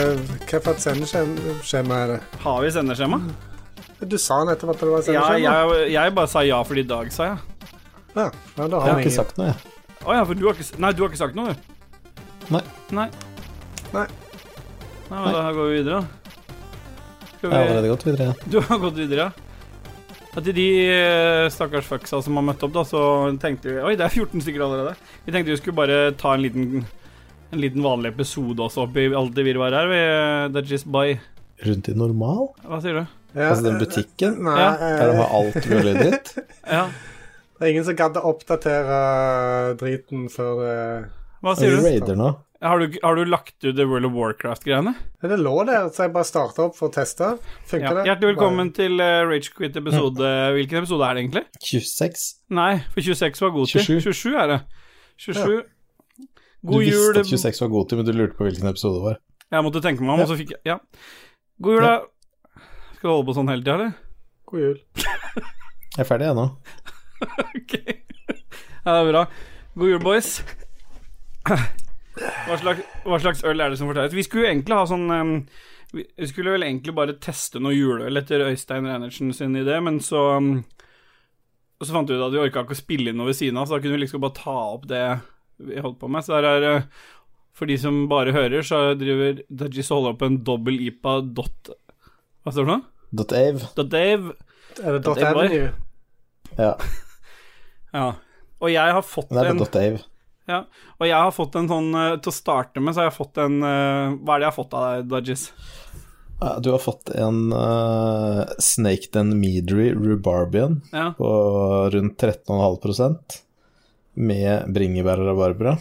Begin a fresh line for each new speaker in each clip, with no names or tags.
Hvilket sendeskjema er det?
Har vi sendeskjema?
Du sa nettopp at det var
Ja,
sendeskjema.
jeg, jeg bare sa ja fordi Dag sa ja.
Ja, ja, da
Jeg
har
har
vi
ikke
ingen.
sagt noe, jeg.
Å ja, for du har ikke s- Nei, du har ikke sagt noe, du.
Nei.
Nei.
Nei.
Nei, men Da går vi videre, da. Skal
Jeg har
vi
allerede gått videre. jeg.
Du har gått videre, ja. Ja, til de eh, stakkars fucksa som har møtt opp, da, så tenkte vi Oi, det er 14 stykker allerede. Vi tenkte vi skulle bare ta en liten En liten vanlig episode også oppi alt det virvaret her. Vi, eh, det er just by
Rundt i normal?
Hva sier du?
Ja,
Altså den
eh,
butikken
Nei,
Ja.
eh,
der de har alt mulig dritt?
Ja.
det er ingen som gadd å oppdatere eh, driten før eh, det
Hva
Og de
sier du?
raider nå.
Har du, har du lagt ut det World of Warcraft-greiene?
Ja, Det lå der, så jeg bare starta opp for å teste. Funker
Ja.
det?
Hjertelig velkommen til eh, Rage Quit episode
Mm.
Hvilken episode er det egentlig?
26.
Nei, for 26 var god
27.
til. 27 er det. 27.
Du
God jul.
visste at 26 var god tid, men du lurte på hvilken episode det var.
Jeg måtte tenke meg om, og så fikk jeg Ja. God jul, da. Skal du holde på sånn hele tida, eller?
God jul.
Jeg er ferdig, jeg nå.
Ok. Ja, det er bra. God jul, boys. Hva slags, hva slags øl er det som fortelles? Vi skulle jo egentlig ha sånn em, Vi vi skulle vel egentlig bare teste noe juleøl etter Øystein Reinertsen sin idé, men så em, Så fant vi ut at vi orka ikke å spille inn noe ved siden av, så da kunne vi liksom bare ta opp det vi holdt på med. Så der er eh, For de som bare hører, så driver Dajis og holder opp en dobbel IPA dot Hva står det for noe?
Dot Ave.
Dot Dave.
Er det Dot
Det er bare-
Avenue?
Ja,
Ja. Og jeg har fått
det er
en
Dot Ave.
Ja, og jeg har fått en sånn eh, Til å starte med så har jeg fått en eh, Hva er det jeg har fått av deg, Dodges?
Ja, Du har fått en eh, Snaked and Meadery Rubarbian
Ja.
på rundt 13,5 med bringebær og rabarbra.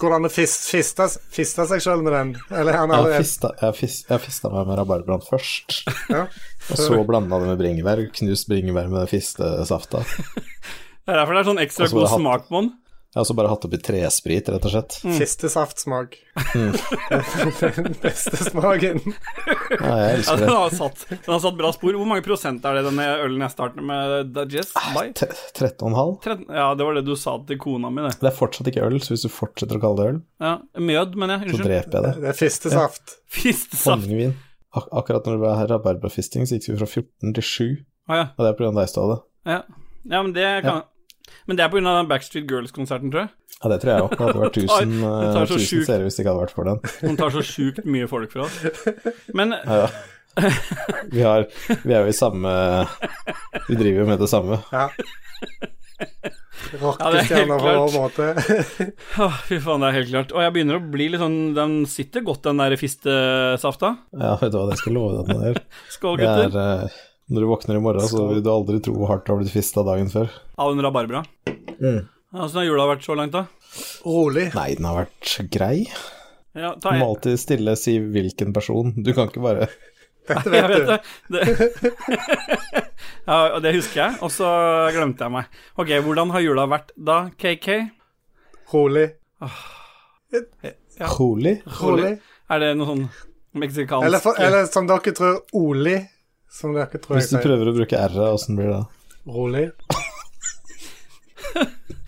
Går det an å fis- fiste fiste seg sjøl med den? Eller han
Jeg
allerede
fista, jeg fis- jeg fista meg med rabarbraen først,
ja.
og så blanda det med bringebær. Knust bringebær med den fistesafta.
Det er derfor det er sånn ekstra
Og så har
god
jeg hatt-
smak på den.
Jeg har også bare hatt oppi tresprit, rett og slett.
Mm.
Fistesaftsmak.
Mm.
den beste smaken.
Ja, jeg
Ja,
elsker
den,
det.
har satt, den har satt bra spor. Hvor mange prosent er det denne ølen jeg starter med, Dodges? By?
T- 13,5.
13? Ja, det var det du sa til kona mi, det.
Det er fortsatt ikke øl, så hvis du fortsetter å kalle det øl,
Ja, Mjød, mener jeg.
så
Unnskyld.
dreper jeg det.
Det er fistesaft.
Fistesaft.
Honningvin. Ak akkurat når det var rabarbrafisting, så gikk vi fra 14 til 7,
Å ja.
og det er pga. deg, Ståle.
ja. Ja, men det kan Men det er på grunn av den Backstreet Girls-konserten, tror jeg.
Ja, det tror jeg òg. Det hadde vært
Det tar-
1000
det tar så sjukt.
seere hvis det ikke hadde vært for den.
Hun tar så sjukt mye folk fra oss. Men
Ja. Vi, har, vi er jo i samme Vi driver jo med det samme.
Ja.
Ja,
Rockestjerner
det
på
er
vår
helt
måte.
Åh, fy faen, det er helt klart. Og jeg begynner å bli litt sånn Den sitter godt, den der fistesafta.
Ja, vet du hva, det skal jeg love deg. Daniel.
Skål,
Det
gutter.
er eh, Når du våkner i morgen, så vil du aldri tro hvor hardt du har blitt fista dagen før.
Av en rabarbra. Åssen har jula vært så langt, da?
Rolig.
Nei, den har vært grei.
Ja,
Du
ta
må
en.
alltid stille si hvilken person. Du kan ikke bare
Dette
Jeg
vet
vet
du.
det. det. ja, og det husker jeg, og så glemte jeg meg. Ok, hvordan har jula vært da, KK?
Rolig.
Holy.
Rolig.
Er det noe sånn meksikansk
Eller, for, eller som dere tror, Oli. Som dere tror jeg
Hvis du
sier.
prøver å bruke r-et, åssen blir det da?
Rolig.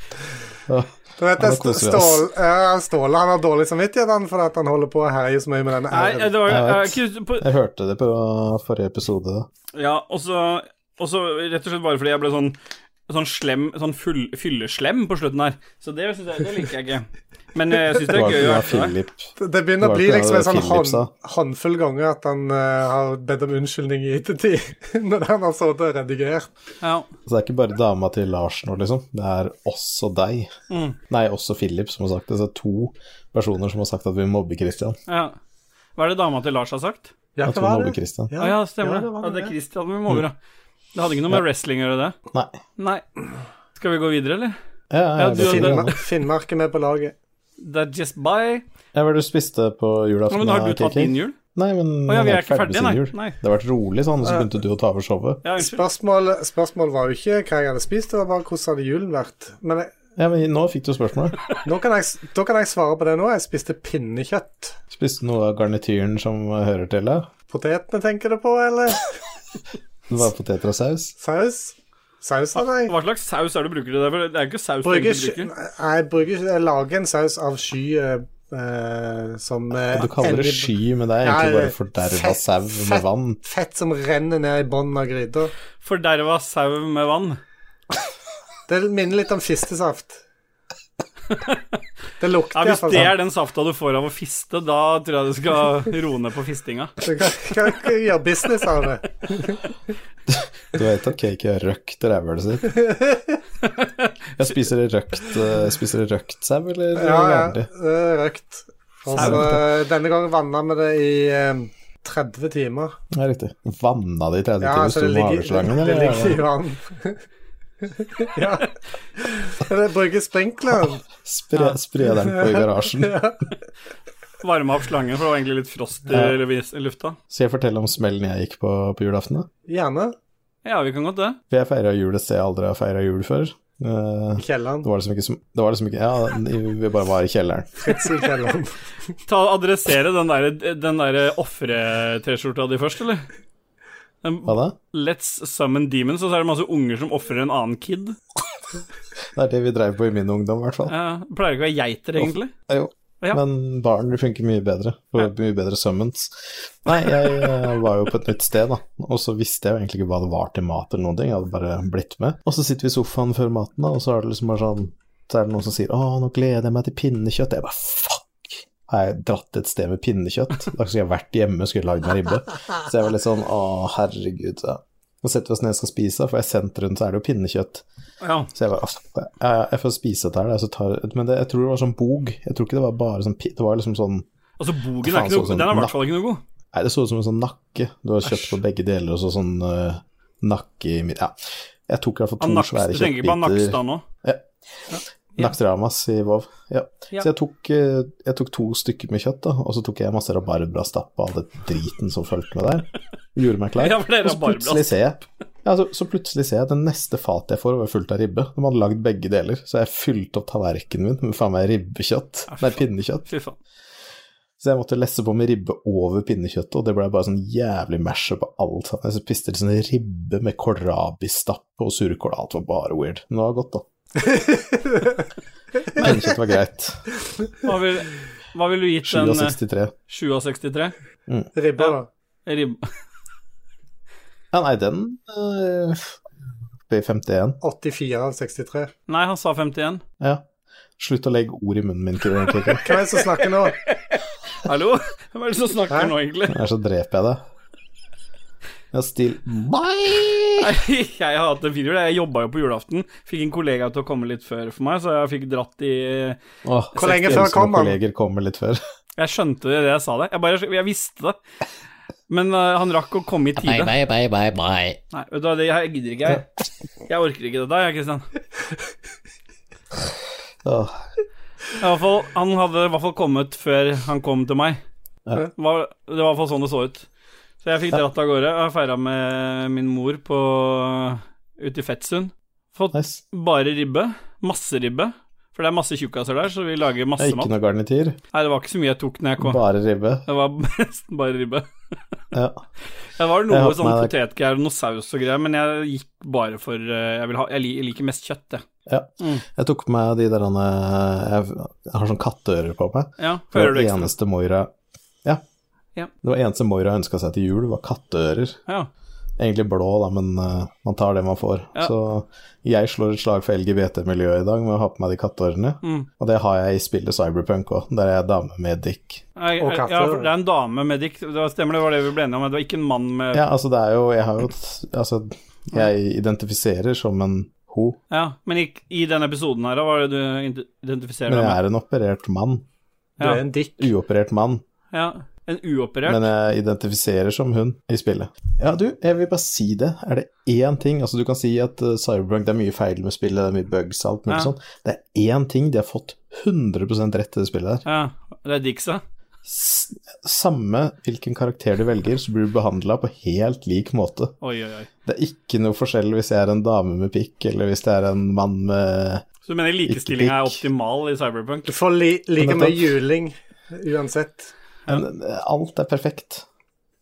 Ja.
Du vet,
Ja, nå
Ståle,
koser vi oss.
ja, Ståle han har dårlig samvittighet han, for at han holder på å herje så mye med denne
Nei,
r-en.
det var
Jeg
jeg,
vet.
jeg, på,
Jeg hørte det på forrige episode.
Ja, og så, og så rett og slett bare fordi jeg ble sånn Sånn slem, sånn full, fylleslem på slutten her. Så det, synes jeg, det liker jeg ikke. Men eh, jeg syns det
Det
er
var
gøy å
ikke
høre det.
Philip.
Det- Det begynner
Det
å
var
bli
ikke
liksom en sånn
Philips, da.
hånd, håndfull ganger at han eh, har bedt om unnskyldning i ettertid, når han har sittet og redigert.
Ja.
Så det er ikke bare dama til Lars nå, liksom. Det er også deg.
Mm.
Nei, også Philip som har sagt det. Så det er to personer som har sagt at vi mobber Christian.
ja. Hva er det dama til Lars har sagt?
Ja,
At vi mobber Christian.
Ah, Ja, ja stemmer
ja,
det.
det var
Ja,
det.
det er Christian vi må over, ja. Det hadde ikke noe med wrestling å gjøre, det.
Nei.
Nei. Skal vi gå videre, eller?
Ja,
Ja,
ja,
du-
jeg,
Finnmark,
jeg,
Finnmark er med på laget.
Det er just by.
Hva var det du spiste på
Ja,
julaften?
men har
da,
du tatt
KK?
din jul?
Nei, men
Å ja,
han
vi
er
er ikke ferdige,
med
nei.
sin jul.
Nei.
Det har vært rolig sånn, og så begynte du å ta over showet.
Ja, unnskyld.
Spørsmål, spørsmål var jo ikke hva jeg hadde spist, det var bare hvordan hadde julen vært. Men jeg,
Ja, men nå fikk du spørsmålet.
nå kan jeg, s- da kan jeg svare på det nå. Jeg spiste pinnekjøtt.
Spiste du noe av garnityren som hører til deg?
Potetene tenker du på, eller?
Det var poteter og saus?
Saus? Saus av deg?
Hva slags saus er det du bruker til det? For det er jo ikke saus du
Bruker,
egentlig
sky-
bruker.
nei, jeg bruker ikke Jeg lager en saus av sky eh, eh, som
Og Du kaller det sky, men det er egentlig bare forderva sau med vann.
Fett som renner ned i bunnen av gryta.
Forderva sau med vann.
Det minner litt om fistesaft. Det lukter
Ja, hvis
iallfall
det
sånn.
er den safta du får av å fiste, da tror jeg du skal roe ned på fistinga.
Du kan, kan ikke gjøre business av det.
Du vet at cake er røkt rævhølet sitt. Jeg spiser det røkt, eh, spiser det røkt sau, eller
Ja, ja.
vanlig?
Det er røkt. Og så denne gangen vanna vi det i eh, 30 timer.
Ja, riktig. Vanna de
Ja,
30 kilo
altså det
store
ligger,
haveslangen,
det
eller?
ligger i
Ja,
vann. ja. Eller bruker sprinkleren.
Spre, spre den på i garasjen.
Varme opp slangen, for det var egentlig litt frost i
Ja.
vis- i lufta.
Skal jeg fortelle om smellen jeg gikk på på julaften? da?
Gjerne.
Ja, vi kan godt det.
For jeg feira jul et sted jeg aldri har feira jul før. Eh,
I kjelleren.
Det var liksom ikke som Det var liksom ikke Ja, vi bare var i kjelleren.
Fritzelkjelleren.
Ta, adressere den der, den der ofre-T-skjorta di først, eller? Den,
Hva da?
Let's summon demons, og så er det masse unger som ofrer en annen kid.
Det er det vi drev på i min ungdom, i hvert fall.
Ja, Eh, pleier ikke å være geiter, egentlig.
Ja, Jo.
Ja.
Men barn det funker mye bedre. Får mye bedre summons. Nei, jeg eh, var jo på et nytt sted, da, og så visste jeg jo egentlig ikke hva det var til mat eller noen ting. Jeg hadde bare blitt med. Og så sitter vi i sofaen før maten, da, og så er det liksom bare sånn Så er det noen som sier 'Å, nå gleder jeg meg til pinnekjøtt'. Jeg bare fuck! Har jeg dratt til et sted med pinnekjøtt? Da skulle jeg vært hjemme og skulle lagd meg ribbe. Så jeg var litt sånn 'Å, herregud'. Ja. Nå setter vi oss ned og skal spise, da, for i sentrum så er det jo pinnekjøtt.
Ja.
Så jeg bare «Åh, ja, ja, Jeg får spise dette her, da, så tar, men det, jeg tror det var sånn bog. Jeg tror ikke det var bare sånn pi- Det var liksom sånn
Altså, bogen er
Faen,
ikke noe,
sånn som
den er i
napp.
hvert fall ikke noe god.
Nei, det så ut som en sånn nakke. Du har kjøtt på begge deler, og så sånn eh, nakke i midten. Ja. Jeg tok i hvert fall
Han
to
nakst,
svære
du tenker ikke på han
kjøttbiter.
Nakstad nå? ja.
Nakstramas i Vov. Ja.
Ja.
Så jeg tok, eh, jeg tok to stykker med kjøtt, da, og så tok jeg masse rabarbrastapp og all den driten som fulgte med der. Gjorde meg klar.
Ja, for det er
Og så plutselig
rabarbrast.
ser jeg ja, så, så plutselig ser jeg at det neste fatet jeg får, var fullt av ribbe. De hadde lagd begge deler, så jeg fylte opp tallerkenen min med faen meg ribbekjøtt.
Ja, fy
Nei,
faen.
pinnekjøtt.
Fy faen.
Så jeg måtte lesse på med ribbe over pinnekjøttet, og det ble bare sånn jævlig mash på alt. sammen. Jeg spiste litt sånn ribbe med kålrabistappe og surkål, alt var bare weird. Men det var godt, da. Pinnekjøtt var greit.
Hva vil, hva vil du
eh,
gitt den eh,
67.
7 av 63?
Ribba, da.
Ribb...
Ja, nei, den øh, ble 51.
84 av 63.
Nei, han sa 51.
Ja. Slutt å legge ord i munnen min, Kevin. Kikki.
Hvem er det som snakker nå?
Hallo? Hvem er det som snakker
Hæ?
nå, egentlig?
Her så dreper jeg deg. Jeg har stil Bye!
Nei, Jeg har hatt en videoer der jeg jobba jo på julaften. Fikk en kollega til å komme litt før for meg, så jeg fikk dratt i
Åh,
Hvor lenge
jeg
før
elsker når
kom han?
Kolleger kommer litt før.
Jeg skjønte det da jeg sa det. Jeg bare jeg visste det. Men eh, han rakk å komme i
Bye,
tide.
bye, bye, bye, bye.
Nei, vet du hva, det jeg gidder ikke, jeg. Jeg orker ikke dette, jeg, Kristian.
Åh,
I hvert fall, Han hadde i hvert fall kommet før han kom til meg.
Ja.
Var, det var i hvert fall sånn det så ut. Så jeg fikk dratt av gårde. og Jeg feira med min mor på ute i Fettsund. Fått
nice.
bare ribbe. Masse ribbe. For det er masse tjukkaser der, så vi lager
Jeg
masse
har
mat.
ikke noe garnityr,
Nei, det var ikke så mye jeg tok når jeg kom.
bare ribbe.
Det var nesten bare ribbe.
Ja.
Det var
Jeg
noe
har-
sånn
nei, det-
potetgreier og noe saus og greier, men jeg gikk bare for eh, Jeg, vil ha, jeg, li- jeg liker mest kjøtt, jeg. Mm.
Jeg tok på meg de der jeg, jeg har sånn katteører på meg.
Ja,
Det
hører
var
du
det
ekstra?
eneste Moira Ja.
Ja.
Det var eneste Moira ønska seg til jul, var katteører.
Ja.
Egentlig blå, da, men eh, man tar det man får.
Ja.
Så jeg slår et slag for LGBT-miljøet i dag med å ha på meg de katteørene.
Mm.
Og det har jeg i spillet Cyberpunk òg, der jeg er dame med dick.
Jeg,
Og
jeg,
kaffe,
eh, ja, for
da.
det er en dame med dikt, det var, stemmer det, var det vi ble enige om? Det var ikke en mann med Ja,
Ja, altså, det er jo Jeg har jo et- Altså, jeg identifiserer som en ho,
men i, i den episoden her, da, hva er det du ident- identifiserer
men
deg med?
jeg er en operert mann.
Du er en dick.
Uoperert mann.
Ja, en uoperert?
Men jeg identifiserer som hun i spillet. Ja, du, jeg vil bare si det. Er det én ting Altså, du kan si at eh, Cyberpunk det er mye feil med spillet, det er mye bugs og alt mulig
Ja.
sånt. Det er én ting de har fått 100 rett i det spillet der.
Ja, det er Dixa.
S samme hvilken karakter du velger, så blir du behandla på helt lik måte.
Oi, oi, oi.
Det er ikke noe forskjell hvis jeg er en dame med pikk, eller hvis det er en mann med
Så du mener likestillinga er
pikk.
optimal i Cyberpunk?
Du får li like
Men
mye
nettopp.
juling uansett.
Men eh, alt er perfekt.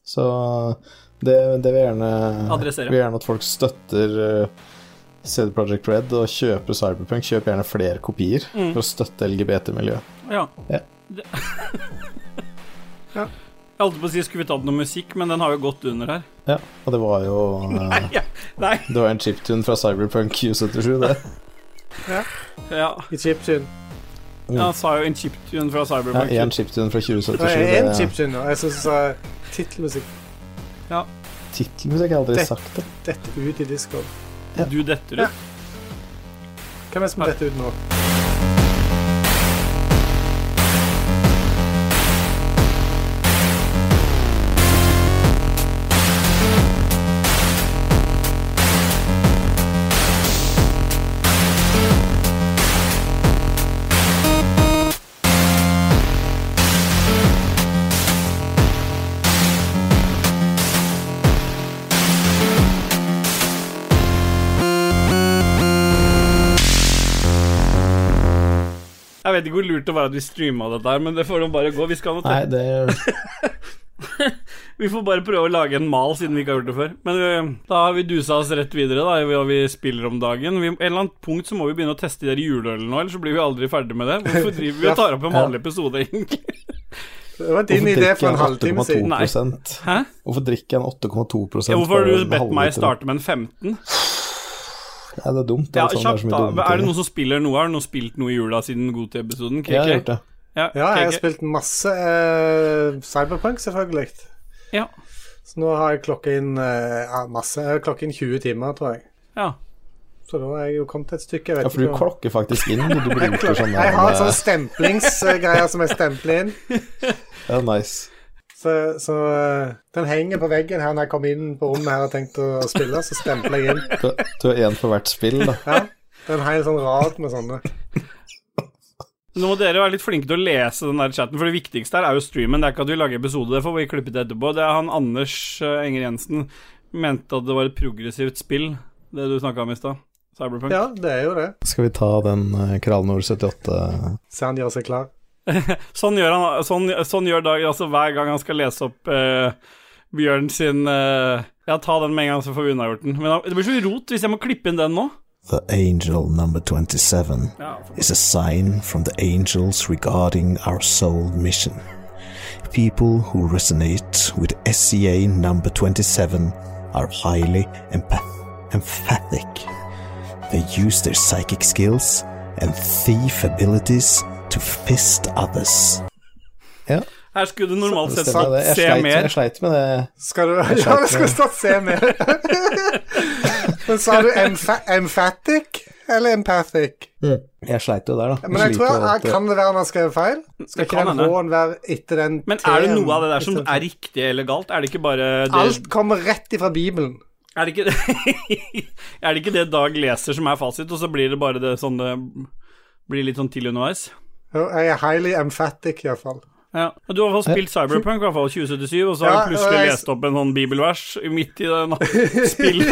Så det, det vil jeg gjerne
Adressere.
Vil gjerne at folk støtter eh, CD Projekt
Mm.
Red og kjøper Cyberpunk. Kjøp gjerne flere kopier for å støtte LGBT-miljøet.
Ja.
Ja.
Jeg holdt på å si skulle vi tatt noe musikk, men den har jo gått under her.
Ja, og det var jo eh,
Nei, ja. Nei.
Det var en chiptune fra Cyberpunk U77, det.
Ja,
I chiptune.
jeg sa jo en chiptune fra
Mm. Ja,
Cyberpunk.
en chiptune fra 2077.
Det er én
det-
chiptune, og jeg syns uh, tittelmusikk
Tittelmusikk har jeg aldri
Det-
sagt det.
detter ut i disco.
Du detter ut.
Hvem er det som detter ut nå?
Jeg vet ikke hvor lurt det var at vi streama dette her, men det får nå bare gå. Vi, skal nå
Nei,
te-
det
vi får bare prøve å lage en mal, siden vi ikke har gjort det før. Men øh, da har vi dusa oss rett videre, da, i hva vi spiller om dagen. Vi, en eller annet punkt så må vi begynne å teste de der juleølene nå, ellers så blir vi aldri ferdig med det. Hvorfor driver vi og tar opp en vanlig episode, egentlig?
Det var din
Hvorfor
idé
drikker
for en
jeg
halvtime siden.
8,2 prosent?
Hæ?
Hvorfor drikker jeg en 8,2
Ja, hvorfor har
for
du
en
bedt meg
halvliter?
starte med en 15?
Ja, det er dumt. Det
Ja,
er, sånn,
kjapt, da.
det er, så mye dumme
Er det
ting.
noen som spiller noe? Har du noen spilt noe i jula siden Godtid-episoden?
Ja, jeg har gjort det.
Ja,
Ja, jeg har
KK.
spilt masse eh, Cyberpunk, selvfølgelig.
Ja.
Så nå har jeg klokka inn eh, ja, masse. Jeg har klokka inn 20 timer, tror jeg.
ja.
Så da er jeg jo kommet et stykke. Jeg vet
Ja, for du
ikke om-
klokker faktisk inn når du bruker sånn
Jeg har en sånn
der
stemplingsgreie som jeg stempler inn.
eh, Ja, nice.
Så, så eh, den henger på veggen her når jeg kommer inn på rommet her og har tenkt å spille, så stempler jeg inn.
Du, du har én for hvert spill, da.
Ja, det er en hel sånn rad med sånne.
Nå må dere være litt flinke til å lese den der chatten, for det viktigste her er jo streamen. Det er ikke at vi lager episode, det får vi klippet etterpå. Det er han Anders eh, Enger Jensen mente at det var et progressivt spill, det du snakka om i stad. Cyberpunk.
Ja, det er jo det.
Skal vi ta den eh, Kralnord 78
Så han gjør seg klar.
Sånn gjør han sånn, sånn gjør Dag altså hver gang han skal lese opp eh, Bjørn sin eh, Ja, ta den med en gang, så får vi unnagjort den. Men da- det blir så rot hvis jeg må klippe inn den nå.
The angel number 27
Ja,
is a sign from the angels regarding our soul mission. People who resonate with SCA number 27 are highly empath- emphatic. They use their psychic skills and thief abilities to fist others.
Ja,
Her skulle du normalt sett
stemmer det. Jeg
se
sleit,
mer.
jeg sleit med det.
Skal du Ja, det skulle stått se mer. Men sa du empha emphatic eller empathic?
Jeg sleit jo der, da.
Men jeg
Sliter
tror jeg,
alltid.
Kan det være han har skrevet feil? Skal
Det
ikke
kan
den
hende.
H-en være etter den
Men er det
T-en?
noe av det der som er riktig eller galt? Er det ikke bare det,
Alt kommer rett ifra Bibelen.
er, det ikke, er det ikke det Dag leser som er fasit, og så blir det bare det sånn det blir litt sånn til underveis?
Jo, Jeg er highly emphatic, iallfall.
Ja. Men Du har i hvert fall spilt Cyberpunk, i hvert fall 2077, og så har
Ja,
du
og
plutselig
jeg-
lest opp en sånn bibelvers midt i den spill.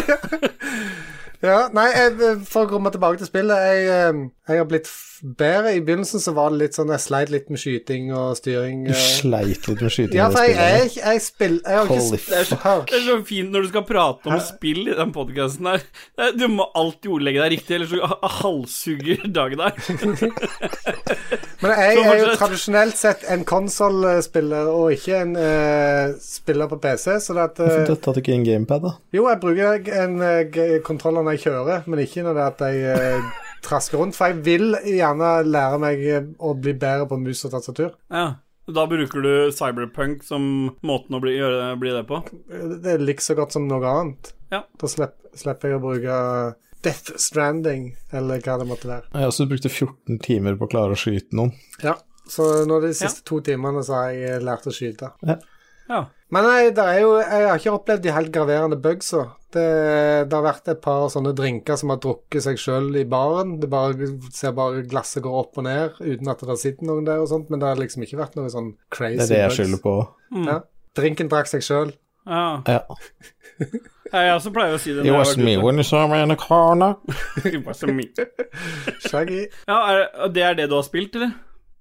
Ja, nei, jeg, For å komme tilbake til spillet Jeg, eh, jeg har blitt f- bedre. I begynnelsen så var det litt sånn Jeg sleit litt med skyting og styring.
Du
eh.
sleit litt med skyting
Ja,
i
for
det
jeg
spillet.
er ikke Jeg spiller Jeg har
Holy
ikke spilt Hør.
Det er så fint når du skal prate om spill i den podkasten her. Det- Du må alltid ordlegge deg riktig, ellers så halshugger Dag deg.
Men jeg
Så
er jo
fortsett.
tradisjonelt sett en konsollspiller og ikke en eh, spiller på PC, så det at eh,
Hvorfor tatt du ikke en gamepad, da?
Jo, jeg bruker en eh, g- kontroller når jeg kjører, men ikke når det er at jeg eh, trasker rundt. For jeg vil gjerne lære meg eh, å bli bedre på mus og tastatur.
Ja. Da bruker du cyberpunk som måten å bli, gjøre, bli det på.
Eh, Det er like så godt som noe annet.
Ja.
Da slipp, slipper jeg å bruke Death Stranding, eller hva det måtte være.
Jeg også brukte 14 timer på å klare å skyte noen.
Ja, Så nå de siste to timene så har jeg eh, lært å skyte.
Ja.
Men nei, det er jo, jeg har ikke opplevd de helt graverende bugsa. Det, det har vært et par sånne drinker som har drukket seg sjøl i baren. Det bare, ser bare glasset går opp og ned uten at det sitter noen der og sånt, men det har liksom ikke vært noe sånn crazy
Det er det jeg
bugs.
skylder på.
Ja. Drinken drakk seg sjøl.
ja.
Ja.
Jeg også pleier å si det.
It
når
was
jeg har
me
vært
when you saw me in the corner.
ute. It was me.
Shaggy.
Ja, er, og det er det du har spilt, eller?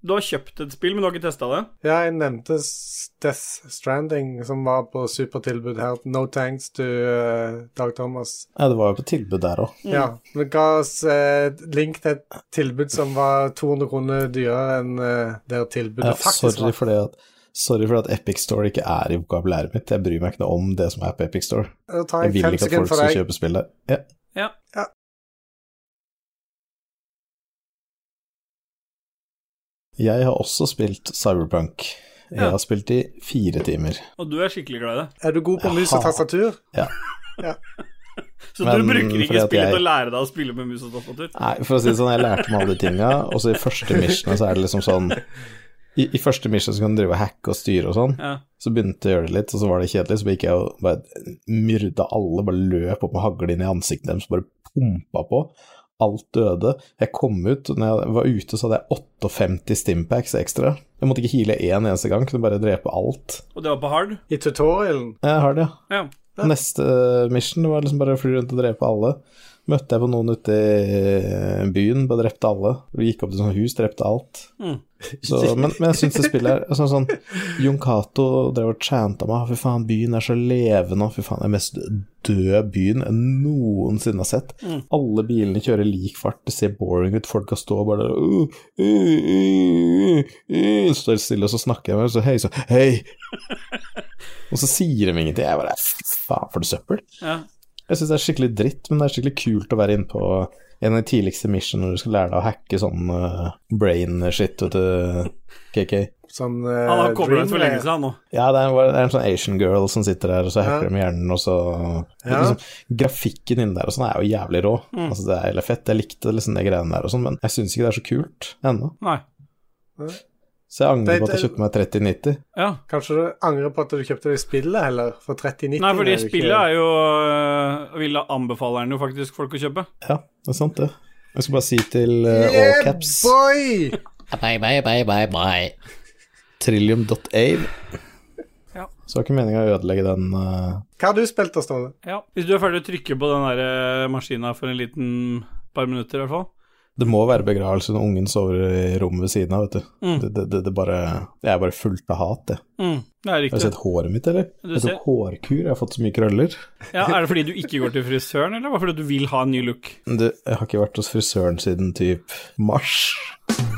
Du har kjøpt et spill, men du har ikke testa det?
Ja, jeg nevnte S- Death Stranding, som var på supertilbud her. No thanks to eh, Dag Thomas.
Ja, det var jo på tilbud der òg.
Ja, men ga oss eh, link til et tilbud som var 200 kroner dyrere enn eh, det tilbudet
Ja,
faktisk
sorry
var.
for det at Sorry for at Epic Store ikke er i vokabulæret mitt. Jeg bryr meg ikke noe om det som er på Epic Store.
Da tar
Jeg
jeg
vil
Eh, fem
ikke at folk
sekunder for
skal
deg.
kjøpe spill der. Ja. Jeg har også spilt Cyberpunk. Jeg
Ja.
har spilt i fire timer.
Og du er skikkelig glad i det.
Er du god på mus og
Jaha.
tastatur?
Så
Men
du bruker
fordi
ikke
at
spillet
jeg-
til å lære deg å spille med mus og tastatur?
Nei, for å si det sånn, jeg lærte meg alle de tinga, og så i første missionet så er det liksom sånn I, i første mission så kan du drive og hacke og styre og sånn.
Ja.
Så begynte jeg å gjøre det litt, og så var det kjedelig. Så gikk jeg og bare myrda alle, bare løp opp med hagle inn i ansiktet deres, bare pumpa på. Alt døde. Jeg kom ut, og når jeg var ute, så hadde jeg 58 Stimpacks ekstra. Jeg måtte ikke heale én eneste gang, kunne bare drepe alt.
Og det var på hard?
I tutorialen?
Jeg har det, ja.
Ja.
Neste mission var liksom bare å fly rundt og drepe alle. Møtte jeg på noen ute i eh, byen, bare drepte alle. Vi gikk opp til sånn hus, drepte alt.
Mm.
Så, men, men jeg syns det spillet er sånn sånn Jon Cato drev og chanta meg. Fy faen, byen er så levende. Fy faen, det er den mest døde byen jeg noensinne har sett.
Mm.
Alle bilene kjører lik fart, det ser boring ut. Folka står bare der uh, uh, uh, uh, uh, Står stille, og så snakker jeg med dem, så hei, så hei. Og så sier de ingenting. Jeg bare faen, for noe søppel.
ja.
Jeg syns det er skikkelig dritt, men det er skikkelig kult å være inne på en av de tidligste missionene når du skal lære deg å hacke sånn eh, brain shit, vet du, KK.
Sånn uh,
Han har kobla ut for lenge siden, han nå.
Ja, det er, en, det er en sånn Asian girl som sitter der, og så
Ja.
hacker de hjernen, og så
Ja. Mm.
liksom, Grafikken inne der og sånn er jo jævlig rå. Altså, det er jævlig fett. Jeg likte liksom de greiene der og sånn, men jeg syns ikke det er så kult ennå.
Nei.
Så jeg angrer
Det-
på at jeg
det-
kjøpte meg 3090.
Ja.
Kanskje du angrer på at du kjøpte deg spillet heller, for 3090
Nei, fordi
er jo ikke-
spillet er jo øh, Vil anbefale den jo faktisk folk å kjøpe.
Ja, det er sant, det. Jeg skal bare si til eh, all
Yeah,
caps
boy!
Bye, bye, bye, bye, bye.
trillium.ave.
Ja.
Så var ikke meninga å ødelegge den eh,
Hva har du spilt, da, Ståle?
Ja. Hvis du er ferdig å trykke på den der øh, maskina for en liten par minutter, i hvert fall.
Det må være begravelse når ungen sover i rommet ved siden av, vet du. Det, det, det, det bare, jeg er bare fullt av hat, det.
Mm. Det er
Har du
riktig.
sett håret mitt, eller?
Du
jeg
ser-
tok hårkur, jeg har fått så mye krøller.
Ja, er det fordi du ikke går til frisøren, eller bare fordi du vil ha en ny look?
Du, jeg har ikke vært hos frisøren siden typ mars.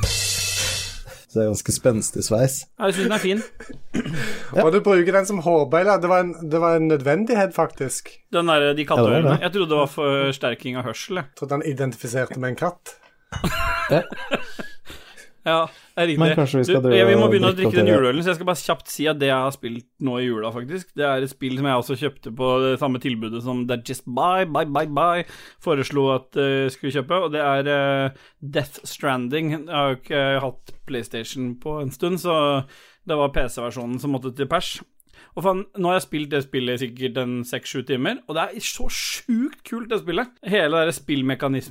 Så det er ganske spenstig sveis.
Ja, Jeg syns den er fin.
Og du bruker den som hårbøyle. Det, var en- det var en nødvendighet, faktisk.
Den der, de
Ja, det er
katteørene.
det.
Jeg trodde det var forsterking av hørsel. jeg.
Jeg trodde han identifiserte med en katt.
Ja, det er riktig.
Men kanskje vi skal
du,
drive
jeg, vi må
og
begynne å
drikke
drikke den
opp det.
juleølen, så jeg skal bare kjapt si at det jeg har spilt nå i jula, faktisk, det er et spill som jeg også kjøpte på det samme tilbudet som That Just Buy, Buy, Buy, Buy foreslo at eh, skulle kjøpe, og det er eh, Death Stranding. Jeg har jo ikke hatt PlayStation på en stund, så det var PC-versjonen som måtte til pers. Og faen, nå har jeg spilt det spillet i sikkert en seks-sju timer, og det er så sjukt kult, det spillet. Hele det der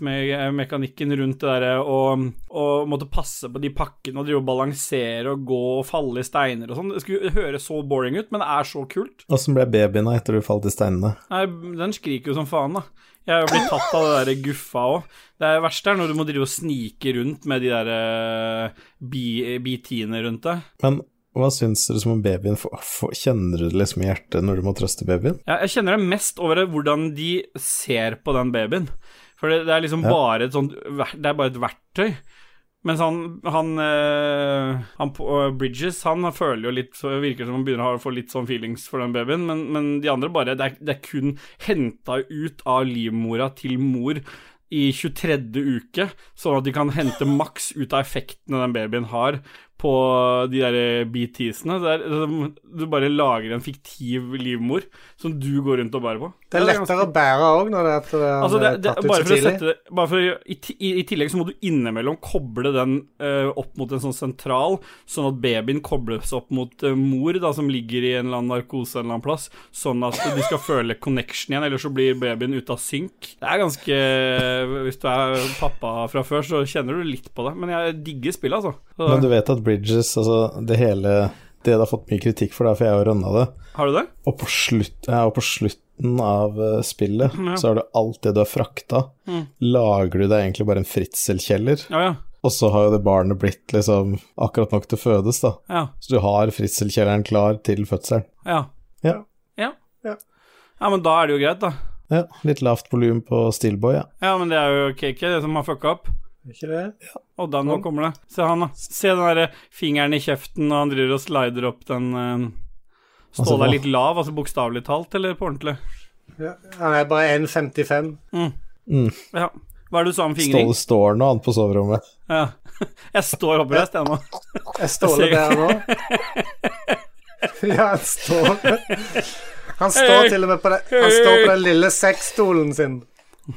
spillmekanikken rundt det derre og, og måtte passe på de pakkene og drive og balansere og gå og falle i steiner og sånn. Det skulle høres så boring ut, men det er så kult.
Åssen ble babyen da etter du falt i steinene?
Nei, den skriker jo som faen, da. Jeg er jo blitt tatt av det der guffa òg. Det verste er når du må drive og snike rundt med de der eh, bi- BT-ene rundt deg.
Men hva syns dere som om babyen? Får- får- Kjenner du det liksom i hjertet når du må trøste babyen?
Ja, jeg kjenner det mest over det, hvordan de ser på den babyen. For det, det er liksom bare et sånt ver- Det er bare et verktøy. Mens han, han, eh, han på, eh, Bridges, han føler jo litt så Virker som han begynner å ha- få litt sånn feelings for den babyen, men, men de andre bare Det er, det er kun henta ut av livmora til mor i 23. uke, sånn at de kan hente maks ut av effektene den babyen har på de der BTs-ene. Det er- det er- Du bare lager en fiktiv livmor som du går rundt og bærer på.
Det er lettere å bære òg når det er, at han
Altså, det,
er
det,
tatt ut
bare
så
for å
tidlig.
sette det bare for, å- i, ti- i, I tillegg så må du innimellom koble den eh, opp mot en sånn sentral, sånn at babyen kobles opp mot eh, mor, da, som ligger i en eller annen narkose en eller annen plass, sånn at de skal føle connection igjen, ellers så blir babyen ute av synk. Det er ganske Hvis du er pappa fra før, så kjenner du litt på det, men jeg digger spillet, altså. Så,
Men du vet at Bridges, altså det hele Det det har fått mye kritikk for, det er for jeg har rønna det.
Har du det?
Og på, slutt, ja, og på slutten av eh,
Ja.
spillet
Mm.
så har du alt det du har frakta. Lager du deg egentlig bare en fritselkjeller,
Ja, ja.
Og så har jo det barnet blitt liksom akkurat nok til å fødes, da.
Ja.
Så du har fritselkjelleren klar til fødselen.
Ja.
Ja.
Ja.
Ja.
Ja, men da er det jo greit, da.
ja. Litt lavt volum på Steelboy, ja.
Ja, men det er jo KK det som har fucka opp.
Er ikke det?
Og da
Sånn.
nå kommer det. Se han, da. Se den derre fingeren i kjeften, og han driver og slider opp den eh, Stå
Altså, hva?
der litt lav, altså bokstavelig talt, eller på ordentlig?
Ja. Han er bare 1,55.
Ja. Hva er det du sa om fingring?
Ståle står nå, han på soverommet.
Ja. Jeg står oppreist, jeg nå.
Er Ståle
Jeg
der nå? Ja, han står Han står til og med på, det, han står på den lille sexstolen sin.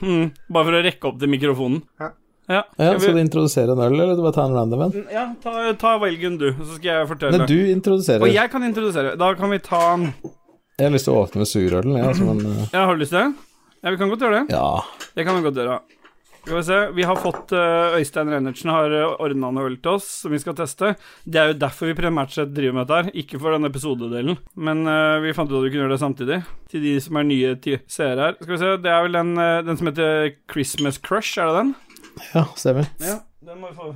Mm. Bare for å rekke opp til mikrofonen.
Ja.
Ja,
Ja,
Skal vi-
Skal du introdusere en øl, eller du bare ta en random en?
ja ta, ta velgen, du, så skal jeg fortelle.
Nei, du introduserer.
Og
Jeg...
jeg kan introdusere. Da kan vi ta
har lyst til å åpne med surølen, jeg, ja, altså, men eh,
Ja, har du lyst til det? Ja, vi kan godt gjøre det.
Ja.
Det kan vi godt gjøre. Skal vi se. Vi har fått eh, Øystein Reinertsen har ordna noe øl til oss som vi skal teste. Det er jo derfor vi primært sett driver med dette her, ikke for den episodedelen. Men eh, vi fant ut at vi kunne gjøre det samtidig. Til de som er nye til seere her. Skal vi se, det er vel den, eh, den som heter Christmas Crush, er det den?
ja, stemmer.
Ja, den må vi få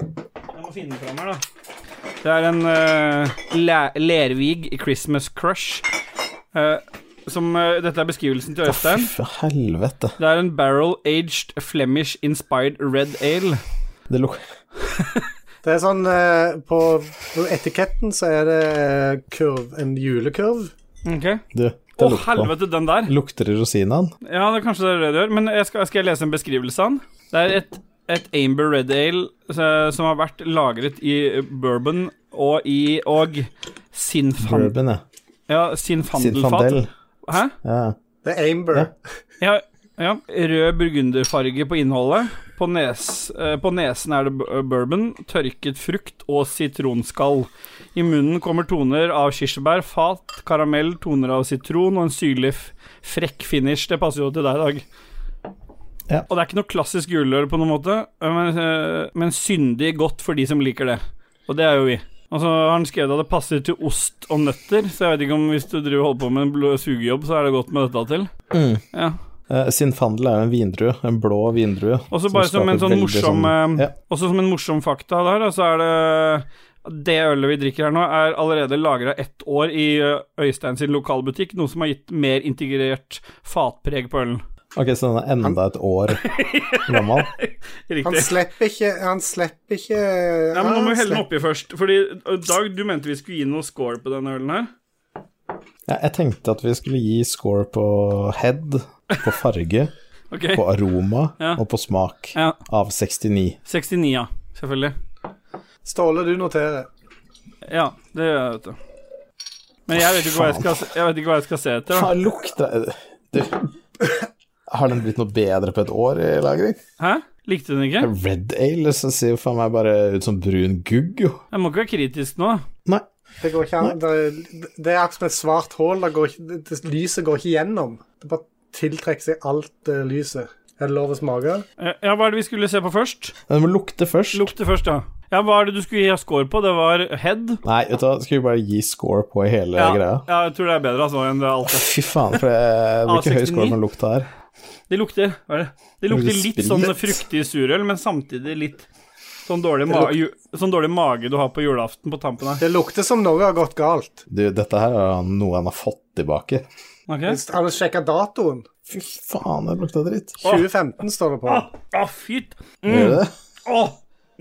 Jeg må finne den fram her, da. Det er en eh, Læ- Lervig Christmas Crush. eh, som eh, Dette er beskrivelsen til Øystein.
Fy helvete.
Det er en barrel-aged Flemish-inspired red ale.
Det luk...
Det er sånn eh, på, på etiketten så er det eh, kurv, en julekurv.
Ok.
Du,
Å,
det lukter på.
helvete, den der.
Lukter det rosinaen?
Ja, det er kanskje det er det du gjør, men jeg skal, skal jeg lese en beskrivelse av den? Det er et, et Amber Red Ale eh, som har vært lagret i bourbon og i og sinfan,
Bourbon, ja.
ja, sinfandelfat.
Sinfandel.
Hæ?
Ja.
Det er Amber.
Ja.
Ja, ja. Rød burgunderfarge på innholdet. På, nes, eh, på nesen er det bu- eh, bourbon, tørket frukt og sitronskall. I munnen kommer toner av kirsebær, fat, karamell, toner av sitron og en syrlig f- frekk finish. Det passer jo til deg, Dag.
Ja.
Og det er ikke noe klassisk juleøl på noen måte, eh, men, eh, men syndig godt for de som liker det. Og det er jo vi. Og så har han skrevet at det passer til ost og nøtter, så jeg vet ikke om hvis du driver og holder på med en blå sugejobb, så er det godt med dette til.
Mm.
Ja.
Eh, Sinfandel er jo en vindrue, en blå vindrue.
Og så bare som en
skaper
sånn
veldig
morsom eh,
ja.
Også som en morsom fakta der, da, så er det Det ølet vi drikker her nå, er allerede lagra ett år i eh, Øystein sin lokalbutikk, noe som har gitt mer integrert fatpreg på ølen.
Ok, så den er enda et år gammel.
Han
Riktig.
slipper ikke Han slipper ikke
Ja, men nå
han
må vi helle
slipper-
den oppi først, fordi eh, Dag, du mente vi skulle gi noe score på denne ølen her.
Ja, jeg tenkte at vi skulle gi score på head, på farge,
Ok.
på aroma
Ja.
og på smak
Ja.
av 69.
69, ja. Selvfølgelig.
Ståle, du noterer.
Ja, det gjør jeg, vet du. Men jeg vet ikke hva jeg skal, se- jeg vet ikke hva jeg skal se etter. da.
Hva lukter Du, har den blitt noe bedre på et år i lagring?
Hæ? Likte du den ikke?
Red ale så ser jo faen meg bare ut som brun gugg, jo.
Jeg må ikke være kritisk nå. da.
Nei.
Det går ikke an. Det, det er akkurat som et svart hull. Det går ikke, det, det, lyset går ikke gjennom. Det bare tiltrekker seg alt det lyset. Er det lov å smake?
Eh, Ja, hva er det vi skulle se på først?
Den må lukte først.
Lukte først, ja. Ja, Hva er det du skulle gi score på? Det var head?
Nei, vet du hva, skal vi bare gi score på hele
Ja,
greia?
ja jeg tror det er bedre altså, enn det alt. det-
Fy faen, for det blir ikke høy
A69.
score på den lukta her.
Det lukter hva er det? Det
Lukter
lukter litt
sprit.
sånn fruktig surøl, men samtidig litt sånn dårlig, ma ju sånn dårlig mage du har på julaften på tampen her.
Det lukter som noe har gått galt.
Du, dette her er jo noe han har fått tilbake.
Ok?
Hvis Han sjekker datoen.
Fy faen, det lukta dritt.
2015 står det på.
Å, å, fyt!
Gjør det?
Å, ah,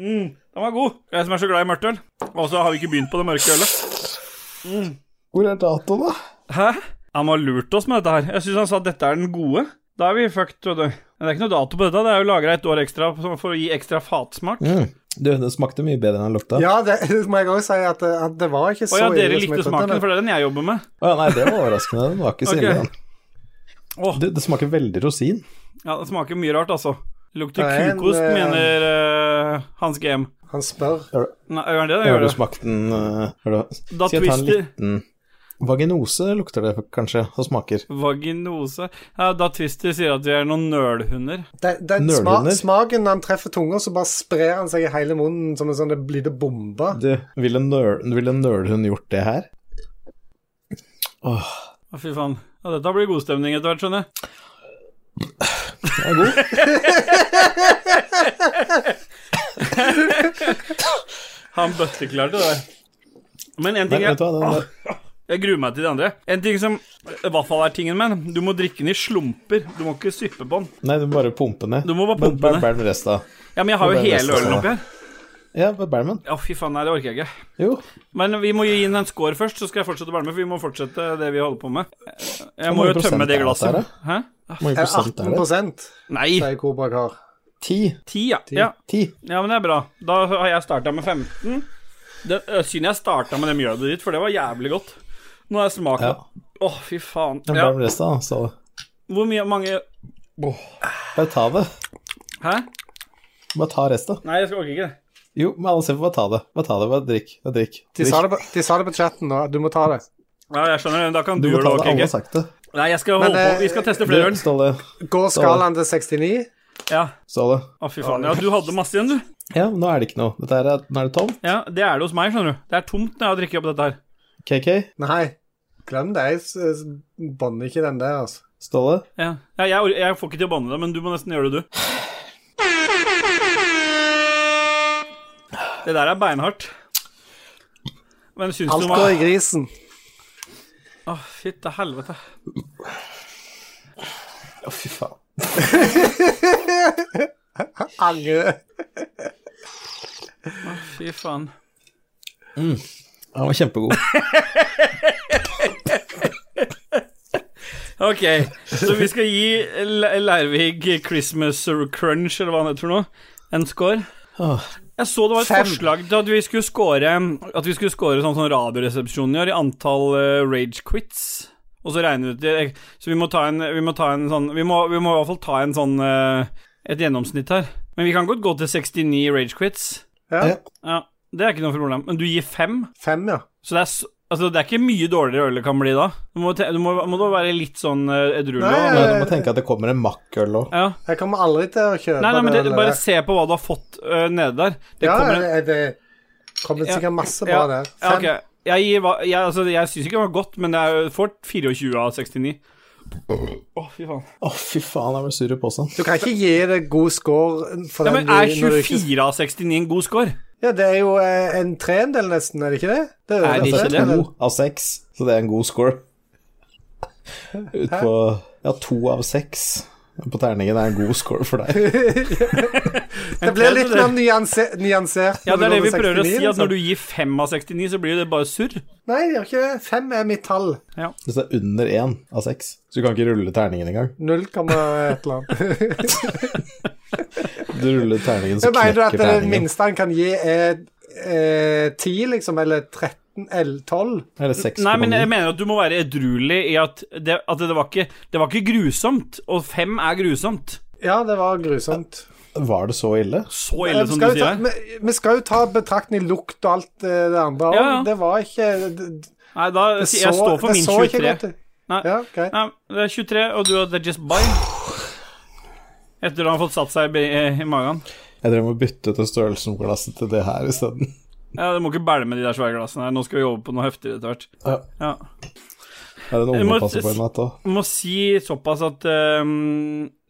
mm, den var god. Jeg som er så glad i mørkt øl. Og så har vi ikke begynt på det mørke ølet.
Hvor er datoen, da?
Hæ? Han har lurt oss med dette her. Jeg syns han sa at dette er den gode. Da er vi fucked, vet du. Men det er ikke noe dato på dette. Det er jo lagra et år ekstra for å gi ekstra fatsmak.
Mm. Du, den smakte mye bedre enn den lukta.
Ja, det må jeg òg si, at, det- at det var ikke
Å
så
ja, dere
ille som
likte
jeg trodde.
smaken, for det er den jeg jobber med.
Å, ja, nei, det var overraskende. Den var ikke så
Ok.
ille. den.
Åh,
Du, det smaker veldig rosin.
ja, det smaker mye rart, altså. Det lukter
Det er en,
kukost,
eh,
mener eh, Hans GM.
Han spør.
Nei, gjør han det? Det
Har
gjør
du
det.
smakt den eh, har du-
Da
Skal jeg ta en
Twister-
liten Vaginose lukter det kanskje, og smaker.
Vaginose. Ja, da Twister sier at vi er noen nølhunder.
Det, det, sma,
Nølhunder.
smaken når han treffer tunga, så bare sprer han seg i hele munnen som en sånn liten bombe.
Du, ville nøl, vil en nølhund gjort det her? Åh,
Å, fy faen. Ja, dette blir god stemning etter hvert, skjønner jeg.
den er god.
Han bøtteklarte det. Men en ting jeg,
Men vet du hva, den,
jeg gruer meg til de andre. En ting som i hvert fall er tingen med Du må drikke den i slumper. Du må ikke syppe på den.
nei, du må bare pumpe ned.
Du må bare pumpe
Bare
ned.
bær den resten av.
Ja, men jeg har
Det
jo
er det
hele
beste
ølen
stedet.
oppi her.
Ja, bare bær den.
Å, fy faen, nei, det orker jeg ikke.
Jo.
Men vi må gi inn en score først, så skal jeg fortsette å bære med, for vi må fortsette det vi holder på med. Jeg må
mange
jo tømme det
prosent er dette her,
glasset. Hæ?
Hvor mange
Eh,
prosent er det?
18
Nei,
sier Kobrak har.
Ti.
ti, ja. ja.
Ti.
Ja, men det er bra. Da har jeg starta med 15. Det øh, Synd jeg starta med det mjødet ditt, for det var jævlig godt. Nå har jeg smakt det.
Ja.
Å, fy faen.
Ja,
Ja.
Bær den resten av, så
Hvor mye mange
bare ta det.
Hæ?
Bare ta resten.
Nei, jeg skal orker ikke.
Jo, men alle ser på, bare ta det. Bare ta det, bare drikk. Bare drikk.
De
drikk.
sa, det på, de sa det på chatten nå, du må ta det.
Ja, jeg skjønner det. Da kan
Du
du
må
gjøre det.
ta det,
orker
alle har
ikke.
sagt det.
Nei, jeg skal
Men,
holde på.
eh,
Vi skal teste
Du,
flere øl.
Ståle.
Går skalaen til 69?
Ståle.
Å, fy faen. Ja, du hadde masse igjen, du.
Ja, nå er det ikke noe. Dette her er, nå er det tomt.
Ja, det er det hos meg, skjønner du. Det er tomt når jeg drikker opp dette her.
KK,
Nei, glem det. Jeg s- s- banner ikke den der, altså.
Ståle.
Ja. Ja, jeg, or- jeg får ikke til å banne det, men du må nesten gjøre det, du. Det der er beinhardt. Men syns
Alt
du
går
meg
i grisen.
Å, fytte helvete.
Å, fy faen.
Angre.
Fy faen.
Han var kjempegod.
Ok, så vi skal gi Le- Leirvig Christmas Crunch, eller hva han heter for noe, en score.
Åh.
Jeg så det var et
Fem.
forslag til at vi skulle score At vi skulle score sånn som Radioresepsjonen gjør, i antall eh, rage quits. Og så regne ut det. Så vi må ta en, vi må ta en sånn Vi må, vi må i hvert fall ta en sånn eh, et gjennomsnitt her. Men vi kan godt gå til 69 rage quits.
Ja,
Ja.
Ja, det er ikke noe problem. Men du gir fem?
fem, ja.
Så det er, s- altså, det er ikke mye dårligere øl det kan bli da. Du må, te- du må, må da være litt sånn eh, edruelig.
Nei,
da.
Men du må tenke at det kommer en makkøl òg.
Ja.
Jeg kommer aldri til å kjøpe
Nei, nei, men
det.
det,
eller
bare
det.
se på hva du har fått eh, nede der. Det
ja,
kommer en
det, det kommer
Ja.
sikkert masse bra
Ja.
der.
Ja,
Fem.
ok. Jeg, gir hva- jeg, altså, jeg syns ikke det var godt, men det er får 24 av 69. Å, fy faen.
Å, fy faen, jeg ble sur i posen.
Du kan ikke gi det god score for
Ja,
den
men er
du- når du ikke-
24 av 69 en god score?
Ja, det er jo eh, en tredel nesten, er det ikke det? Det er,
Er
jo
det
en
ikke det?
tredel.
To av seks, så det er en god score. Utpå Ja, to av seks på terningen er en god score for deg.
Det blir litt mer nyanse nyansert.
Ja,
når
det er det vi
går til
prøver
69,
å si, at
liksom.
når du gir 5 av 69, så blir jo det bare surr.
Nei, det gjør ikke det. Fem er mitt tall.
Hvis det er under én av seks, så du kan ikke rulle terningen engang.
Null komma et eller annet.
Du ruller terningen, så
Jeg mener du
knekker
at det
terningen.
minste han kan gi, er eh, ti, liksom? Eller 13? Eller 12?
Eller seks
Nei, men jeg
komma ni.
mener at du må være edruelig i at det, at det, var, ikke, det var ikke grusomt, og 5 er grusomt.
Ja, det var grusomt.
Var det så ille?
Så
Eh,
ille
Vi
som du
skal, jo ta,
sier. her.
vi, vi skal jo ta betraktning lukt og alt eh, det andre òg.
Ja, ja.
Det var ikke Det,
Nei, da
det
sier jeg står for
det
min
så ikke
23.
godt ut.
Nei.
Ja, ok.
Nei, det er 23, og du hadde just buy. Etter at han har fått satt seg i, i magen.
Jeg drev med å bytte ut størrelsen på glasset til det her isteden.
Ja, Du må ikke bælme de der svære glassene her. Nå skal vi over på noe heftigere etter hvert.
Ja.
Ja.
Er det en
Jeg må-
unge passer på i natt òg?
Jeg må si såpass at ehm,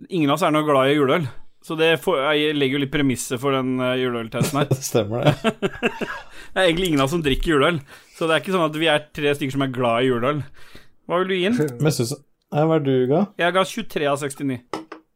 ingen av oss er noe glad i juleøl. Så det får, jeg legger jo litt premisser for den eh, juleøltesten her.
Stemmer det?
Det er egentlig ingen av oss som drikker juleøl, så det er ikke sånn at vi er tre stykker som er glad i juleøl. Hva vil du gi den?
Men synes Nei, hva er det du ga?
Jeg ga 23 av 69.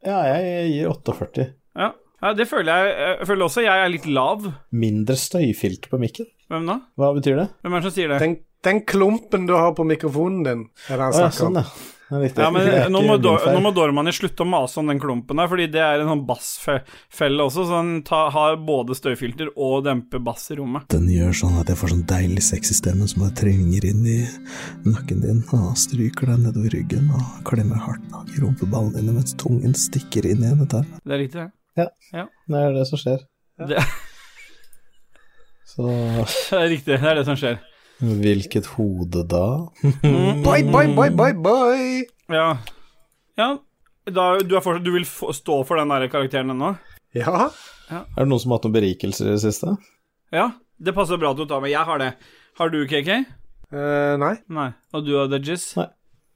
Ja, jeg gir 48.
Ja, ja det føler jeg. Jeg føler også jeg er litt lav.
Mindre støyfilter på mikken.
Hvem da?
Hva betyr det?
Hvem er det som sier det?
Den, den klumpen du har på mikrofonen din, er det han
Å ja,
snakker
sånn,
om.
ja. Det er riktig.
Ja, men
Det er
nå
ikke
må,
min
Dor
feil.
nå må Dormani slutte å mase om den klumpen der, fordi det er en sånn bassfelle også, så han ta, har både støyfilter og demper bass i rommet.
Den gjør sånn at jeg får sånn deilig sexy stemme som bare trenger inn i nakken din, og stryker deg nedover ryggen og klemmer hardt tak i rumpeballene dine mens tungen stikker inn igjen. Dette her.
Det er riktig, det.
Det er det som skjer.
Det,
Så
det er riktig, det er det som skjer.
hvilket hode da?
Boy, boy, boy, boy, boy.
Ja. ja. Da, du, er fortsatt, du vil få, stå for den der karakteren ennå?
Ja.
Er det noen som har hatt noen berikelser i det siste?
Ja. Det passer bra at du tar med. Jeg har det. Har du KK?
Eh, nei.
Nei. Og du har Dudges?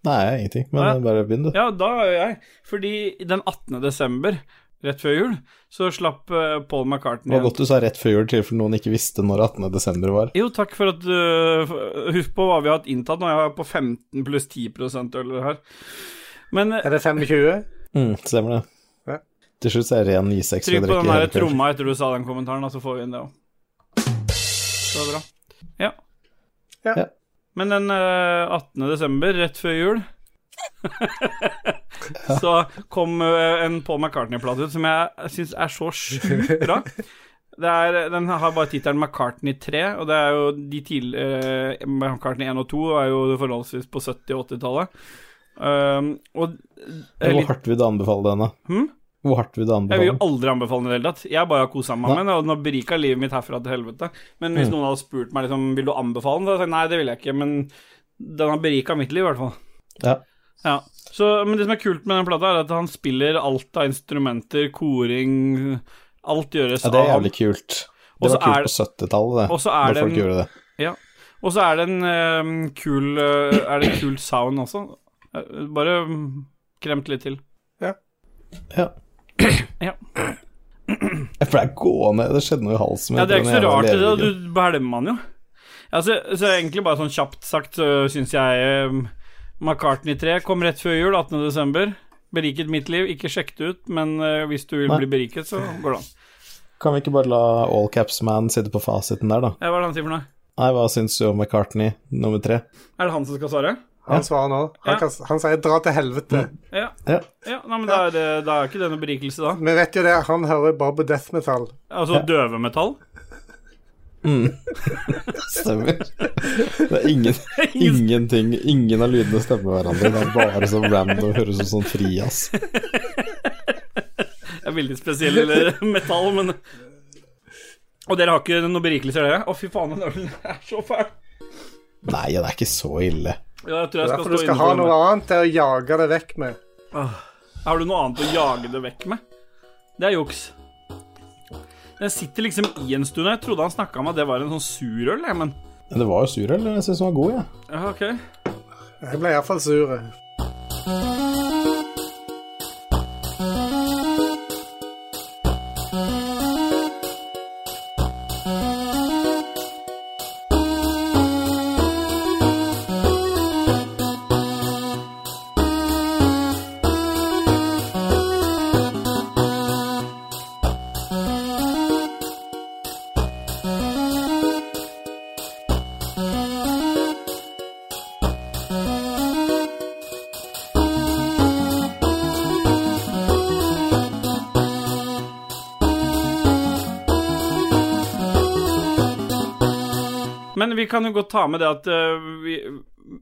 Nei, ingenting. Men
Nei.
bare begynn, du.
Ja, da er jeg. Fordi den 18. desember rett før jul, så slapp eh, Paul McCartney
Det var godt du sa rett før jul, til for noen ikke visste når 18. desember var.
Jo, takk for at øh, f- Husk på hva vi har hatt inntatt nå. Jeg er på 15 pluss 10 øl her. Men øh,
Er det 25?
Mm, stemmer det.
Ja.
Til slutt så er det ren I6 vi
trykk på
drikker
den
hele
der
kvelden.
tromma etter du sa den kommentaren, da, så får vi inn det òg. Det var bra. Ja.
Ja.
Ja.
Men den øh, 18. desember, rett før jul Så kom øh, en Paul McCartney-plate ut som jeg syns er så sjukt bra. Det er, den har bare tittelen McCartney 3, og det er jo de tidligere McCartney 1 og 2 er jo forholdsvis på 70- og 80-tallet. Um, og eh,
Hvor
litt,
hardt vil du anbefale denne?
Hm?
Hvor hardt vil du
jeg vil jo
anbefale den?
aldri anbefale den i det hele tatt. Jeg bare har kosa meg med den, og den har berika livet mitt herfra til helvete. Men
Mm.
hvis noen hadde spurt meg liksom, vil du anbefale den, så hadde jeg sagt nei, det vil jeg ikke, men den har berika mitt liv, i hvert fall.
Ja.
Ja. Så, men det som er kult med den plata, er at han spiller alt av instrumenter, koring Alt gjøres
ja, det er
av
jævlig kult.
Og
Det
så
var kult
er-
på 70-tallet, det.
Og så er
da folk
den-
gjorde det.
Ja. Og så er det en eh, kul eh, Er det en kul sound også? Eh, Bare mm, kremt litt til.
Ja.
Ja.
Jeg ble gående, det skjedde noe i halsen min.
Ja, det er
etter
ikke så
den jævla
rart, det. da,
leveryggen.
Du belmer den jo. Ja, så, så egentlig bare sånn kjapt sagt så syns jeg eh, McCartney 3 kom rett før jul, 18.12. Beriket mitt liv. Ikke sjekk det ut, men eh, hvis du vil
Nei.
bli beriket, så går det an.
Kan vi ikke bare la All Caps Man sitte på fasiten der, da?
Ja, hva er det han sier for noe?
Nei, hva syns du om McCartney nummer tre?
Er det han som skal svare?
Han svarer nå. Han,
Ja.
kan, han sier 'dra til helvete'.
Ja.
Ja.
ja nei, men da er, det- da er ikke det noe berikelse, da.
Vi vet jo det, han hører bare på death metal.
Altså døvemetall.
Stemmer. Det er ingen, ingenting Ingen av lydene stemmer hverandre. Det er bare så random, høres ut som sånn frijazz.
Det er veldig spesiell eller, metall, men Og dere har ikke noen berikelser, dere? Å, fy faen, den ølen er så fæl.
Nei, det er ikke så ille.
Ja, jeg tror
Det er
jeg
derfor
skal
du
stå
skal
inne
ha
for
noe
den.
annet til å jage det vekk med.
Har du noe annet å jage det vekk med? Det er juks. Den sitter liksom i en stund. og Jeg trodde han snakka om at det var en sånn surøl, jeg, men
Men det var jo surøl, jeg syns den var god, jeg. Ja.
Ja, OK.
Jeg ble iallfall sur.
Men vi kan jo godt ta med det at eh, vi,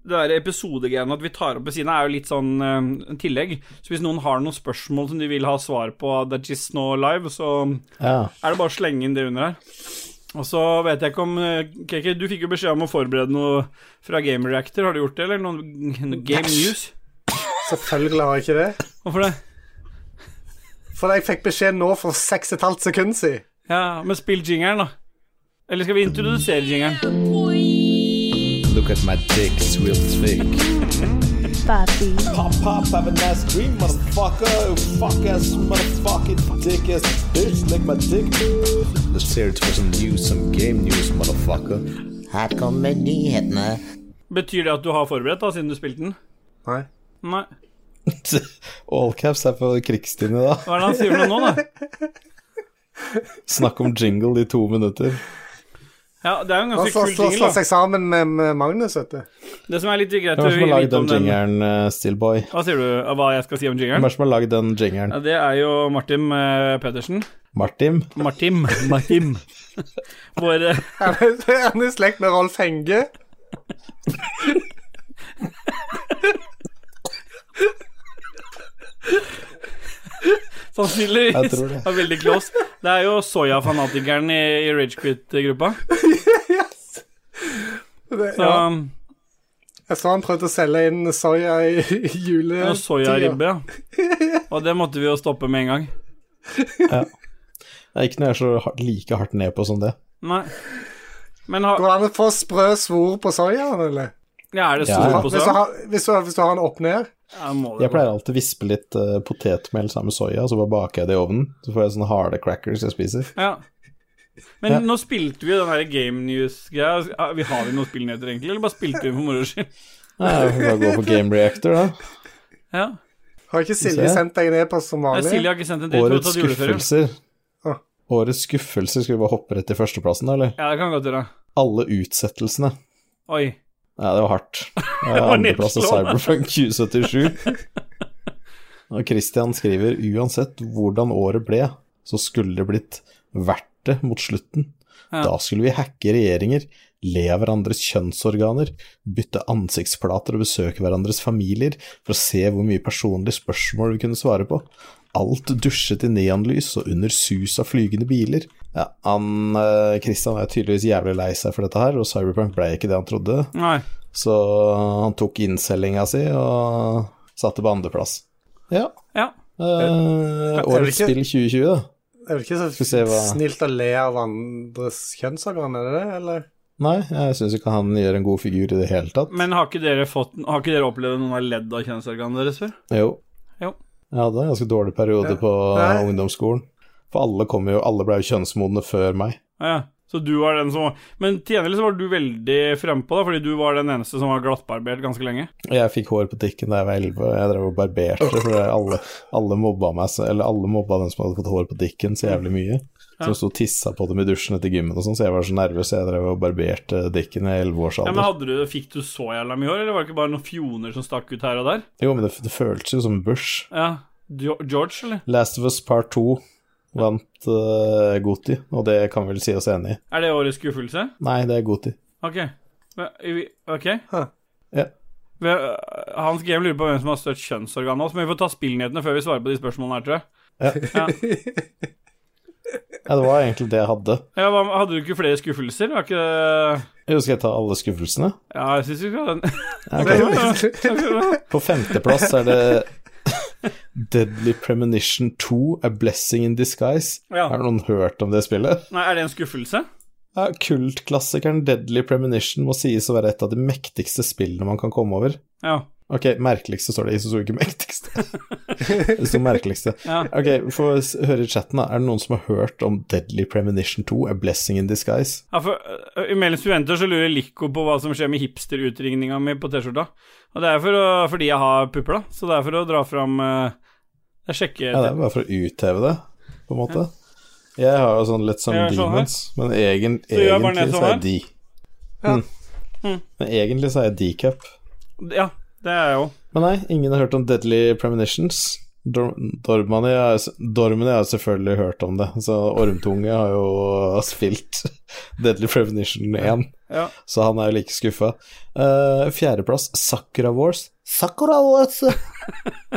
det der episodegreiene at vi tar opp ved siden av, er jo litt sånn eh, en tillegg. Så hvis noen har noen spørsmål som de vil ha svar på av That Is Now Live, så
Ja.
er det bare å slenge inn det under her. Og så vet jeg ikke om eh, KK, du fikk jo beskjed om å forberede noe fra Game Reactor. Har du gjort det, eller? Noen noe Game News?
Selvfølgelig har jeg ikke det.
Hvorfor det?
For jeg fikk beskjed nå for seks og et halvt sekund siden.
Ja, men spill jingeren, da. Eller skal vi introdusere jingeren?
Look at my dick, it's real thick.
Papi,
Pop, pop, have a nice dream, motherfucker. Fuck ass, motherfucking dick ass bitch, lick my dick. Let's hear it for some news, some game news, motherfucker.
Her kommer nyhetene.
Betyr det at du har forberedt, da, siden du spilte den?
Nei.
Nei.
All caps er på krigstiden i dag.
Hva er det han sier for noe nå, da?
Snakk om jingle i to minutter.
Ja, det er jo en
Han
ganske
slår,
kul
slår,
jingle,
slår
da.
seg sammen med, med Magnus, vet du.
Det som er litt greit å
Hvem er det som har lagd
vite om
den
den
jingeren, eh, Stillboy?
Hva sier du av hva jeg skal si om
Hvem
jingeren?
er det som har lagd den
Ja,
jingeren?
det er jo Martin eh, Pettersen.
Martin?
Martin. Martin. Vår eh,
Er det- er han i slekt med Rolf Henge?
Jeg
sannsynligvis
tror det.
er veldig close. Det er jo soyafanatikeren i, i Ragequit-gruppa.
Det,
Så um,
ja. Jeg så han prøvde å selge inn soya i i
det er jo
juletida.
soyaribbe, ja. Og det måtte vi jo stoppe med en gang.
Det er ikke noe jeg er så har- like hardt ned på som det.
Nei. Men ha,
Går det an å få sprø svor på soyaen, eller?
Ja, er det
Ja,
stor
ja.
på
Hvis du,
sånn?
har, hvis, du har, hvis du har den opp ned
Ja, må det
Jeg pleier alltid å vispe litt eh, potetmel sammen med soya, så bare baker jeg det i ovnen. Så får jeg sånne harde crackers jeg spiser.
Ja. Men
Ja.
nå spilte vi jo den her Game News-greia. Ah, vi Har vi noen spillnyheter, egentlig, eller bare spilte vi for moro skyld?
Nei, jeg får bare gå på Game Reactor, da.
Ja.
Har ikke Silje
Se.
sendt deg en e-post som
Nei, Silje
vanlig?
har ikke sendt en dritt. Hun har
Årets
tatt juleferie.
skuffelser.
Ah.
Årets skuffelser, skal vi bare hoppe rett til førsteplassen, da, eller?
Ja, det kan godt gjøre.
Alle utsettelsene.
Oi.
Ja, det var hardt. Eh,
var
Andreplass til
nedslående.
Cyberpunk 2077. Og Christian skriver uansett hvordan året ble, så skulle det blitt verdt det mot slutten.
Ja.
Da skulle vi hacke regjeringer, le av hverandres kjønnsorganer, bytte ansiktsplater og besøke hverandres familier for å se hvor mye personlige spørsmål vi kunne svare på. Alt dusjet i neonlys og under sus av flygende biler. Ja, han, eh, Christian er tydeligvis jævlig lei seg for dette her, og Cyberpunk ble ikke det han trodde.
Nei.
Så han tok innsellinga si og satte på andreplass. Ja.
Ja.
Eh, årets
er
spill 2020, da.
Det er vel ikke
vi se
så
hva-
snilt å le av andres kjønnsorgan, er det det, eller?
Nei, jeg syns ikke han gjør en god figur i det hele tatt.
Men har ikke dere, fått, har ikke dere opplevd at noen har ledd av kjønnsorganene deres før?
Jo.
Jo.
Jeg hadde en ganske dårlig periode på
Nei.
ungdomsskolen. For alle, kom jo, alle ble jo kjønnsmodne før meg.
Ja, ja. så du var den som var Men til gjengjeld så var du veldig frempå, da, fordi du var den eneste som var glattbarbert ganske lenge.
Jeg fikk hår på tikken da jeg var elleve, og jeg drev og barberte. For det- alle, alle, mobba meg, så- eller alle mobba den som hadde fått hår på dikken så jævlig mye.
Ja.
Som sto og tissa på dem i dusjen etter gymmen og sånn, så jeg var så nervøs, så jeg drev og barberte dikken i
Ja,
elleveårsalder.
men hadde du, Fikk du så jævla mye hår, eller var det ikke bare noen fjoner som stakk ut her og der?
Jo, men det, det føltes jo som en bush.
Ja, Jo- George, eller?
Last of Us Part 2 vant uh, Goti, og det kan vi vel si oss enig i.
Er det årets skuffelse?
Nei, det er Goti.
Ok. Men, vi- Ok.
Huh.
Ja.
Vi- øh, Hans Game lurer på hvem som har størst kjønnsorgan hos, men vi får ta spillnyhetene før vi svarer på de spørsmålene her, tror jeg.
Ja, det var egentlig det jeg hadde.
Ja, hva, hadde du ikke flere skuffelser? Var ikke det
Jo, skal jeg ta alle skuffelsene?
Ja, jeg syns vi skal ha den.
Ja, ok.
Ja,
På femteplass er det Deadly Premonition 2, A Blessing in Disguise.
Ja.
Har noen hørt om det spillet?
Nei, er det en skuffelse?
Ja, Kultklassikeren Deadly Premonition må sies å være et av de mektigste spillene man kan komme over.
Ja.
Ok, merkeligste står det i, så sto det ikke mektigste. det sto merkeligste.
Ja.
Ok, få s- høre i chatten, da. Er det noen som har hørt om Deadly Premonition 2, A Blessing in Disguise?
ja for øh, Imellom studenter så lurer Lico på hva som skjer med hipsterutringninga mi på T-skjorta. Og det er for å, fordi jeg har pupper, da. Så det er for å dra fram øh, Jeg sjekker
Ja, det er bare for å utheve det, på en måte. Jeg har jo sånn litt som
Jeg gjør sånn her.
demons, men egen,
gjør jeg bare
egentlig
ned sånn
så er
her. Hmm.
jeg de. Mm. Men egentlig så er jeg decap.
Ja, det er jeg jo.
Men nei, ingen har hørt om Deadly Premonitions. Dor Dormani har Dormani har selvfølgelig hørt om det. Så Ormtunge har jo spilt Deadly Premonition 1,
Ja.
så han er jo like skuffa. Eh, Fjerdeplass, Sakura Wars. Sakura Wars!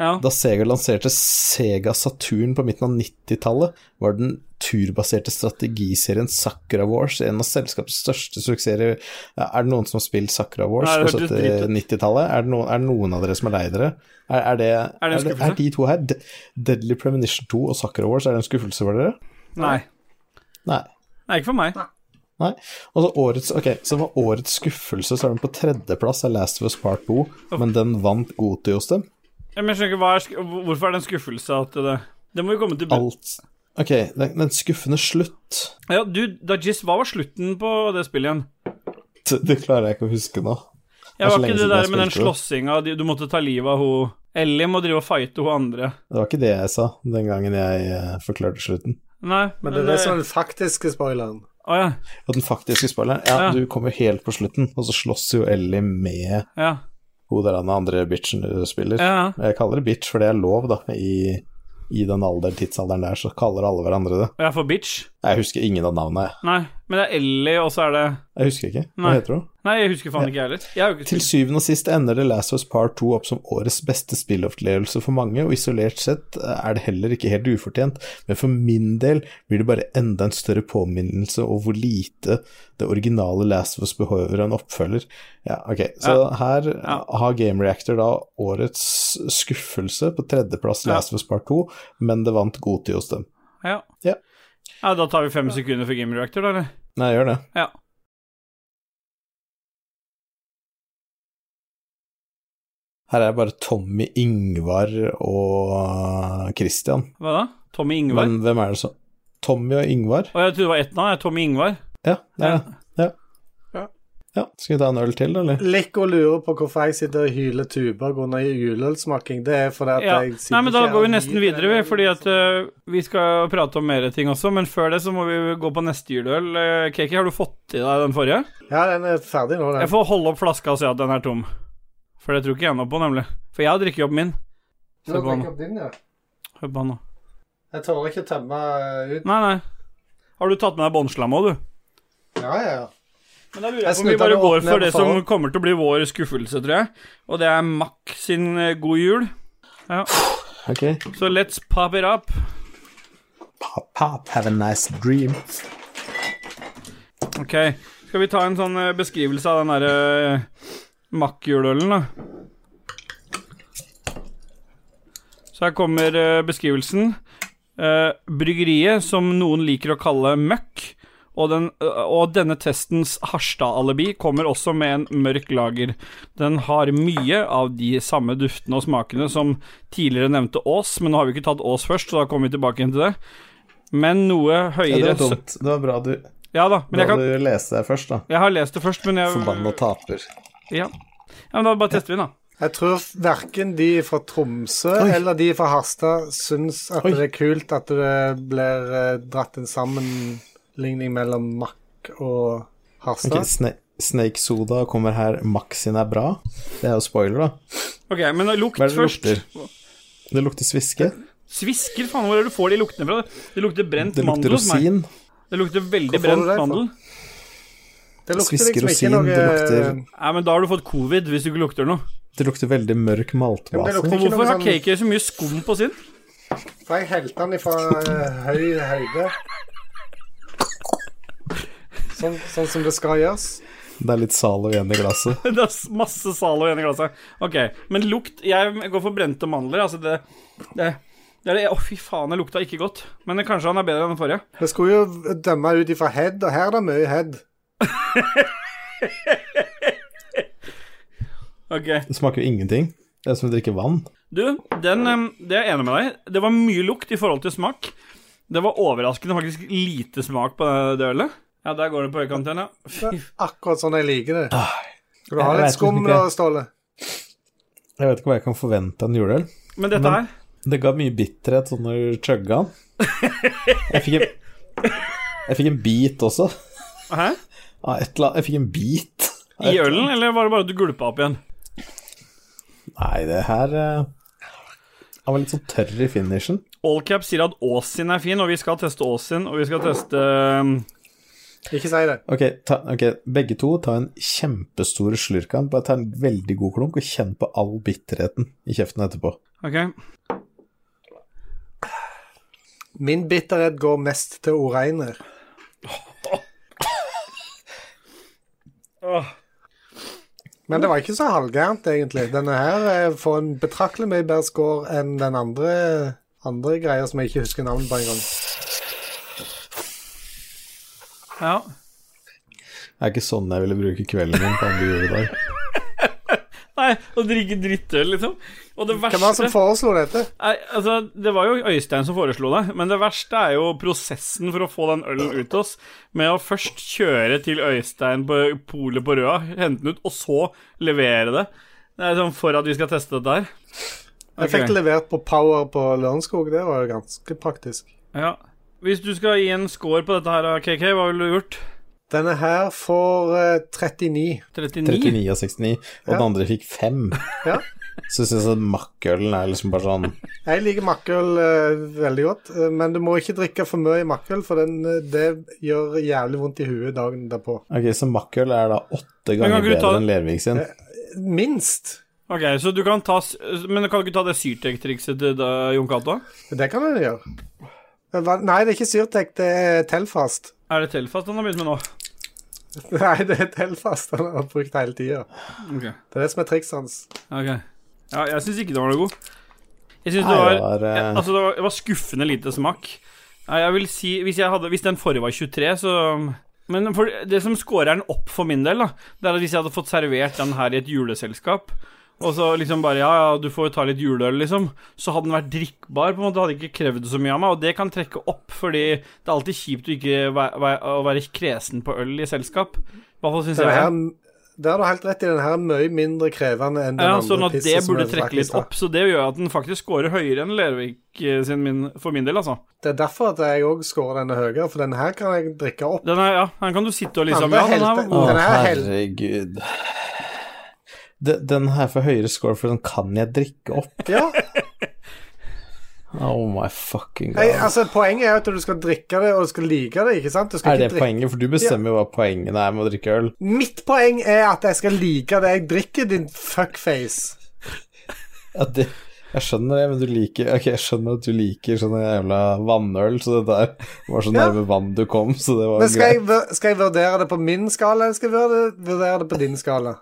Ja.
Da Sega lanserte Sega Saturn på midten av 90-tallet, var den turbaserte strategiserien Sakura Wars en av selskapets største suksesser. Er det noen som har spilt Sakura Wars
Nei, det
på
hørtes dritt ut.
70-90-tallet? Er, det noen- er det noen av dere som er lei dere? Er, er, det,
Er det en
er, det,
skuffelse?
er de to her, De- Deadly Premonition 2 og Sakura Wars, er det en skuffelse for dere?
Nei.
Nei.
Nei, ikke for meg.
Nei. Og så årets, ok, så var årets skuffelse, så er den på tredjeplass av Last of Us Part 2, men den vant Goti hos dem.
Ja, Men jeg skjønner ikke, hva er, sk- Hvorfor er det en skuffelse at det Det må vi komme til
Alt Ok, den, den skuffende slutt.
Ja, du, Dajis, hva var slutten på det spillet igjen?
Det, det klarer jeg ikke å huske nå.
Jeg
er så
var
lenge
ikke det
siden jeg
der med den
spilte det.
slåssinga de- Du måtte ta livet av hun Ellie må drive og fighte hun andre.
Det var ikke det jeg sa den gangen jeg eh, forklarte slutten.
Nei,
Men det er det som er den faktiske spoileren.
Å ja.
Og den faktiske spoileren Ja,
Ja.
du kommer helt på slutten, og så slåss jo Ellie med
Ja.
hun der den andre bitchen du spiller.
ja.
Jeg kaller det bitch, for det er lov, da. I, i den alder, tidsalderen der, så kaller alle hverandre det.
Og jeg får bitch.
Jeg husker ingen av navnene, jeg.
Nei, men det er Ellie, og så er det
Jeg husker ikke. Hva
Nei.
heter hun?
Nei, jeg husker faen ikke jeg heller. Jeg har jo ikke
Til syvende og sist ender The Last of Us Part 2 opp som årets beste spillopplevelse for mange, og isolert sett er det heller ikke helt ufortjent, men for min del blir det bare enda en større påminnelse om hvor lite det originale Last of Us behøver en oppfølger. Ja, ok, så her har Game Reactor da årets skuffelse på tredjeplass
Ja.
Last of Us Part 2, men det vant Goti hos dem.
Ja.
Ja.
ja, da tar vi fem sekunder for Game Reactor, da, eller?
Nei, gjør det.
Ja.
Her er bare Tommy, Ingvar og Christian.
Hva da? Tommy Ingvar?
Men hvem er det som Tommy og Ingvar?
Å, jeg trodde det var ett navn. jeg. Tommy Ingvar.
Ja, det er det. Ja.
Ja.
Ja, Skal vi ta en øl til, eller?
Lekk og lurer på hvorfor jeg sitter og hyler tuber under juleølsmaking. Det er fordi at
Ja.
jeg sitter
Nei, men da
ikke
går vi
her og
nesten
nyter
videre, vi,
den liksom.
fordi
ølen,
at eh, vi skal prate om mer ting også. Men før det så må vi gå på neste juleøl. Eh, Kaki, har du fått i deg den forrige?
så- Ja, den er ferdig nå, den.
Jeg får holde opp flaska og se at den er tom. For det tror ikke jeg noe på, nemlig. For jeg har drukket opp min. Se på han nå. Hør på han nå.
Jeg tør ikke tømme eh, ut.
Nei, nei. Har du tatt med deg båndslam òg, du?
Ja, ja, ja.
Men da lurer
Jeg
jeg på om vi
snudde
bare
det
går
opp ned
for
på
det som
forhånd.
kommer til å bli vår skuffelse, tror jeg. Og det er Mack sin eh, God jul.
Ok.
Så let's pop it up.
Pop, pop, have a nice dream.
Ok, skal vi ta en sånn eh, beskrivelse av den derre eh, makkjulølen, da? Så her kommer eh, beskrivelsen. Eh, bryggeriet, som noen liker å kalle møkk, og, den, eh, og denne testens Harstad-alibi kommer også med en mørk lager. Den har mye av de samme duftene og smakene som tidligere nevnte Ås, men nå har vi ikke tatt Ås først, så da kommer vi tilbake igjen til det. Men noe
Ja, det
høyere
var dumt. Det var bra du,
Ja da, men
bra
jeg kan
du leste det først, da.
jeg har lest det først, men jeg
Forbanna taper.
Ja. ja, men da bare tester vi den, da.
Jeg tror verken de fra Tromsø
Oi.
eller de fra Harstad syns at
Oi.
det er kult at det blir eh, dratt en sammenligning mellom Mack og
Ok,
Harstad.
sne Snake Soda kommer her. Maxin er bra. Det er jo spoiler, da.
Ok, men lukt
Hva er det det
først.
lukter? Det lukter sviske.
Svisker, faen, hvor er det du får de luktene fra? Det lukter brent
Det lukter
mandel hos meg.
rosin.
Det lukter veldig
Hvor får du
brent
det fra?
mandel.
Det lukter
Svisker
liksom ikke
rosin,
noe
det lukter-
Nei, men da har du fått covid hvis du ikke lukter noe.
Det lukter veldig mørk
Jo, men det
maltbase.
lukter-
Og
ikke noe
hvorfor har
sånn-
KK så mye skum på sin?
For jeg helte den ifra eh, høy høyde. Sånn, sånn som det skal gjøres.
Det er litt Zalo igjen i glasset.
Det er s- masse Zalo igjen i glasset. Ok, men lukt Jeg går for brente mandler, altså det Det, det er det Å, fy faen, det lukta ikke godt. Men kanskje han er bedre enn den forrige.
Vi skulle jo dømme ut ifra head, og her er det mye head.
Ok.
Det smaker jo ingenting. Det er som å drikke vann.
Du, den, em, det er jeg enig med deg i. Det var mye lukt i forhold til smak. Det var overraskende faktisk lite smak på det- det ølet. Ja, der går det på øyekanten, ja.
Det
Fy
er akkurat sånn jeg liker det. Skal du ha
Ah, Jeg vet
litt skum
liksom
da,
ikke.
Ståle?
Jeg vet ikke hva jeg kan forvente av en juleøl.
f- Men dette
Men-
her
Det ga mye bitterhet sånn når du chugga den. Jeg fikk en, jeg fikk en bit også.
Hæ?
Av et eller annet. Jeg fikk en bit. av
I
et-
ølen, eller var det bare at du gulpa opp igjen?
Nei, det her eh, Han var litt sånn tørr i finishen.
Allcap sier at Ås sin er fin, og vi skal teste Ås sin, og vi skal teste em,
Ikke si det.
Ok, ta, ok, begge to ta en kjempestor slurk av den. Bare ta en veldig god klunk og kjenn på all bitterheten i kjeften etterpå.
OK.
Min bitterhet går mest til Oreiner.
Åh,
Men det var ikke så halvgærent, egentlig. Denne her eh, får en betraktelig mye bedre score enn den andre, andre greia som jeg ikke husker navnet på engang.
ja.
Det er ikke sånn jeg ville bruke kvelden min på andre juledag.
Nei, å drikke drittøl, liksom. Og det verste
Hvem var det som foreslo dette?
Nei, altså, Det var jo Øystein som foreslo det, men det verste er jo prosessen for å få den ølen ut til oss. Med å først kjøre til Øystein på polet på Røa, hente den ut, og så levere det. Det er sånn for at vi skal teste dette her.
Jeg fikk
Ok.
det levert på Power på Lørenskog. Det var jo ganske praktisk.
Ja. Hvis du skal gi en score på dette her, KK, hva ville du gjort?
Denne her får eh, 39.
39?
39 av 69, og den
Ja.
andre fikk 5.
Ja.
Så syns jeg at makkølen er liksom bare sånn
Jeg liker makkøl eh, veldig godt, eh, men du må ikke drikke for mye makkøl, for den, eh, det gjør jævlig vondt i huet dagen derpå.
Ok, så makkøl er da åtte
Men kan
ganger
ikke du
bedre
ta-
enn Lervik sin.
Eh, Minst.
Ok, så du kan ta s- Men kan du ikke ta det syrtek-trikset til da, Jon Cato?
Det kan du gjøre. Men hva- Nei, det er ikke Syrtek, det er Telfast.
Er det Telfast han har begynt med nå?
Nei, det er Telfast han har brukt hele tida.
Ok.
Det er det som er trikset hans.
Ok. Ja, jeg syns ikke den var noe god. Jeg syns
Nei,
det var
det var, eh,
Altså, det var, det var skuffende lite smak. Nei, jeg vil si Hvis, jeg hadde, hvis den forrige var 23, så Men for det som scorer den opp for min del, da, det er at hvis jeg hadde fått servert den her i et juleselskap, Og så liksom bare Ja, ja, du får jo ta litt juleøl, liksom. Så hadde den vært drikkbar, på en måte. Hadde ikke krevd så mye av meg. Og det kan trekke opp, fordi det er alltid kjipt å ikke væ- væ- å være kresen på øl i selskap. I hvert fall syns jeg
Denne
det.
her, det har du helt rett i. Den her er mye mindre krevende enn den
Ja,
andre
sånn at det
pisset som
burde
jeg
trekke litt
faktisk har.
opp. Så det gjør at den faktisk scorer høyere enn Lervik eh, sin min, for min del, altså.
Det er derfor at jeg òg scorer denne høyere, for denne her kan jeg drikke opp.
Den er, ja, den kan du sitte og liksom
Ja,
Ja,
det er
den er
helt-
god.
Den
Å,
er hel-
herregud. De- Den her får høyere score, for den kan jeg drikke opp.
Ja,
Oh my fucking god.
jeg, altså Poenget er at du skal drikke det, og du skal like det, ikke sant? Du skal
er det
ikke drikke...
poenget? For du bestemmer jo hva poenget er med å drikke øl.
Mitt poeng er at jeg skal like det jeg drikker, din fuckface.
Ja, det, jeg skjønner det, men du liker Ok, jeg skjønner at du liker sånne jævla vannøl, så det der var så
Ja.
nærme vann du kom, så det var
Men
jo
skal jeg,
greit.
vur- skal jeg vurdere det på min skala, eller skal jeg vurdere- vurdere det på din skala?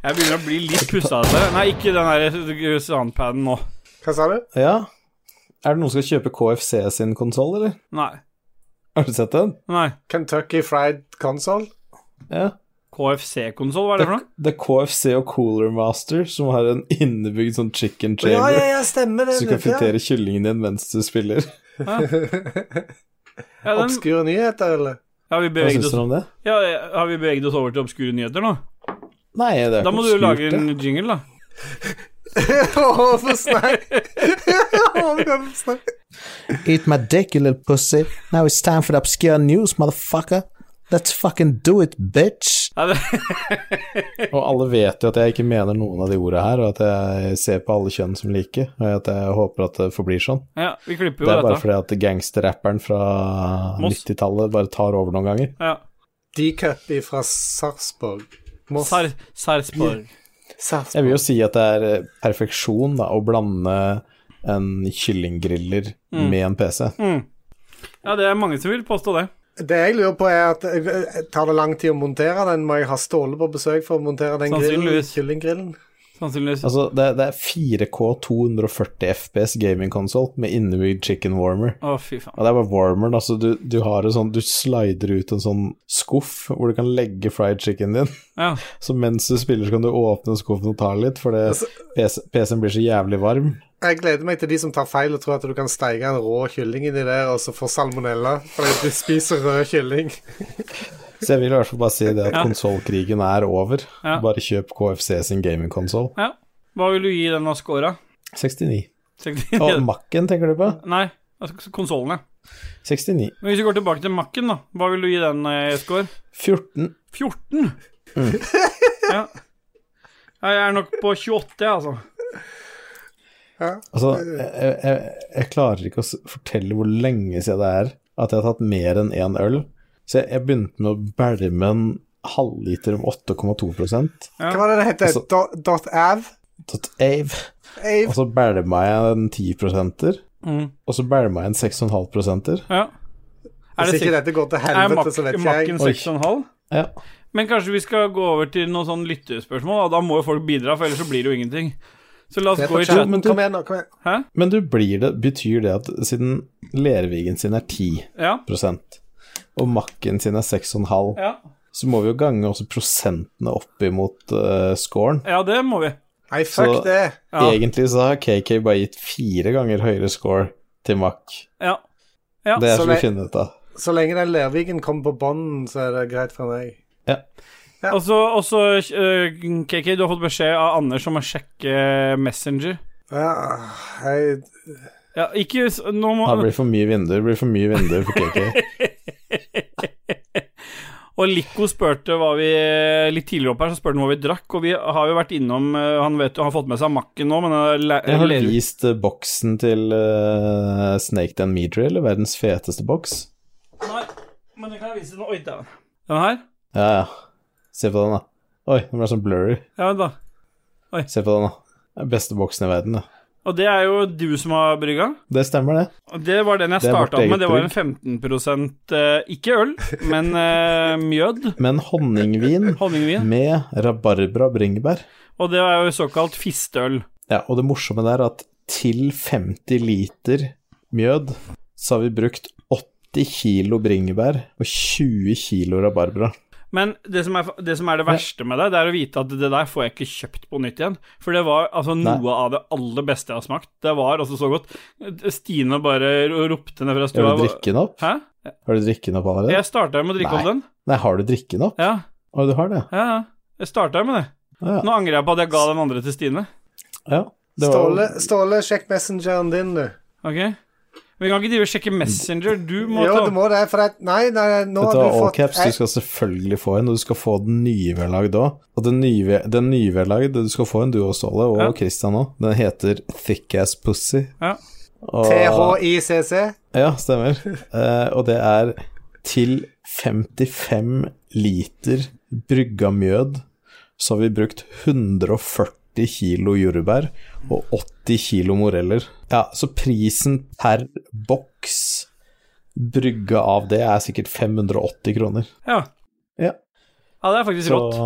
Jeg begynner å bli litt pussa av det. Nei, ikke den der sandpaden nå.
Hva sa du?
Ja. Er det noen som skal kjøpe KFC sin konsoll, eller?
Nei.
Har du sett den?
Nei.
Kentucky Fried Console?
Ja.
KFC-konsoll, hva er
Det,
det for noe?
det er KFC og Cooler Master som har en innebygd sånn
Ja,
chicken chamber.
ja, ja, stemmer det.
Så du kan fritere kyllingen din mens du spiller.
Ja, den,
Obskure nyheter, eller?
ja, vi
Hva
beveget
syns
oss,
du om det?
ja, har vi beveget oss over til obskure nyheter nå?
Nei, det er
Da
ikke
må du
obskurt,
lage
det.
en jingle, da.
Hvorfor snakk? Hvorfor snakk?
eh, Eat my dick, you little pussy. Now it's time for the obscure news, motherfucker. Let's fucking do it, bitch.
Ja, det,
Og alle vet jo at jeg ikke mener noen av de ordene her, og at jeg ser på alle kjønn som like, og at jeg håper at det forblir sånn.
ja, vi klipper
Det
jo
er bare
dette.
fordi at gangsterrapperen fra
Moss.
90-tallet bare tar over noen ganger.
Ja.
D-cup fra Sarpsborg. Moss.
Sar, Sarpsborg.
Jeg
Sarpsborg.
vil jo si at det er eh, perfeksjon da, å blande en kyllinggriller
Mm.
med en PC.
Ja, det er mange som vil påstå det.
Det jeg lurer på, er at eh, tar det lang tid å montere den? Må jeg ha Ståle på besøk for å montere den grillen?
Sannsynligvis.
kyllinggrillen?
Sannsynligvis.
Altså, det, det er 4K 240 FPS gamingkonsoll med innebygd chicken warmer.
Å, fy faen.
Og det er bare warmeren, altså du, du har en sånn, du slider ut en sånn skuff hvor du kan legge fried chicken din.
Ja.
Så mens du spiller, så kan du åpne skuffen og ta litt, for det,
Altså-
PC, PC-en blir så jævlig varm.
Jeg gleder meg til de som tar feil og tror at du kan steige en rå kylling inni der, og så får salmonella fordi du spiser rød kylling.
Så jeg vil i hvert fall bare si det at
Ja.
konsollkrigen er over.
Ja.
Bare kjøp KFC sin gamingkonsoll.
ja. Hva vil du gi den av scora?
69. Og
69?
Mac-en tenker du på?
Nei, altså konsollen, ja.
69.
Men hvis vi går tilbake til Mac-en, da. Hva vil du gi den, eh, score?
14.
14? ja. ja. Jeg er nok på 28, jeg, altså.
Altså, jeg, jeg, jeg klarer ikke å s- fortelle hvor lenge siden det er at jeg har tatt mer enn én øl. Så jeg, jeg begynte med å bælme en halvliter om 8,2
Hva var det det het?
Altså-
Dot- Dot av?
Tatt Ave. Og
Ave?
så bælma jeg en 10
Mm.
og så bælma jeg en 6,5
Ja. Er
Hvis ikke
det sikkert?
dette går til
Er
helvete, så vet ikke jeg.
Mac-en 6,5?
Ja.
Men kanskje vi skal gå over til noen sånn lyttespørsmål, da. Da må jo folk bidra, for ellers så blir det jo ingenting. Så la
Det
oss
er på
gå i
chat.
chatten.
men du-
Kom igjen, nå. kom igjen.
Hæ?
Men du blir det, betyr det at siden Lervigen sin er 10
Ja.
og Macken sin er 6,5,
Ja.
så må vi jo gange også prosentene opp imot eh, scoren.
ja, det må vi.
Nei, fuck
Så-
det.
Ja.
Egentlig så har KK bare gitt fire ganger høyere score til Mack.
Ja. Ja,
Det
så
skal vi
det-
finne ut av.
Så lenge den Lerviken kommer på bånden, så er det greit for meg.
Og så, og så, eh, KK, du har fått beskjed av Anders om å sjekke Messenger.
Ja, jeg,
Ja, ikke s- Nå må
Det blir for mye vinduer, det blir for mye vinduer for KK.
Og Lico spurte hva vi Litt tidligere opp her så spurte han hva vi drakk, og vi har jo vært innom eh, Han vet jo, har fått med seg makken nå, men eh, le-
Jeg har
le-
vist eh, boksen til eh, Snaked and Meadry, eller verdens feteste boks.
Nei, men det kan jeg vise nå. Oi, dæven. Den her?
Ja, ja. Se på den, da. Oi, den ble sånn blurry.
Ja, vent, da.
Se på den, da. Det er Beste boksen i verden, det.
Og det er jo du som har brygga.
Det stemmer, det.
Og Det var den jeg
Det er vårt
starta med.
eget
Det var en
brygg.
15 eh, Ikke øl, men eh, mjød.
Men honningvin
Honningvin.
med rabarbra og bringebær.
Og det er jo såkalt fisteøl.
Ja, og det morsomme der er at til 50 liter mjød så har vi brukt 80 kilo bringebær og 20 kilo rabarbra.
Men det som, er, det som er det verste med det, det er å vite at det der får jeg ikke kjøpt på nytt igjen. For det var altså
Nei.
noe av det aller beste jeg har smakt. Det var altså så godt. Stine bare ropte ned fra stua.
Har du drikken opp?
Hæ?
Har du drikken opp allerede?
Jeg starta med å drikke
Nei.
opp den.
Nei, har du drikken opp?
Ja,
Å, du har det?
ja, ja. Jeg starta med det.
Ja.
Nå angrer jeg på at jeg ga den andre til Stine.
ja. Det var-
Ståle, Ståle, sjekk messengeren din, du.
Ok? Vi kan ikke drive og sjekke Messenger. Du må
Jo,
ta
du må det, for det, nei, nei, nå
Dette
har
var
du
all
fått
caps, du skal selvfølgelig få en, og du skal få den nye vedlagd òg. Og den nye, den nye velagd, du skal få en du og Ståle, og
Ja.
Christian òg. Den heter Thick Ass Pussy.
Ja.
Og,
THICC.
Ja, stemmer. Eh, og det er til 55 liter brygga mjød, så har vi brukt 140 kilo jordbær og 80 kilo moreller. Ja, så prisen per boks brygga av det er sikkert 580 kroner.
Ja.
Ja.
ja, det er faktisk rått.
Så,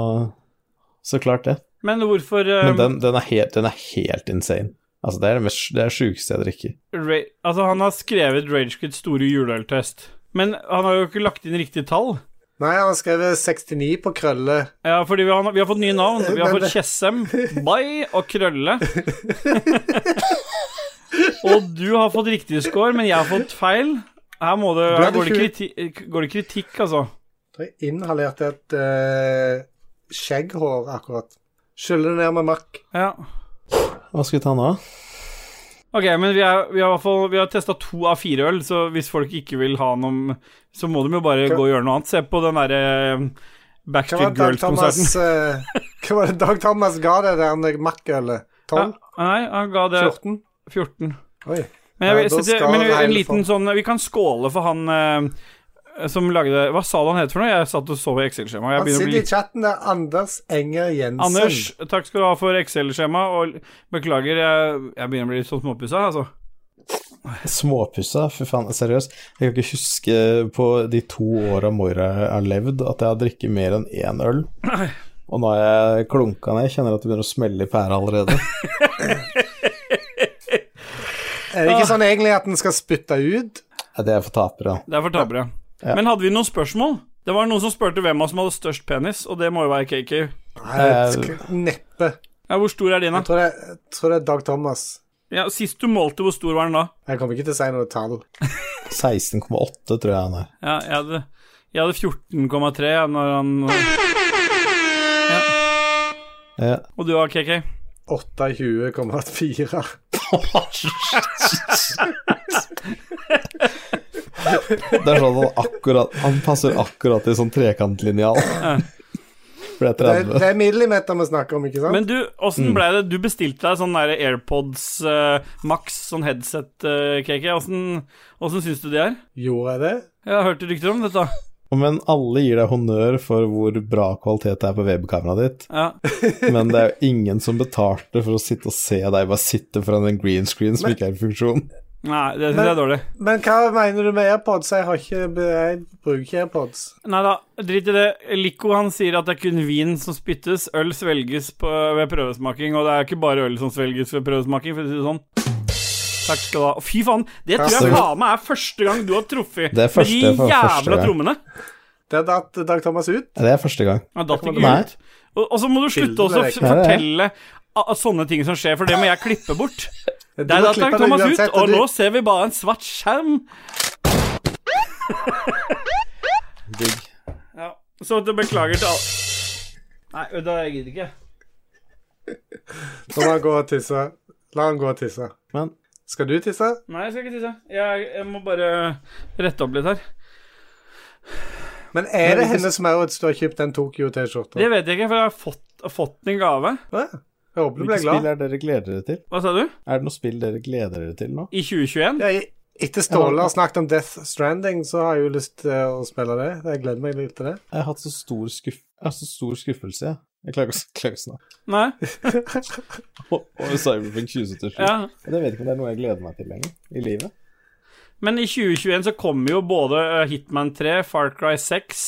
så klart det.
Men hvorfor eh,
Men den, den, er helt, den er helt insane. Altså, det er det, mest- det er det sjukeste jeg drikker.
ra Altså, han har skrevet Ragequids store juleøltest. Men han har jo ikke lagt inn riktige tall.
Nei, han har skrevet 69 på krølle.
Ja, fordi vi har, vi har fått nye navn. Vi har
Men
fått
det-
Tjessem, Bai og Krølle. og du har fått riktig score, men jeg har fått feil. Her, må det,
Ble
her
det
går, det
sju?
kritikk, går det kritikk, altså.
Da inhalerte jeg et eh, skjegghår akkurat. Skylle ned med makk.
Ja.
Hva skal vi ta nå?
Ok, men vi, er, vi har, i hvert fall- vi har testa to av fire øl, så hvis folk ikke vil ha noe Så må de jo bare
Hva-
gå og gjøre noe annet. Se på den derre eh,
Hva var
Backstreet
det Dag Thomas,
Girls-konserten.
eh, hva var det Dag Thomas ga det der makkølet? 12?
Ja, nei, han ga det
14?
14.
Oi.
Men, jeg,
Ja,
vil-
da
setter-
skal
men
det
en
hele
liten sånn Vi kan skåle for han eh, som lagde Hva sa du han het for noe? Jeg satt og så i Excel-skjemaet. Jeg
Han
begynner å
sitter
bli
i chatten der. Anders Enger Jensen.
Anders, takk skal du ha for Excel-skjema, og beklager, jeg, jeg begynner å bli litt sånn småpussa, altså.
Småpussa, fy faen, seriøst. Jeg kan ikke huske på de to åra Moira har levd, at jeg har drukket mer enn én øl. Og nå har jeg klunka ned, kjenner at det begynner å smelle i pæra allerede.
Er
Ah.
det ikke sånn egentlig at en skal spytte ut?
Nei, Det er for tapere.
Det er for tapere. Men hadde vi noen spørsmål? Det var noen som spurte hvem av oss som hadde størst penis, og det må jo være KK.
Nei,
Eh,
det er Neppe.
Ja, hvor stor er din,
Jeg
da?
tror det, jeg tror det er Dag Thomas.
Ja, sist du målte, hvor stor var den da?
Jeg kommer ikke til å si noe tall.
16,8 tror jeg han er.
Ja, jeg hadde, jeg hadde 14,3 jeg, når han ja.
Ja.
Og du har KK?
28,4.
Det er sånn han akkurat Han passer akkurat i sånn trekantlinjal. For det er
Det,
30.
det er millimeter vi snakker om, ikke sant?
Men du,
Mm.
åssen ble det? Du bestilte deg sånn der AirPods eh, Max, sånn headset, eh, KK. Åssen- Åssen syns du de er?
Gjorde jeg det?
Jeg har hørt rykter om dette.
Men alle gir deg honnør for hvor bra kvalitet det er på webkameraet ditt.
Ja.
Men det er jo ingen som betalte for å sitte og se deg bare sitte foran en green screen som ikke er i funksjon.
Nei, det syns jeg er dårlig.
Men hva mener du med AirPods? Jeg, har ikke, jeg bruker ikke AirPods.
Nei da, drit i det. Lico han sier at det er kun vin som spyttes. Øl svelges på, ved prøvesmaking, og det er ikke bare øl som svelges ved prøvesmaking, for å si det sånn. Takk skal du ha. Fy faen, det tror jeg
Absolutt.
faen meg er første gang du har truffet
Det er første-
med de
for første
jævla
gang.
trommene.
Der datt Dag Thomas ut.
Det er første gang.
Ja, datt ikke
Nei.
ut. Og, og så må du slutte også å
Bildene
f-
er ikke-
fortelle a- a- sånne ting som skjer, for det må jeg klippe bort.
Du
Der
må
datt
klippe det
Thomas ut,
uansett,
og
du-
nå ser vi bare en svart skjerm.
Digg.
Ja, så det beklager til alle Nei, vet du hva, jeg gidder ikke.
Nå må han gå og tisse. La han gå og tisse.
Men
Skal du tisse?
Nei, jeg skal ikke tisse. Jeg, jeg må bare rette opp litt her.
Men er det hennes Maurits du har kjøpt den Tokyo-T-skjorta?
Det vet jeg ikke, for jeg har fått, fått den i gave.
Hva? Jeg håper du ble
hvilket spill
glad.
er dere gleder dere til?
Hva sa du?
Er det noe spill dere gleder dere til nå?
I 2021?
Ja, i- etter Ståle har snakket om Death Stranding, så har jeg jo lyst til å spille det. Jeg gleder meg litt til det.
Jeg har hatt så stor, skuff... jeg har så stor skuffelse, jeg. Jeg klarer ikke å- klarer ikke å snakke.
Nei?
Og og Cyberpunk 2077.
Ja.
Men Jeg vet ikke om det er noe jeg gleder meg til lenger i livet.
Men i 2021 så kommer jo både eh, Hitman 3, Far Cry 6,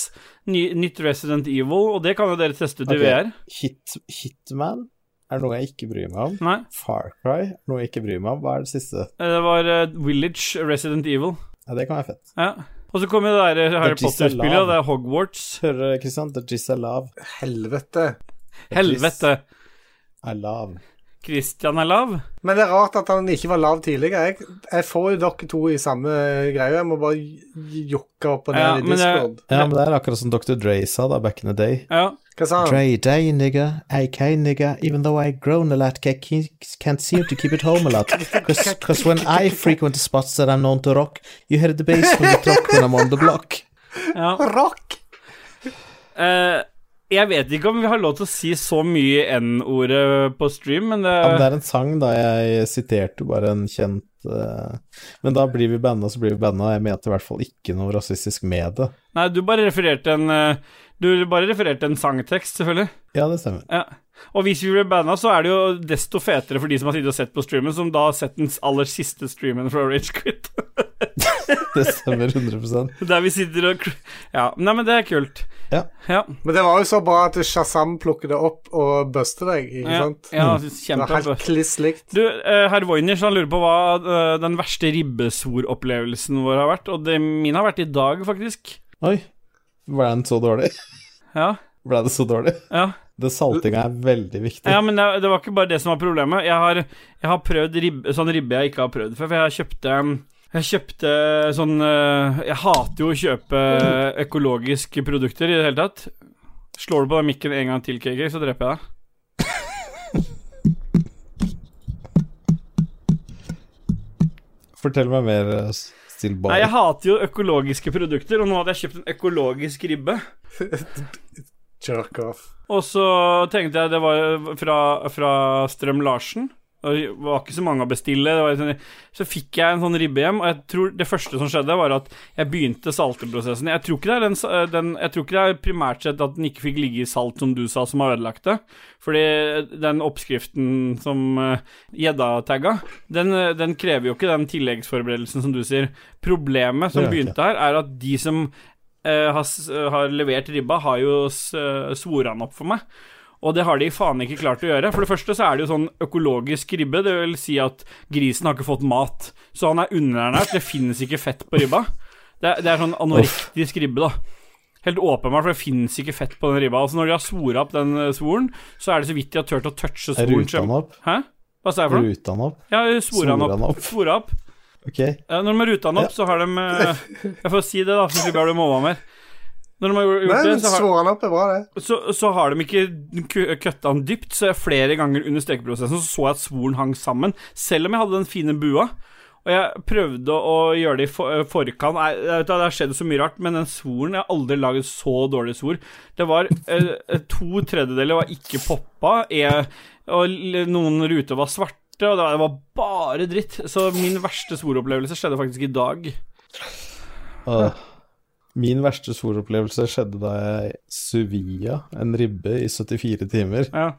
ny, nytt Resident Evil, og det kan jo dere teste ut i
Ok.
VR.
Hit, Hitman er noe jeg ikke bryr meg om.
Nei,
Far Cry er noe jeg ikke bryr meg om. Hva er det siste?
eh, det var eh, Village Resident Evil.
Ja, det kan være fett.
Ja. Og Og så kommer det der eh, Harry
Det er Gisela.
Potter-spillet, og det er Hogwarts.
Hører du, Kristian? The Gis er lav.
Helvete.
Helvete.
Er lav.
Christian er lav.
Men det er rart at han ikke var lav tidligere. Jeg, jeg får jo dere to i samme greie. Jeg må bare j- jokke opp og ned
Ja,
i
men det-
Discord.
Ja, men det er akkurat som Dr. Dre sa da, back in the day.
Ja.
Hva
Oh.
sa han?
Dre Day, nigga, AK, nigga, even though I grown a lot, I ke- can't seem to keep it home a lot. Because when I frequent the spots that I'm known to rock, you hear the bass from the clock when I'm on the block.
ja.
Rock!
Eh, jeg vet ikke om vi har lov til å si så mye N-ordet på stream, men det,
Ja, men det er en sang, da. Jeg siterte jo bare en kjent eh, Men da blir vi banna, så blir vi banna. Jeg mente i hvert fall ikke noe rasistisk med det.
Nei, du bare refererte en eh, Du bare refererte en sangtekst, selvfølgelig.
Ja, det stemmer.
Ja. Og hvis vi blir banna, så er det jo desto fetere for de som har sittet og sett på streamen, som da har sett den aller siste streamen fra Rage Quit.
Det stemmer 100
Der vi sitter og kl- Ja. Nei, men det er kult.
Ja.
Ja.
Men det var jo så bra at Shazam plukket det opp og buster deg, ikke
ja,
sant? Mm.
ja
Det var
kjempe.
helt kliss likt.
Du, eh, herr Voynich, han lurer på hva eh, den verste ribbesor-opplevelsen vår har vært, og det min har vært i dag, faktisk.
Oi. Ble den så dårlig?
Ja.
Ble det så dårlig?
Ja.
Det saltinga er veldig viktig.
Ja, men det, det var ikke bare det som var problemet. Jeg har, jeg har prøvd ribbe, sånn ribbe jeg ikke har prøvd før, for jeg kjøpte jeg kjøpte sånn øh, Jeg hater jo å kjøpe eh, økologiske produkter i det hele tatt. Slår du på den mikken en gang til, KK, så dreper jeg deg.
Fortell meg mer, eh, Still Boy.
Nei, jeg hater jo økologiske produkter, og nå hadde jeg kjøpt en økologisk ribbe.
Jerk off.
Og så tenkte jeg det var fra, fra Strøm Larsen. Og Det var ikke så mange å bestille. Det var sånn, så fikk jeg en sånn ribbe hjem, og jeg tror det første som skjedde, var at jeg begynte salteprosessen. Jeg tror ikke det er, den, sa- den, jeg tror ikke det er primært sett at den ikke fikk ligge i salt, som du sa, som har ødelagt det. Fordi den oppskriften som eh, gjedda tagga, den, eh, den krever jo ikke den tilleggsforberedelsen som du sier. Problemet som
Det gjør den ikke.
begynte her, er at de som eh, har, s- har levert ribba, har jo s- eh, svoret den opp for meg. Og det har de faen ikke klart å gjøre. For det første så er det jo sånn økologisk ribbe. Det vil si at grisen har ikke fått mat. Så han er underernært. Det finnes ikke fett på ribba. Det er, det er sånn anorektisk ribbe, da. Helt åpenbart, for det finnes ikke fett på den ribba. Altså Når de har svoret opp den eh, svoren, så er det så vidt de har turt å touche
Er
svoren.
ruta han opp?
Hæ? Hva sa jeg for noe?
Ruta han opp?
Ja, svoret han
Svoret han
opp.
opp.
Svoret opp.
Ok.
Ja, når de har ruta den opp, så har de eh, Jeg får si det, da, for slipper jeg å bli mobba mer. Når de har gjort
Nei,
det,
men
så har
svor han opp er bra, det.
så, så har de ikke ku- kutta den dypt, så jeg flere ganger under stekeprosessen så, så jeg at svoren hang sammen, selv om jeg hadde den fine bua. Og jeg prøvde å å gjøre det i for- eh, forkant Nei, jeg vet da, Det har skjedd så mye rart, men den svoren Jeg har aldri laget så dårlig svor. Det var eh, To tredjedeler var ikke poppa, jeg, og l- noen ruter var svarte, og det var- det var bare dritt. Så min verste svoropplevelse skjedde faktisk i dag.
Åh. Min verste svoropplevelse skjedde da jeg suvia en ribbe i 74 timer.
Ja,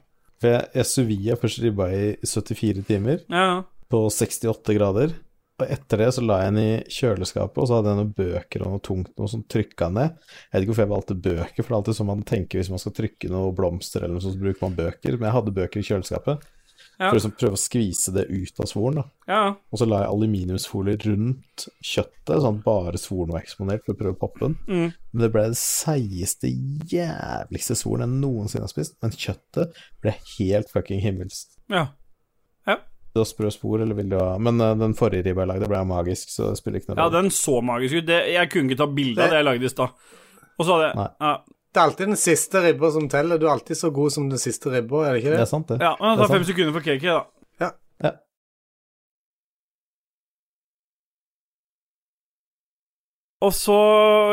For jeg, jeg suvia først ribba i 74 timer
ja, ja.
på 68 grader. Og etter det så la jeg den i kjøleskapet, og så hadde jeg noen bøker og noe tungt noe som trykka ned. Jeg vet ikke hvorfor jeg valgte bøker, for det er alltid sånn man tenker hvis man skal trykke noe blomster eller noe sånt, så bruker man bøker. Men jeg hadde bøker i kjøleskapet.
Ja.
For å liksom prøve å skvise det ut av svoren, da.
ja. ja.
Og så la jeg aluminiumsfolie rundt kjøttet, sånn at bare svoren var eksponert, for å prøve å poppe den.
Mm.
Men det ble den seigeste, jævligste svoren jeg noensinne har spist. Men kjøttet ble helt fucking himmelsk.
ja.
Vil du ha sprø spor, eller vil du ha Men eh, den forrige ribba jeg lagde, ble magisk, så det spiller ikke noe
Ja,
rolle.
den så magisk ut. Det, jeg kunne ikke ta bilde av det jeg lagde i stad. Og så hadde jeg
Nei.
ja,
Det er alltid den siste ribba som teller. Du er alltid så god som den siste ribba, er det ikke
Det
det?
er sant, det.
ja, men det
Det
tar
er
fem sekunder for cake, da. Og så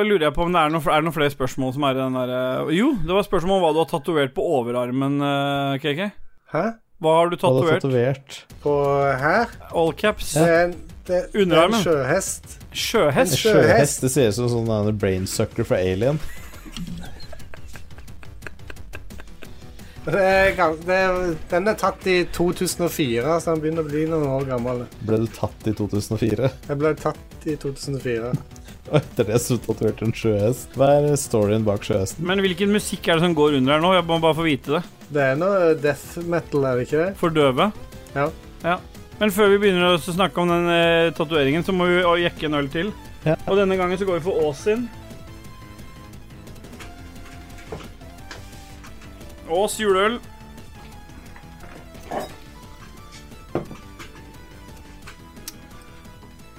lurer jeg på om det er noen, er det noen flere spørsmål som er i den derre Jo, det var spørsmål om hva du har tatovert på overarmen, eh, KK.
Hæ?
Hva har du
Hadde
tatovert?
tatovert
På her?
All caps.
Det er en, det er
Underarmen.
en sjøhest.
en
Sjøhest.
Sjøhest.
sjøhest. Det ser ut som en sånn brainsucker fra Alien.
Det er, gans- det er, den er tatt i 2004, så den begynner å bli noen år gammel.
Ble du tatt i 2004?
Den ble tatt i 2004.
Og etter det så tatoverte du en sjøhest. Hva er storyen bak sjøhesten?
Men hvilken musikk er det som går under her nå? Jeg må bare få vite det.
Det er noe death metal, er det ikke det?
For døve.
Ja.
Men før vi begynner å snakke om den eh, tatoveringen, så må vi å, jekke en øl til.
Ja.
Og denne gangen så går vi for Ås sin. Ås juleøl.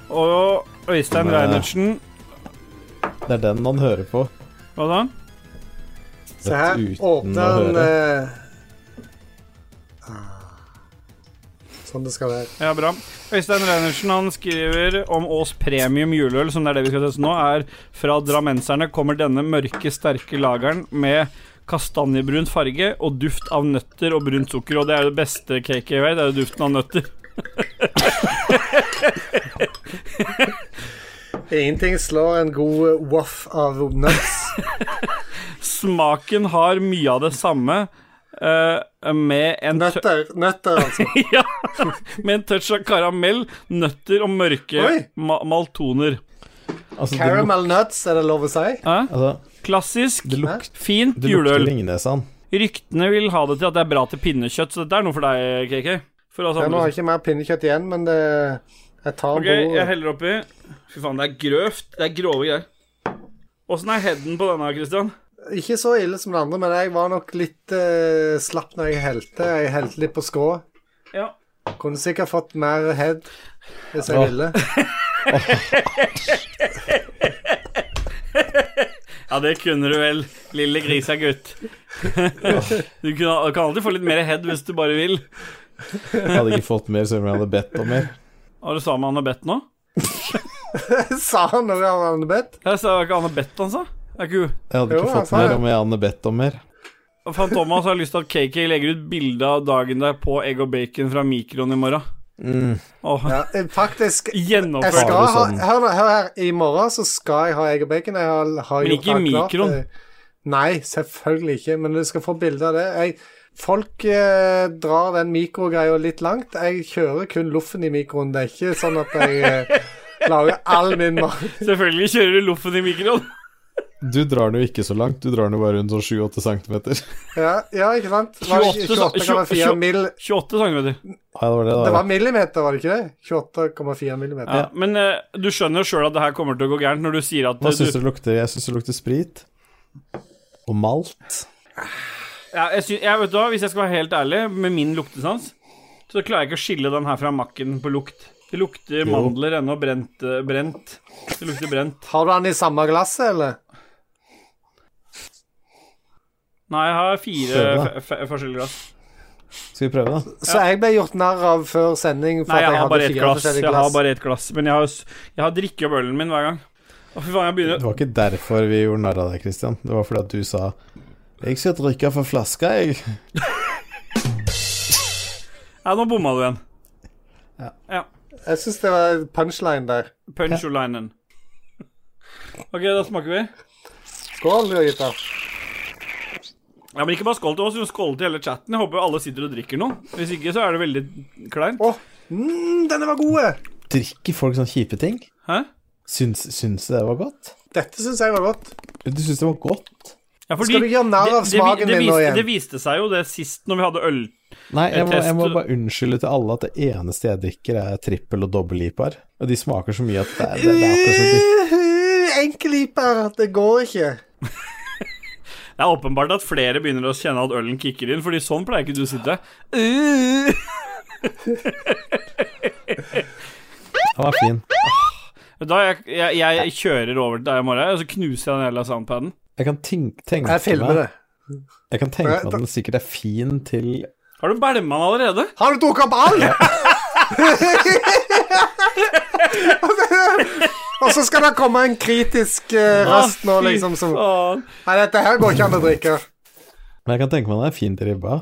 Og Øystein
Men, eh,
Reinertsen.
Det er den han hører på.
Hva da?
Se her.
Uten å
Åpner han
høre.
eh, ah. Sånn det skal være.
Ja, bra. Øystein Reinertsen han skriver om Ås Premium juleøl, som det er det vi skal teste nå, er fra drammenserne kommer denne mørke, sterke lageren med kastanjebrun farge og duft av nøtter og brunt sukker. Og det er det beste cake jeg vet, det er jo duften av nøtter.
Ingenting slår en god voff av nuts.
Smaken har mye av det samme, eh, med en tø-
Nøtter, nøtter altså.
Ja, med en touch av karamell, nøtter og mørke
Oi.
ma maltoner.
Altså, det, luk
Caramel nuts, er det lov å si?
Hæ?
altså,
Klassisk,
det, luk
fint
det lukter
juleøl.
ringnese, han.
Ryktene vil ha det til at det er bra til pinnekjøtt, så dette er noe for deg, KK. For oss
Ja, nå
andre.
har jeg ikke mer pinnekjøtt igjen, men det, jeg tar
Ok, jeg heller oppi. Fy faen, det er grøvt. Det er grove greier. Åssen er headen på denne, Christian?
bordet. Ikke så ille som det andre, men jeg var nok litt eh, slapp når jeg helte. Jeg helte litt på skrå.
Ja.
Kunne sikkert fått mer head hvis jeg ville.
ja, det kunne du vel, lille grisa gutt. du kunne, du kan alltid få litt mer head hvis du bare vil.
Jeg hadde ikke fått mer selv om jeg hadde bedt om mer.
Har du sa med Anne Bett nå?
Sa han noe om han bedt?
Jeg sa ikke Anne Bett, han sa. Det er ikke hun.
Jeg hadde
Jo, altså.
ikke
han
fått
sa det.
mer om jeg hadde bedt om mer.
Fan Thomas har lyst til at KK legger ut bilde av dagen der på egg og bacon fra mikroen i morgen.
Mm.
Åh,
Ja, eh, faktisk jeg
Gjennomført.
skal
Har du
ha,
sånn?
hør, nå, hør her, I morgen så skal jeg ha egg og bacon. Jeg har, har
Men
gjort
ikke i
alt klart.
mikroen.
Eh, Nei, selvfølgelig ikke. Men du skal få bilde av det. Jeg, folk eh, drar den mikrogreia litt langt. Jeg kjører kun loffen i mikroen. Det er ikke sånn at jeg eh, lager all min mat.
Selvfølgelig kjører du loffen i mikroen.
Du drar den jo ikke så langt, du drar den jo bare rundt sånn 7-8 centimeter.
Ja, ja, ikke sant? Var det ikke
28,
28,4 mil.
28 cm.
Ja, det var det,
Det
da.
var millimeter, var det ikke det? 28,4 millimeter.
Ja, men eh, du skjønner jo sjøl at det her kommer til å gå gærent når du sier at
Hva
eh,
syns du det lukter? Jeg syns det lukter sprit. Og malt.
ja, jeg, sy jeg vet du hva, Hvis jeg skal være helt ærlig, med min luktesans, så klarer jeg ikke å skille den her fra makken på lukt. Det lukter mandler ennå, brent, eh, brent. Det lukter brent.
Har du den i samme glasset, eller?
Nei, jeg har fire
Prøv, da.
f- f- forskjellige glass.
Skal vi prøve, da?
Så jeg ble gjort narr av før sending for
Nei,
at
jeg
jeg
har bare
hadde
ett
fire
glass.
forskjellige
Jeg har
glass.
bare ett glass Men jeg har, s- jeg har drikket opp ølen min hver gang. Å, fy faen, jeg
Det
begynner
var ikke derfor vi gjorde narr av deg, Christian. Det var fordi at du sa 'Jeg skal drikke fra flaska, jeg'.
Nei, nå bomma du igjen.
Jeg syns det var punchline der.
Punchlinen. Ok, da smaker vi.
Skål, Jørgita.
Ja, men ikke bare skål til oss, men skål til hele chatten. Jeg håper alle sitter og drikker noe. Hvis ikke, så er det veldig kleint.
Å, mm, denne var god!
Drikker folk sånne kjipe ting?
Hæ?
Syns, syns du det var godt?
Dette syns jeg var godt.
Du syns det var godt?
Ja, fordi
Skal du gjøre narr av
det- det vi-
smaken
det
min nå
viste-
igjen?
Det viste seg jo det sist når vi hadde øl.
Nei, jeg må, jeg må
Test-
bare unnskylde til alle at det eneste jeg drikker, er trippel- og dobbel-IPAR. Og de smaker så mye at det er, det er akkurat som å drikke
Uh, Enkelhiper. Det går ikke.
Det er åpenbart at flere begynner å kjenne at ølen kicker inn, fordi sånn pleier ikke du å sitte. Uh.
Øh.
Den var fin.
Da jeg, jeg, jeg kjører over til deg i morgen, og så knuser jeg den hele soundpaden.
Jeg kan tenke, tenke
Jeg filmer det.
meg Jeg kan tenke meg
Jeg-
at den sikkert er fin til
Har du bælma den allerede?
Har du drukket opp alt?! Og så skal det komme en kritisk eh, røst nå,
Å, fy
liksom, som
faen.
Nei, dette her går ikke an å drikke.
Men jeg kan tenke meg den er fin til ribba.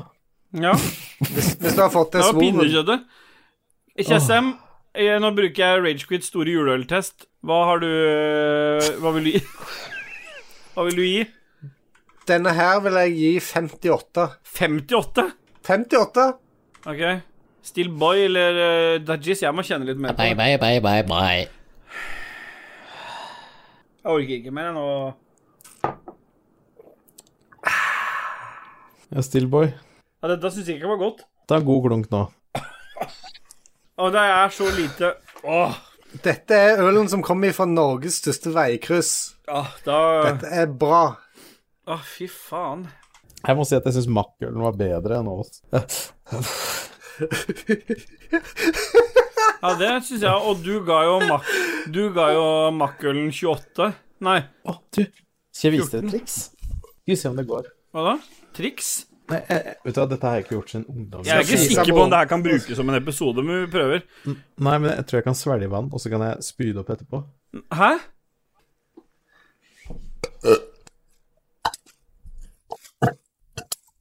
Ja,
Hvis du har fått det
det var
svoren.
pinnekjøttet. Tjessem, jeg- Eh, nå bruker jeg Ragequits store juleøltest. Hva har du øh, Hva vil du gi? Hva vil du gi?
Denne her vil jeg gi 58.
58?
58?
Ok. Still Boy eller uh, Dajis? Jeg må kjenne litt mer på
Bye,
det.
bye, bye, bye, bye.
Jeg orker ikke mer jeg, nå.
Ja, Stillboy.
Ja, dette syns jeg ikke var godt.
Ta en god klunk nå.
Å, det er så lite Åh.
Dette er ølen som kommer fra Norges største veikryss.
Ja, da
Dette er bra.
Å, fy faen.
Jeg må si at jeg syns makkølen var bedre enn Ås.
Ja, det syns jeg. Og du ga jo, mak du ga jo makkølen 28. Nei,
Å, du, skal jeg vise deg et triks? Skal vi se om det går.
hva da? Triks?
Nei, jeg, jeg- vet du hva, dette har jeg ikke gjort siden ungdomsskolen.
Jeg er ikke
Skal jeg si-
sikker på om det her kan brukes som en episode, men vi prøver.
Nei, men jeg tror jeg kan svelge vann, og så kan jeg spy det opp etterpå.
Hæ?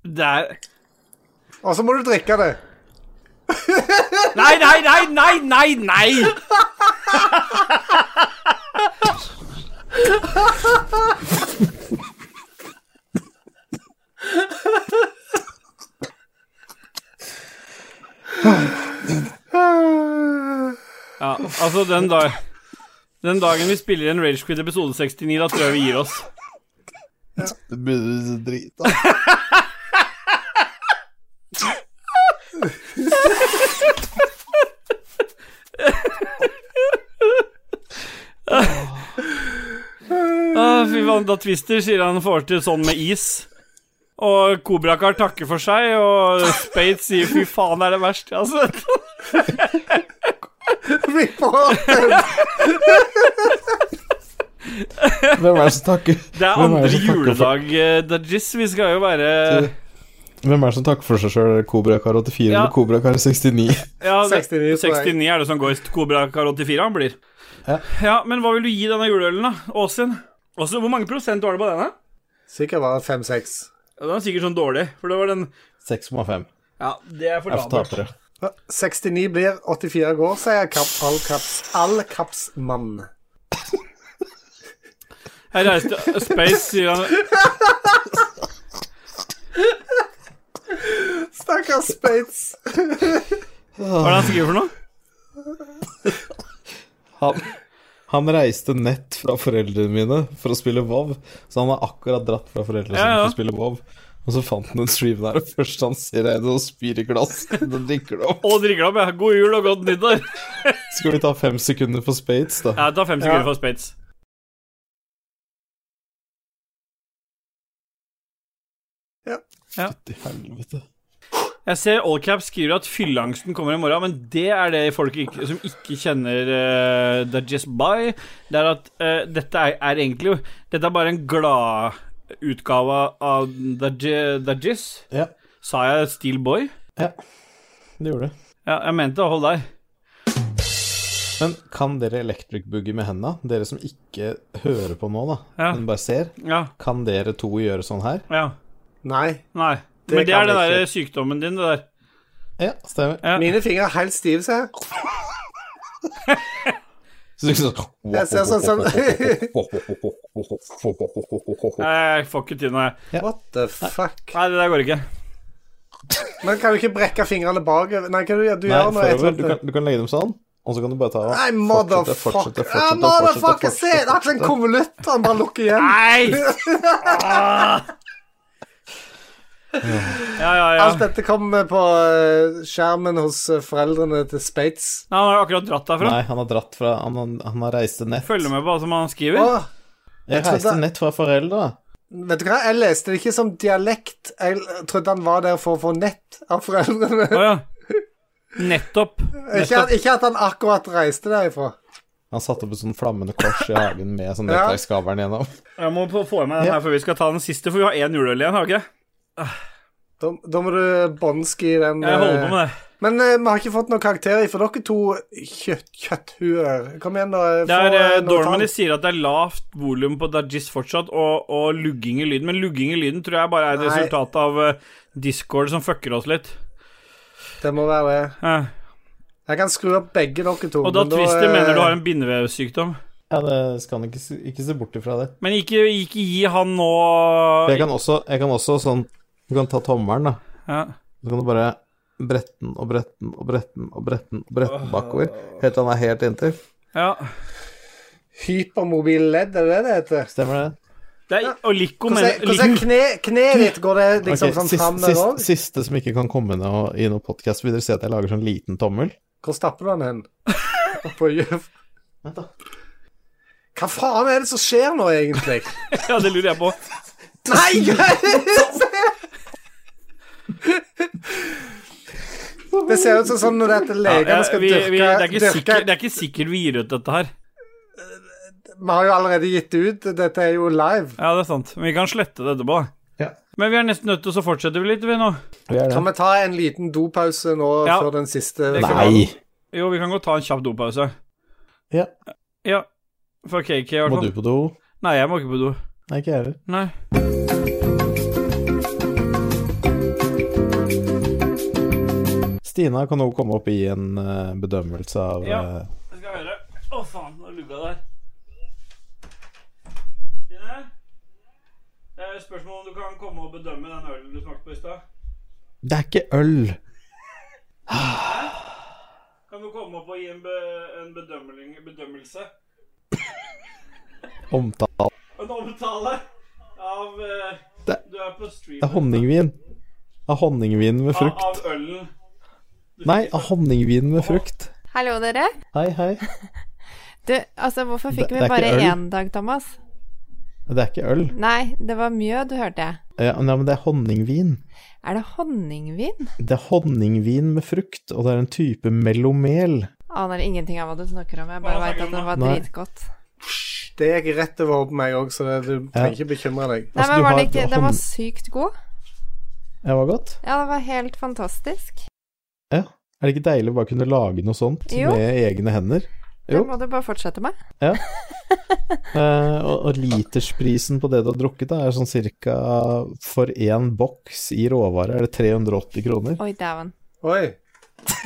Det er
Og så må du drikke det.
Nei, nei, nei, nei, nei! nei Ja, altså, den, dag, den dagen vi spiller en Ragequid episode 69, da tror jeg vi gir oss.
Det burde du drite av.
Ah, fy faen, da Twister sier han får til sånn med is. Og Kobrakar takker for seg, og Spade sier 'fy faen, det er det verste jeg har sett'.
Rip-off.
Hvem er det som takker
Det er
Hvem er
andre
det som takker
juledag, eh, Dajis. Vi skal jo være
Hvem er det som takker for seg sjøl? Kobrakar 84
Ja.
eller Kobrakar 69?
ja, det-
69 tror jeg.
69 er det som går i Kobrakar 84 han blir.
Ja.
Ja, men hva vil du gi denne juleølen, da? Åsin? Også, hvor mange prosent var det på denne?
Sikkert bare fem-seks.
Ja, den er sikkert sånn dårlig, for det var den
6,5.
Ja, det er for
Jeg får
labert.
tapere.
69 blir 84 går, sier kap, all kaps, all kapsmann.
Jeg reiste Space, sier han.
Stakkars Spates.
Hva er det han skriver for noe?
Han, han reiste nett fra foreldrene mine for å spille WoW, så han har akkurat dratt fra foreldrene
Ja,
sine
ja.
for å spille WoW. Og så fant han en stream der, og først han ser en og spyr i glass. Da drikker det opp.
Å, drikker opp, ja. God jul og godt nyttår.
Skal vi ta fem sekunder for Spades, da?
Jeg tar fem sekunder for Spades.
Fytti helvete.
Jeg ser Allcap skriver at fylleangsten kommer i morgen, men det er det folk ikke, som ikke kjenner uh, The Just By. Det er at eh, dette er, er egentlig Dette er bare en gladutgave av The J- The Jizz.
Ja,
Sa jeg Steel Boy?
det gjorde det.
Ja, jeg mente hold deg.
Men kan dere electric boogie med henda? Dere som ikke hører på nå, da,
Ja.
men bare ser.
Ja.
Kan dere to gjøre sånn her?
ja.
Nei.
Nei.
Det
men det
kan
er den
jeg
der sykdommen din, det der.
Ja, stemmer.
Ja.
Mine fingre er helt stive, ser jeg.
Så du sånn
Jeg ser sånn som
Nei, jeg får ikke til noe, jeg.
What the fuck?
Nei, det der går ikke.
Men kan du ikke brekke fingrene bakover? Nei, hva du gjør du?
Nei,
gjør noe
forover.
etter-
Du kan, du kan legge dem sånn, og så kan du bare ta
Nei,
fortsette, fortsette,
motherfucker. Ah,
fortsette,
motherfucker,
fortsette,
se! Det er ikke en konvolutt han bare lukker igjen.
Nei! Ah! Ja, ja, ja.
Alt dette kommer på eh, skjermen hos eh, foreldrene til Spates.
Nei, Han har jo akkurat dratt derfra.
Nei, han har dratt fra Han, han, han har reist til nett.
Følger med på hva som han skriver.
Åh,
Jeg
trodde-
reiste til nett fra foreldra.
vet du hva, jeg leste det ikke som dialekt. Jeg l- trodde han var der for å få nett av foreldrene.
Å ja. Nettopp.
Ikke, at- ikke at han akkurat reiste derifra.
Han satte opp et sånn flammende kors i hagen med sånn
Ja.
nettverkskabelen gjennom.
Jeg må på- få i meg den her før vi skal ta den siste, for vi har én juleøl igjen, har vi ikke?
Da, da må du båndski den.
Jeg holder på med det.
Men eh, vi har ikke fått noen karakterer for dere to kjøtt, kjøtthuer. Kom igjen, da.
Det er, eh, Dormany
Dormanis
sier at det er lavt volum på Dajis fortsatt, og, og lugging i lyden. Men lugging i lyden tror jeg bare er et
Nei.
resultat av eh, Discord som fucker oss litt.
Det må være det.
Eh,
Jeg kan skru opp begge dere to.
Og da
men
Twister
eh,
mener du har en bindevevsykdom.
Ja, det skal han ikke, se- ikke se bort ifra det.
Men ikke, ikke gi han nå
Jeg kan også, jeg kan også sånn Du kan ta tommelen, da.
ja.
Så kan du bare brette den og brette den og brette den og brette den og brette den bakover. Helt til han er helt inntil.
ja.
Hypermobil ledd, er det det det heter?
Stemmer det?
Det er, og Lico
Hvordan
mener
er- hvordan er
Lico-
kne, kneet ditt? Går det liksom
Ok,
sånn
sist-
fram der
sist-
òg?
Siste som ikke kan komme noe, i noen podkast, vil dere se at jeg lager sånn liten tommel?
Hvor stapper du den hen? På,
Vent, da.
Hva faen er det som skjer nå, egentlig?
Ja, det lurer jeg på.
Nei! Det ser ut som sånn når dette
Ja,
legene
jeg-
skal
vi,
dyrke,
vi, det, er ikke
dyrke
sikkert, det er ikke sikkert vi gir ut dette her.
Vi har jo allerede gitt det ut. Dette er jo live.
Ja, det er sant. Men vi kan slette det etterpå.
Ja.
Men vi er nesten nødt til å så fortsette vi litt, vi nå.
Vi er
Kan
det.
vi ta en liten dopause nå
Ja.
før den siste?
Det kan vi.
Nei!
Jo, vi kan godt ta en kjapp dopause.
Ja.
Ja. For KK, i hvert
Må du
fall.
på do?
Nei, jeg må ikke på do.
Nei, ikke jeg heller.
Nei.
Stina kan nå komme opp i en eh, bedømmelse av
Ja.
eh,
Jeg skal høre. Å, faen, nå lugga der. Stine? Det er et spørsmål om du kan komme og bedømme den ølen du smakte på i stad.
Det er ikke øl!
Kan du komme opp og gi en, be, en bedømmeling, bedømmelse?
Omtale.
En omtale av eh,
Det-
Du er på stream
Det er honningvin. Av honningvin med
av,
frukt.
av ølen.
Nei, av honningvin med frukt.
Hallo, dere.
Hei, hei.
Du, altså, hvorfor fikk
Det- det
vi
er ikke
bare
øl.
én dag, Thomas?
Det er ikke øl.
Nei, det var mjød, hørte jeg.
Ja, nei, men det er honningvin.
Er det honningvin?
Det er honningvin med frukt, og det er en type mellomel.
Aner ingenting av hva du snakker om, jeg
Hva
bare
snakker
veit
du
at
om
det
da?
var
Nei.
dritgodt.
Det gikk rett over hodet på meg òg, så det, du trenger ikke bekymre deg.
Nei,
Altså, du
men var
har
det ikke Den
honn-
var sykt god.
Det var godt.
Ja, det var helt fantastisk.
Er det ikke deilig å bare kunne lage noe sånt
Jo.
med egne hender?
Det
Jo.
må du bare fortsette med.
Eh, og, og litersprisen på det du har drukket, da, er sånn cirka for én boks i råvare er det 380 kroner.
Oi, dæven.
Oi.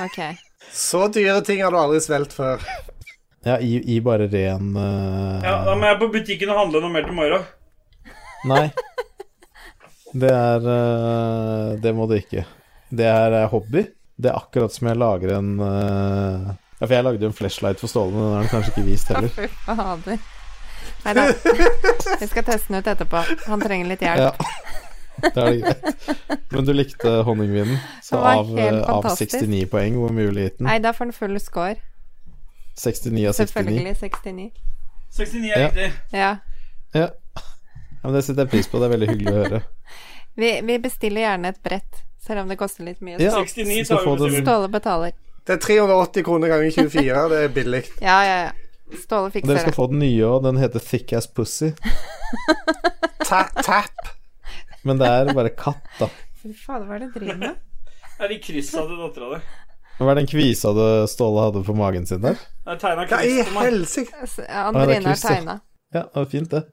Ok.
Så dyre ting har du aldri svelget før.
Ja, i, i bare ren eh,
Ja, da må jeg på butikken og handle noe mer til morgen.
Nei. Det er eh, Det må det ikke. Det er eh, hobby. Det er akkurat som jeg lager en eh, Ja, for jeg lagde jo en flashlight for Ståle, men den har han kanskje ikke vist
Å,
heller.
fy fader. Nei da. Vi skal teste den ut etterpå. Han trenger litt hjelp.
Ja. Da er det greit. Men du likte honningvinen, så
Det var
av, eh,
helt
av
fantastisk.
69 poeng, hvor mye ville gitt den?
Nei, da får han full score.
69 av 69.
Selvfølgelig 69.
69
Ja.
er riktig.
Ja.
Ja. ja, men det setter jeg pris på. Det er veldig hyggelig å høre.
Vi, vi bestiller gjerne et brett, selv om det koster litt mye.
Ja,
69 tar
skal
vi
få
med
den-
Ståle betaler.
Det er 380 kroner ganger 24. Det er billig.
Ja, ja, ja. Ståle
Og dere
fikser
skal
det.
få den nye òg. Den heter Thick As Pussy.
Ta tap.
Men det er bare katt, da.
Fy fader, hva er det du driver med?
Er de kryssa til dattera di?
Hva er den kvisa du, Ståle hadde på magen sin der?
Jeg tegna
Hva i
kryss på meg.
helsike?
Altså,
det er
Andrine har
kryss, ja.
tegna.
Ja, det var fint, det.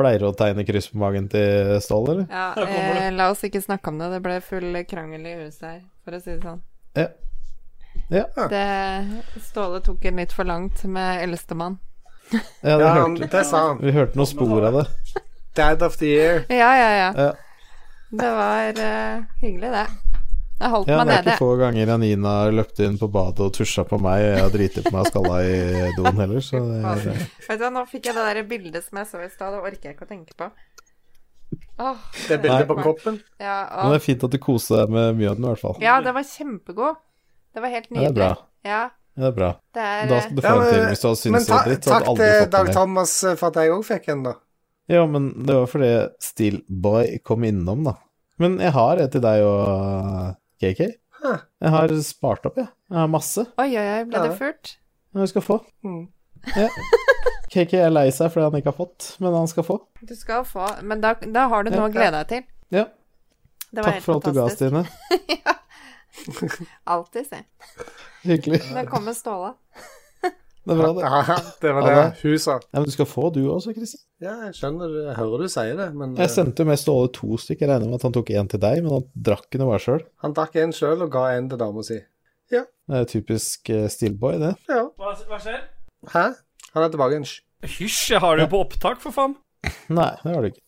Pleier du å tegne kryss på magen til Ståle, eller?
Ja,
Her kommer
eh, la oss ikke snakke om det. Det ble full krangel i huset her, for å si det sånn.
Ja. Ja,
Det, Ståle tok en litt for langt med eldstemann.
ja det
Ja, han-
hørte,
det sa han.
vi hørte noen spor av det.
Dad of the year.
Ja, ja, ja.
Ja.
Det var eh, hyggelig, det. Jeg holdt
Ja,
meg
det er
nede.
ikke få ganger Anina løpte inn på badet og tusja på meg, og jeg har driti på meg og skalla i doen heller, så det er
Vet du hva, nå fikk jeg det der bildet som jeg så i stad, det orker jeg ikke å tenke på. Åh,
Det er bildet
Nei.
på kroppen.
ja,
Men det
åh.
er fint at du koser deg med mjøden, i hvert fall.
ja, det var kjempegod. Det var helt
Ja, det er
nydelig.
bra.
Ja,
Ja, det er bra.
det er
Da
eh,
skal du få en til hvis du
men
har syntes det
ta,
var dritt. så
takk
hadde du aldri
til
fått den
Dag
mer.
Thomas eh, for at jeg òg fikk en, da.
Ja, men det var fordi Steelboy kom innom, da. Men jeg har et til deg og KK.
Hæ.
Jeg har spart opp, jeg. Jeg har masse
Oi, oi, oi, ble
Ja.
det furt?
jeg skal få.
Mm.
Ja. KK er lei seg fordi han ikke har fått, men han skal få.
Du skal få Men da, da har du noe å glede deg til.
Ja.
Det var
Takk
helt
for alt du ga,
fantastisk.
Stine.
Alltid, si.
Hyggelig.
Nå kommer Ståle.
Det er bra, det.
Ja, det var
Ja,
det
det.
hun sa.
Ja, men du skal få, du også, Kristin.
Ja, jeg skjønner, jeg hører du sier det, men eh,
Jeg sendte jo med Ståle to stykker. Jeg regner med at han tok én til deg, men han drakk ikke noe hver sjøl.
han drakk en sjøl og ga en til dama si.
Det er typisk eh, Steelboy, det.
Ja.
Hva, hva skjer?
Hæ? Han er tilbake igjen. Hysj.
Hysj, jeg har det jo på opptak, for faen.
Nei, det har du ikke.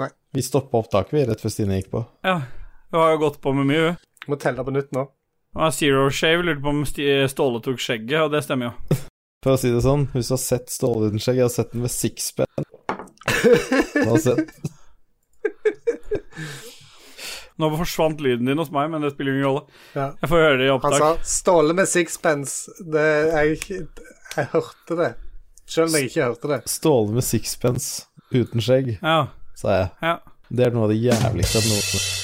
Nei.
Vi stoppa opptaket, vi, rett før Stine gikk på.
Ja, hun har jo gått på med mye, hun.
Må telle på nytt nå.
Hun har zero shave, lurte på om Sti- eh, Ståle tok skjegget, og det stemmer jo.
For å si det sånn, hvis du har sett Ståle uten skjegg, jeg har sett den med sixpen. Jeg har sett-
Nå forsvant lyden din hos meg, men det spiller ingen rolle.
Ja.
Jeg får høre det i
Han
opptak.
sa 'Ståle med sixpence'. Det, jeg, Jeg hørte det. Selv når jeg ikke hørte det.
Ståle med sixpence uten skjegg,
Ja,
sa jeg.
ja.
Det er noe av det jævligste jeg noen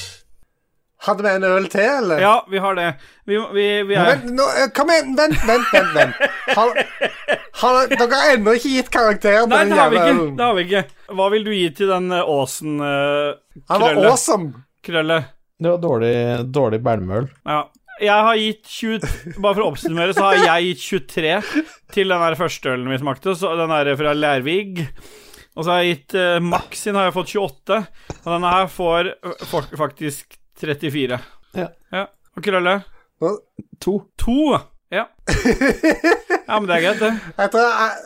Hadde vi en øl til, eller?
ja vi har det. Vi, vi, vi er
Vent, nå, eh, kom igjen, vent, vent, vent. vent. Har, har, dere har ennå ikke gitt karakter på
Nei,
den
det har vi
jævla
ikke.
ølen.
Det har vi ikke. Hva vil du gi til den eh, åsen eh,
Han var
krølle?
awesome.
krølle?
Det var dårlig, dårlig belmøl.
Ja. Jeg har gitt 20 Bare for å oppsummere, så har jeg gitt 23 til den der første ølen vi smakte, så den er fra Lærvig. Og så har jeg gitt eh, Max sin har jeg fått 28, og denne her får eh, fak- faktisk 34.
Ja.
Og Krølle?
To.
To. Ja. ja, men det er greit, det.
Jeg tror jeg,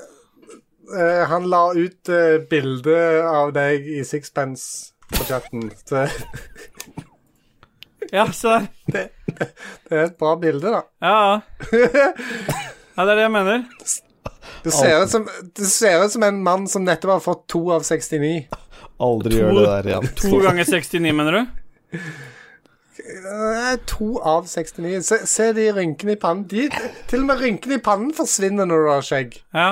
eh, han la ut eh, bilde av deg i sixpence på chatten. Så
Ja, se der.
det er et bra bilde, da.
Ja, ja. Ja, det er det jeg mener.
Det ser, ut som, det ser ut som en mann som nettopp har fått to av 69.
Aldri gjør det der igjen.
To ganger 69, mener du?
Eh, To av 69. Se, se de rynkene i pannen. De, til og med rynkene i pannen forsvinner når du har skjegg.
Ja.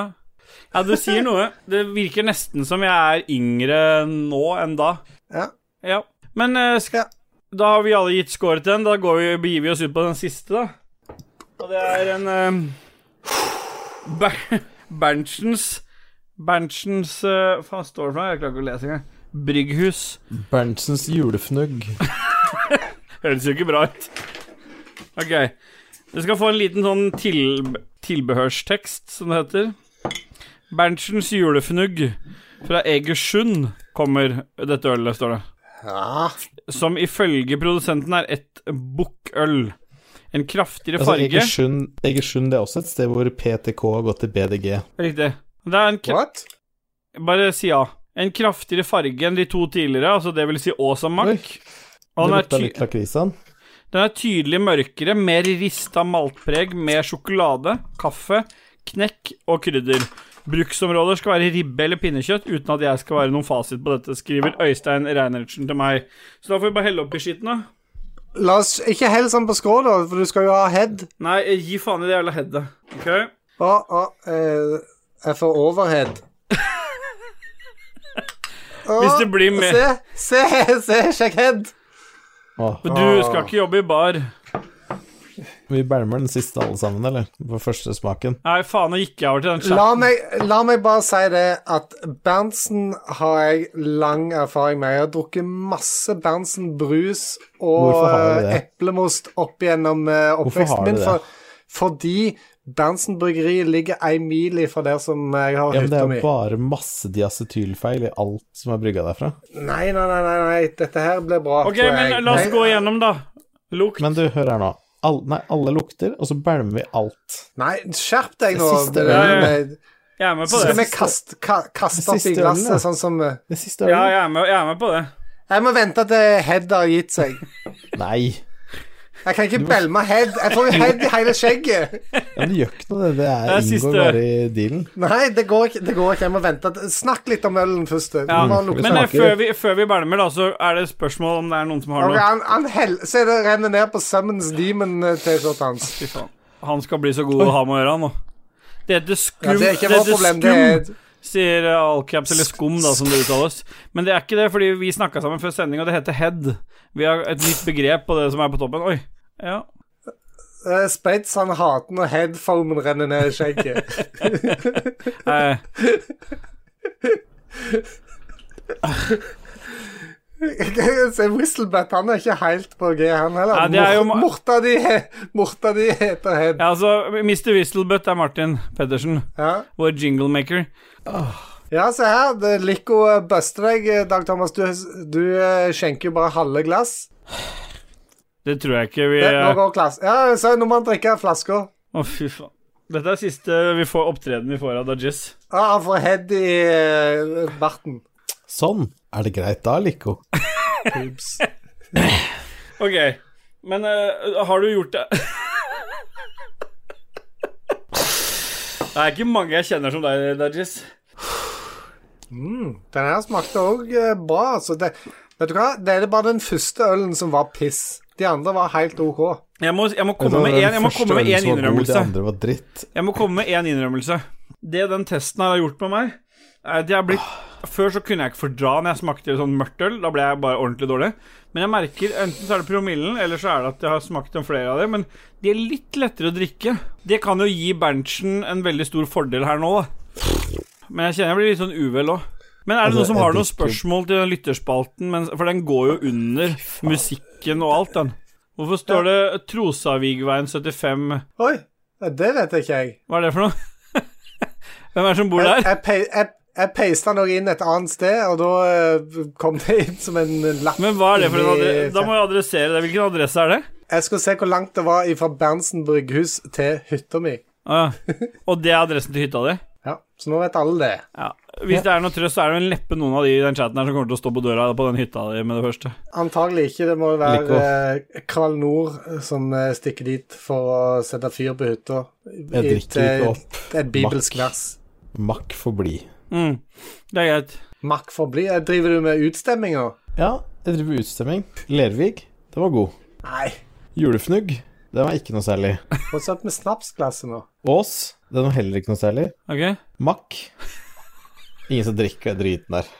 ja, du sier noe. Det virker nesten som jeg er yngre nå enn da.
Ja.
Ja. Men eh, sk
Ja.
da har vi alle gitt score til den. Da går vi, begir vi oss ut på den siste, da. Og det er en eh, Ber Berntsens Berntsens eh, Hva faen står det for noe? Jeg klarer ikke å lese engang. Brygghus.
Berntsens julefnugg.
Høres jo ikke bra ut. Ok. Du skal få en liten sånn til tilbehørstekst, som det heter. Berntsens julefnugg fra Egersund kommer dette ølet, står det.
ja.
Som ifølge produsenten er et bukkøl. En kraftigere
Altså,
farge
Egersund, Egersund det er også et sted hvor PTK har gått til BDG.
Riktig. Det er en kra
What?
Bare si ja. En kraftigere farge enn de to tidligere, altså det vil si Ås og Mack. Og
Det
den er,
lukta
ty
litt lakris av den.
Den er tydelig mørkere, mer rista maltpreg med sjokolade, kaffe, knekk og krydder. Bruksområder skal være ribbe eller pinnekjøtt, uten at jeg skal være noen fasit på dette, skriver Øystein Reinertsen til meg. Så da får vi bare helle opp i skitten, da.
La oss ikke hell sånn på skrå, da, for du skal jo ha head.
Nei, gi faen i det jævla headet. Ok?
Å, å, eh, jeg får overhead. Å,
Hvis det blir mer-
Se, se, se, sjekk head.
Åh,
Men du skal ikke jobbe i bar.
vi belmer den siste alle sammen, eller? På første smaken.
Nei, faen, nå gikk jeg over til den
La
chatten.
meg, la meg bare si det at Berntsen har jeg lang erfaring med. Jeg har drukket masse Berntsen brus og
Hvorfor har du
eh,
det?
eplemost opp gjennom eh,
har
oppveksten
du
min.
det?
For, fordi Berntsen bryggeri ligger ei mil ifra der som jeg har
Ja, men det
hytta
er
mi.
jo bare masse diacetylfeil i alt som er brygga derfra.
Nei, nei, nei, nei, nei, dette her blir bra.
Ok,
tror
men
jeg.
la oss
Nei,
gå igjennom, da. Lukt.
Men du, hør her nå. All, nei, alle lukter, og så belmer vi alt.
Nei, skjerp deg nå.
Siste
Bjørn.
øl. Ja,
Nei,
Jeg er med på
Skal vi
det.
kaste, ka, kaste opp i
Siste øl,
glasset,
da.
sånn som eh,
Det siste
Ja,
ølet?
jeg er med, jeg er med på det.
Jeg må vente til Head har gitt seg.
Nei.
Jeg kan ikke belme Head. Jeg får jo Head i hele skjegget.
Ja, men det gjør ikke noe, det. Det er,
Det er siste.
inngår bare i dealen.
Nei, det går ikke. Det går ikke. Jeg må vente. Snakk litt om ølen først. du.
Ja.
Du må lukte.
Men eh,
smaker.
før vi, før vi belmer, da, så er det spørsmål om det er noen som har
Ok,
noe.
han, han hell, Se, det renner ned på Summons Demon-T-skjorta hans.
Fy faen. Han skal bli så god å ha med å gjøre, han nå. Det heter skum,
Ja, det er ikke
det
vårt
heter
problem. Det er
skum sier eh, Allcaps, eller skum, da, som det uttales. Men det er ikke det, fordi vi snakka sammen før sending, og det heter head. Vi har et nytt begrep på det som er på toppen. Oi. Ja.
eh, Spates han hater når headfoamen renner ned i skjegget.
Eh,
Se, Whistlebat, han er ikke helt på G, han heller.
Nei, det er jo
Mor-
ma-
Morta di, he- morta di heter Head.
ja, altså, Mr. Whistlebutt er Martin Pettersen,
Ja.
vår jinglemaker.
ja, se her. det- Lico eh, buster deg, eh, Dag Thomas. Du, du eh, skjenker jo bare halve glass.
Det tror jeg ikke vi
Det, nå
Å,
går glass. Ja, så nå må han drikke flaska.
fy faen. Dette er siste vi får opptreden vi får av Dajis.
Ja, han får head i eh, barten.
Sånn. Er det greit da, Lico?
Boobs.
Ok, men eh, har du gjort det Det er ikke mange jeg kjenner som deg, Dajis.
Den her smakte eh, òg altså. bra. Så det, vet du hva? Det er bare den første ølen som var piss. De andre var helt OK.
Jeg må, jeg må komme med én jeg må komme med én innrømmelse.
Det andre var dritt.
Jeg må komme med én innrømmelse. Det den testen her har gjort med meg, er at jeg er blitt Før så kunne jeg ikke fordra når jeg smakte sånn mørkt øl. Da ble jeg bare ordentlig dårlig. Men jeg merker enten så er det promillen, eller så er det at jeg har smakt en flere av dem. Men de er litt lettere å drikke. Det kan jo gi Berntsen en veldig stor fordel her nå, da. Men jeg kjenner jeg blir litt sånn uvel òg. Men er det
Altså,
noen som har
jeg
noen
drikker-
spørsmål til den lytterspalten? Men, for den går jo under musikken og alt, den. Hvorfor står det Trosavigveien 75
Oi, ja, det vet ikke jeg.
hva er det for noe? Hvem er det som bor
Jeg,
der?
jeg, pe- jeg, jeg pasta noe inn et annet sted, og da eh, kom det inn som en lapp.
Men hva er det for en
inni-
adresse? Da må jeg adressere det. Hvilken adresse er det?
Jeg skulle se hvor langt det var fra Berntsen brygghus til hytta mi.
Ah, ja. og det er adressen til hytta di?
Ja, så nå vet alle det.
Ja. Hvis det er noe trøst, så er det vel neppe noen av de i den chatten her som kommer til å stå på døra på den hytta di med det første.
Antagelig ikke. Det må jo
Like
være eh, Kral Nord som eh, stikker dit for å sette fyr på hytta.
Jeg
I
drikker
et, eh,
ikke opp.
Et bibelsk
Makk.
vers.
Mack får bli.
Mm. Det er greit.
Makk forblir. Eh, Driver du med utstemminger?
Ja, jeg driver utstemming. Lervig, den var god.
Nei.
Julefnugg, den var ikke noe særlig.
What's up med snapsglasset nå?
Ås, den var heller ikke noe særlig.
Ok?
Mack. Ingen som drikker den driten der.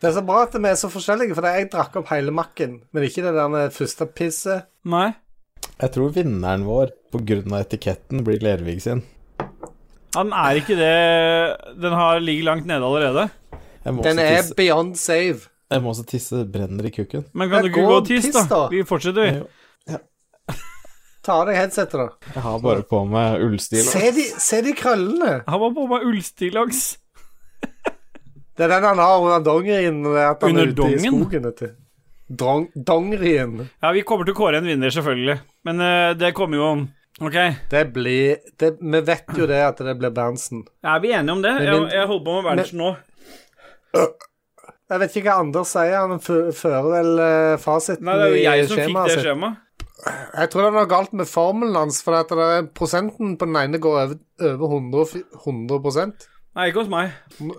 Det er så bra at vi er så forskjellige, for jeg drakk opp hele makken, men ikke det der med første pisset.
Nei?
Jeg tror vinneren vår, på grunn av etiketten, blir Lervig sin.
Ja, den er ikke det Den har ligger langt nede allerede.
Jeg må,
Den
også
er
tisse.
beyond save.
jeg må også tisse, det brenner i kukken.
Men kan
Ja,
du ikke
gå
gå og
og
tisse,
piss,
da?
da.
Vi fortsetter, vi.
Jo.
Ta av deg headsetet, da.
Jeg har bare på meg ullstil.
Se de, se de krøllene.
Han var på meg ullstillongs.
Det er den han har under dongerien. det er At han
Under
er ute i
dongen?
skogen, vet du. Drong, dongerien.
Ja, vi kommer til å kåre en vinner, selvfølgelig. Men eh, det kommer jo OK.
Det blir det, Vi vet jo det at det blir Berntsen.
Er vi enige om det?
Men
Jeg,
min-
jeg holder på med Berntsen nå.
Jeg vet ikke hva Anders sier, han fø- fører vel eh, fasiten
Nei, det er jo jeg som fikk
skjemaet
det
sitt.
skjemaet.
Jeg tror det er noe galt med formelen hans, for at det er prosenten på den ene går over, over 100, og fi- 100
Nei, ikke hos meg.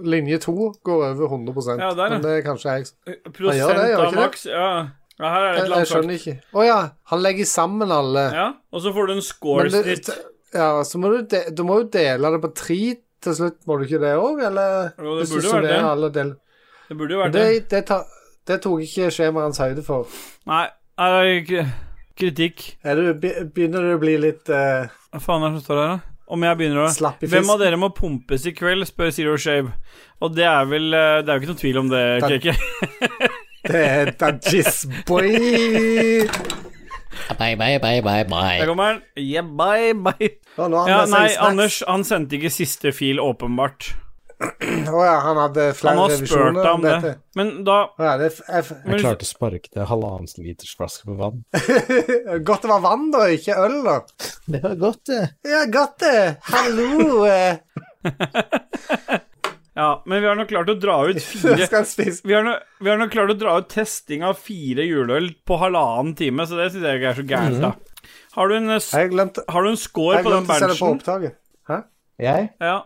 Linje to går over 100
Ja, der, ja.
Men det er kanskje jeg som
Prosent
gjør det, gjør
av
ikke det?
maks. Ja. ja, her er det
jeg,
et
jeg
landslag.
skjønner ikke. Å ja, han legger sammen alle.
Ja, og så får du
Men
en
det-
scoresnitt.
det- ja, så må du, de, du må jo dele det på tre til slutt, må du ikke det òg, eller?
Jo, det
Hvis du
burde vært
summerer
det.
alle del-
Det burde jo vært
Det,
det.
det, ta, det tok ikke skjemaet hans høyde for.
Nei, her er ikke kritikk.
Er du, be- begynner du å bli litt eh,
Hva faen er det som står her, da? Om jeg begynner å
slapp i
Hvem av
fisken?
dere må pumpes i kveld, spør Zero Shave. Og det er vel eh, Det er jo ikke noen tvil om det,
Takk.
Keke.
Det er Dajis Boy!
Bye, bye, bye, bye, bye.
Der kommer han. Yeah, bye, bye.
Å, nå har han
Ja,
med seg
nei,
snacks.
Anders, han sendte ikke siste fil, åpenbart.
Å ja, han hadde
Han
flere
har spurt
revisjoner
deg om det. Men da
Å ja, det er f
Men-
Jeg klarte å sparke til halvannen liters flaske med vann.
f Godt det var vann, da, ikke øl, da.
Det var godt, det.
Ja, godt, det. Hallo. eh.
Ja, men vi har nok klart å dra ut
Så
fire
skal han spise
Vi har, nå- vi har nok klart å dra ut testing av fire juleøl på halvannen time, så det syns jeg ikke er så gærent, da.
Mhm.
Har du en, eh, s-
Jeg glemte,
har du en score
jeg
på den
glemte å se det på
Berntsen?
opptaket. Hæ?
Jeg?
Ja,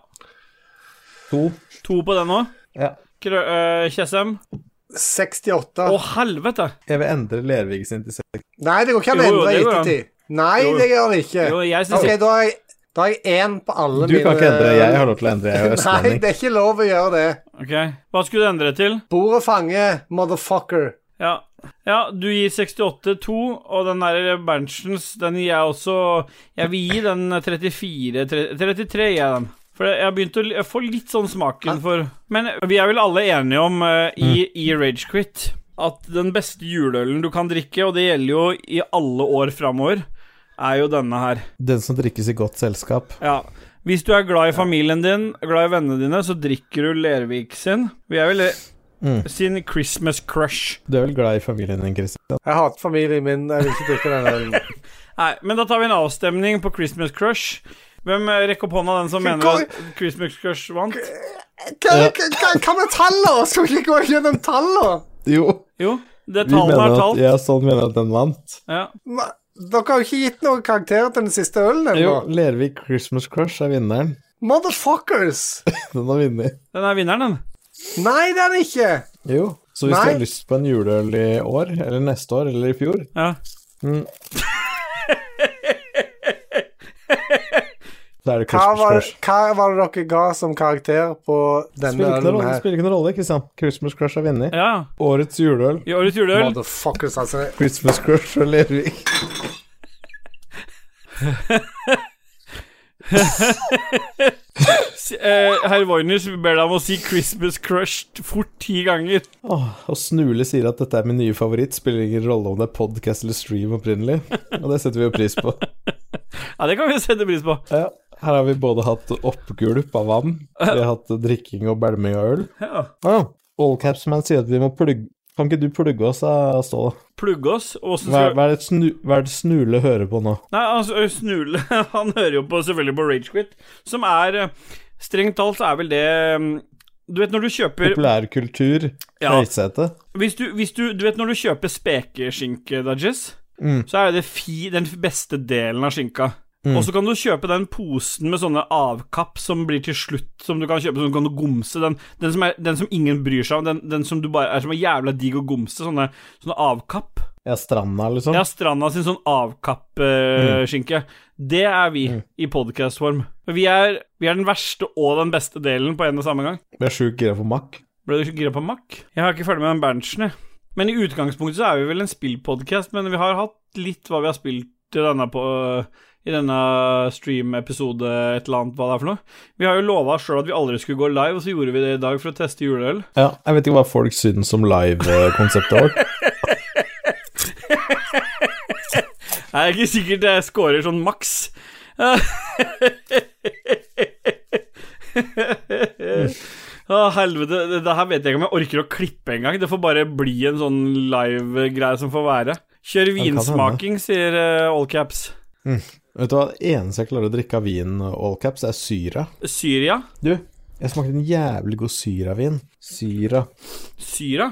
To.
to på den òg?
Ja.
Krø- eh, Tjessem? Å,
68.
helvete!
Jeg vil endre Lervig sin til seks.
Nei, det går ikke an å
Jo, jo,
endre i
det går an.
ettertid. Nei,
Jo.
det gjør det ikke.
Jo, jeg syns
Ok, da har jeg, da har jeg én på alle
Du
mine
kan ikke endre, jeg har lov til å endre, jeg er jo
Nei,
østlending.
det er ikke lov å gjøre det.
Ok, hva skulle du endre til?
Bordet fanger, motherfucker.
Ja. ja, du gir 68 2, og den der Berntsens, den gir jeg også Jeg vil gi den 34 tre- 33, gir jeg den. For jeg har begynt å li- jeg får litt sånn smaken for Men vi er vel alle enige om eh, i, i Ragequit at den beste juleølen du kan drikke, og det gjelder jo i alle år framover, er jo denne her.
Den som drikkes i godt selskap.
Ja. Hvis du er glad i familien din, glad i vennene dine, så drikker du Lervik sin. Vi er vel eh,
Mm.
sin Christmas crush.
Du er vel glad i familien din, Christian?
Jeg hater familien min, jeg vil ikke drikke den ølen.
Nei, men da tar vi en avstemning på Christmas Crush. Hvem eh, rekker opp hånda den som
Men
mener at Christmas Crush vant?
Hva- hva- Hva med tallene? Skal vi ikke gå gjennom tallene?
Jo,
Jo, det
vi
tallene
mener
er
at,
talt.
ja, sånn mener at den vant.
Ja.
Ma- Dere har jo ikke gitt noen karakterer til den siste ølen
Jo,
ennå.
Lervig Christmas Crush er vinneren.
Motherfuckers!
Den har vunnet.
Den er vinneren, den.
Nei, det er den ikke.
Jo. Så hvis
Nei.
du har lyst på en juleøl i år, eller neste år, eller i fjor,
Ja.
Da er det
Hva var,
Christmas
det, hva var det dere ga som karakter på
Crush.
denne
Spiller ikke noen
ølen
rolle,
her?
spiller ikke noen rolle, Christian. Christmas Crush har vunnet.
Ja.
Årets juleøl.
I årets juleøl
Motherfuckers, altså.
Christmas Crush og Lervik.
eh, Herr Voiners ber deg om å si 'Christmas Crushed' fort ti ganger.
Åh, og Snule sier at dette er min nye favoritt. Spiller ingen rolle om det er podcast eller stream opprinnelig. Og det setter vi jo pris på.
Ja, det kan vi sette pris på.
Ja, her har vi både hatt oppgulp av vann, vi har hatt drikking og belming av øl.
Ja.
Ah, Allcapsman sier at vi må plugge Kan ikke du plugge oss, da, Ståle?
Plugge oss. Og så
Hva,
skal
hva, er det snu, hva er det Snule hører på nå?
Nei, altså, Snule Han hører jo på, selvfølgelig på Ragequit, som er eh, Strengt talt så er vel det mm, Du vet når du kjøper
Populærkultur,
Ja.
Høysete.
Hvis du, hvis du, du vet når du kjøper spekeskinke, Dudges,
Mm.
så er det fi, den beste delen av skinka. Og så kan du kjøpe den posen med sånne avkapp som blir til slutt, som du kan kjøpe, som du kan gomse. Den, den, som, er, den som ingen bryr seg om, den, den som du bare er som er jævla digg å gomse. Sånne, sånne avkapp.
Ja, stranda, liksom.
Ja, Stranda sin sånn avkappskinke. Det er vi, i podcastform. Vi er, vi er den verste og den beste delen på en og samme gang.
Vi er sjukt gira på makk.
Ble du så gira på Mack? Jeg har ikke ferdig med den Berntsen, jeg. Men i utgangspunktet så er vi vel en spillpodkast, men vi har hatt litt hva vi har spilt i denne, på, øh, i denne stream-episode, et eller annet, hva det er for noe. Vi har jo lova sjøl at vi aldri skulle gå live, og så gjorde vi det i dag for å teste juleøl.
Ja, jeg vet ikke hva folk syns om live-konseptet vårt.
Det er ikke sikkert jeg scorer sånn maks. Å, helvete. Det, det her vet jeg ikke om jeg orker å klippe engang. Det får bare bli en sånn live-greie som får være. Kjør
kan
vinsmaking, sier eh, allcaps.
Vet du hva, det eneste jeg klarer å drikke av vin allcaps, er syra.
Syria?
Du, jeg smakte en jævlig god syravin. Syra.
Syra?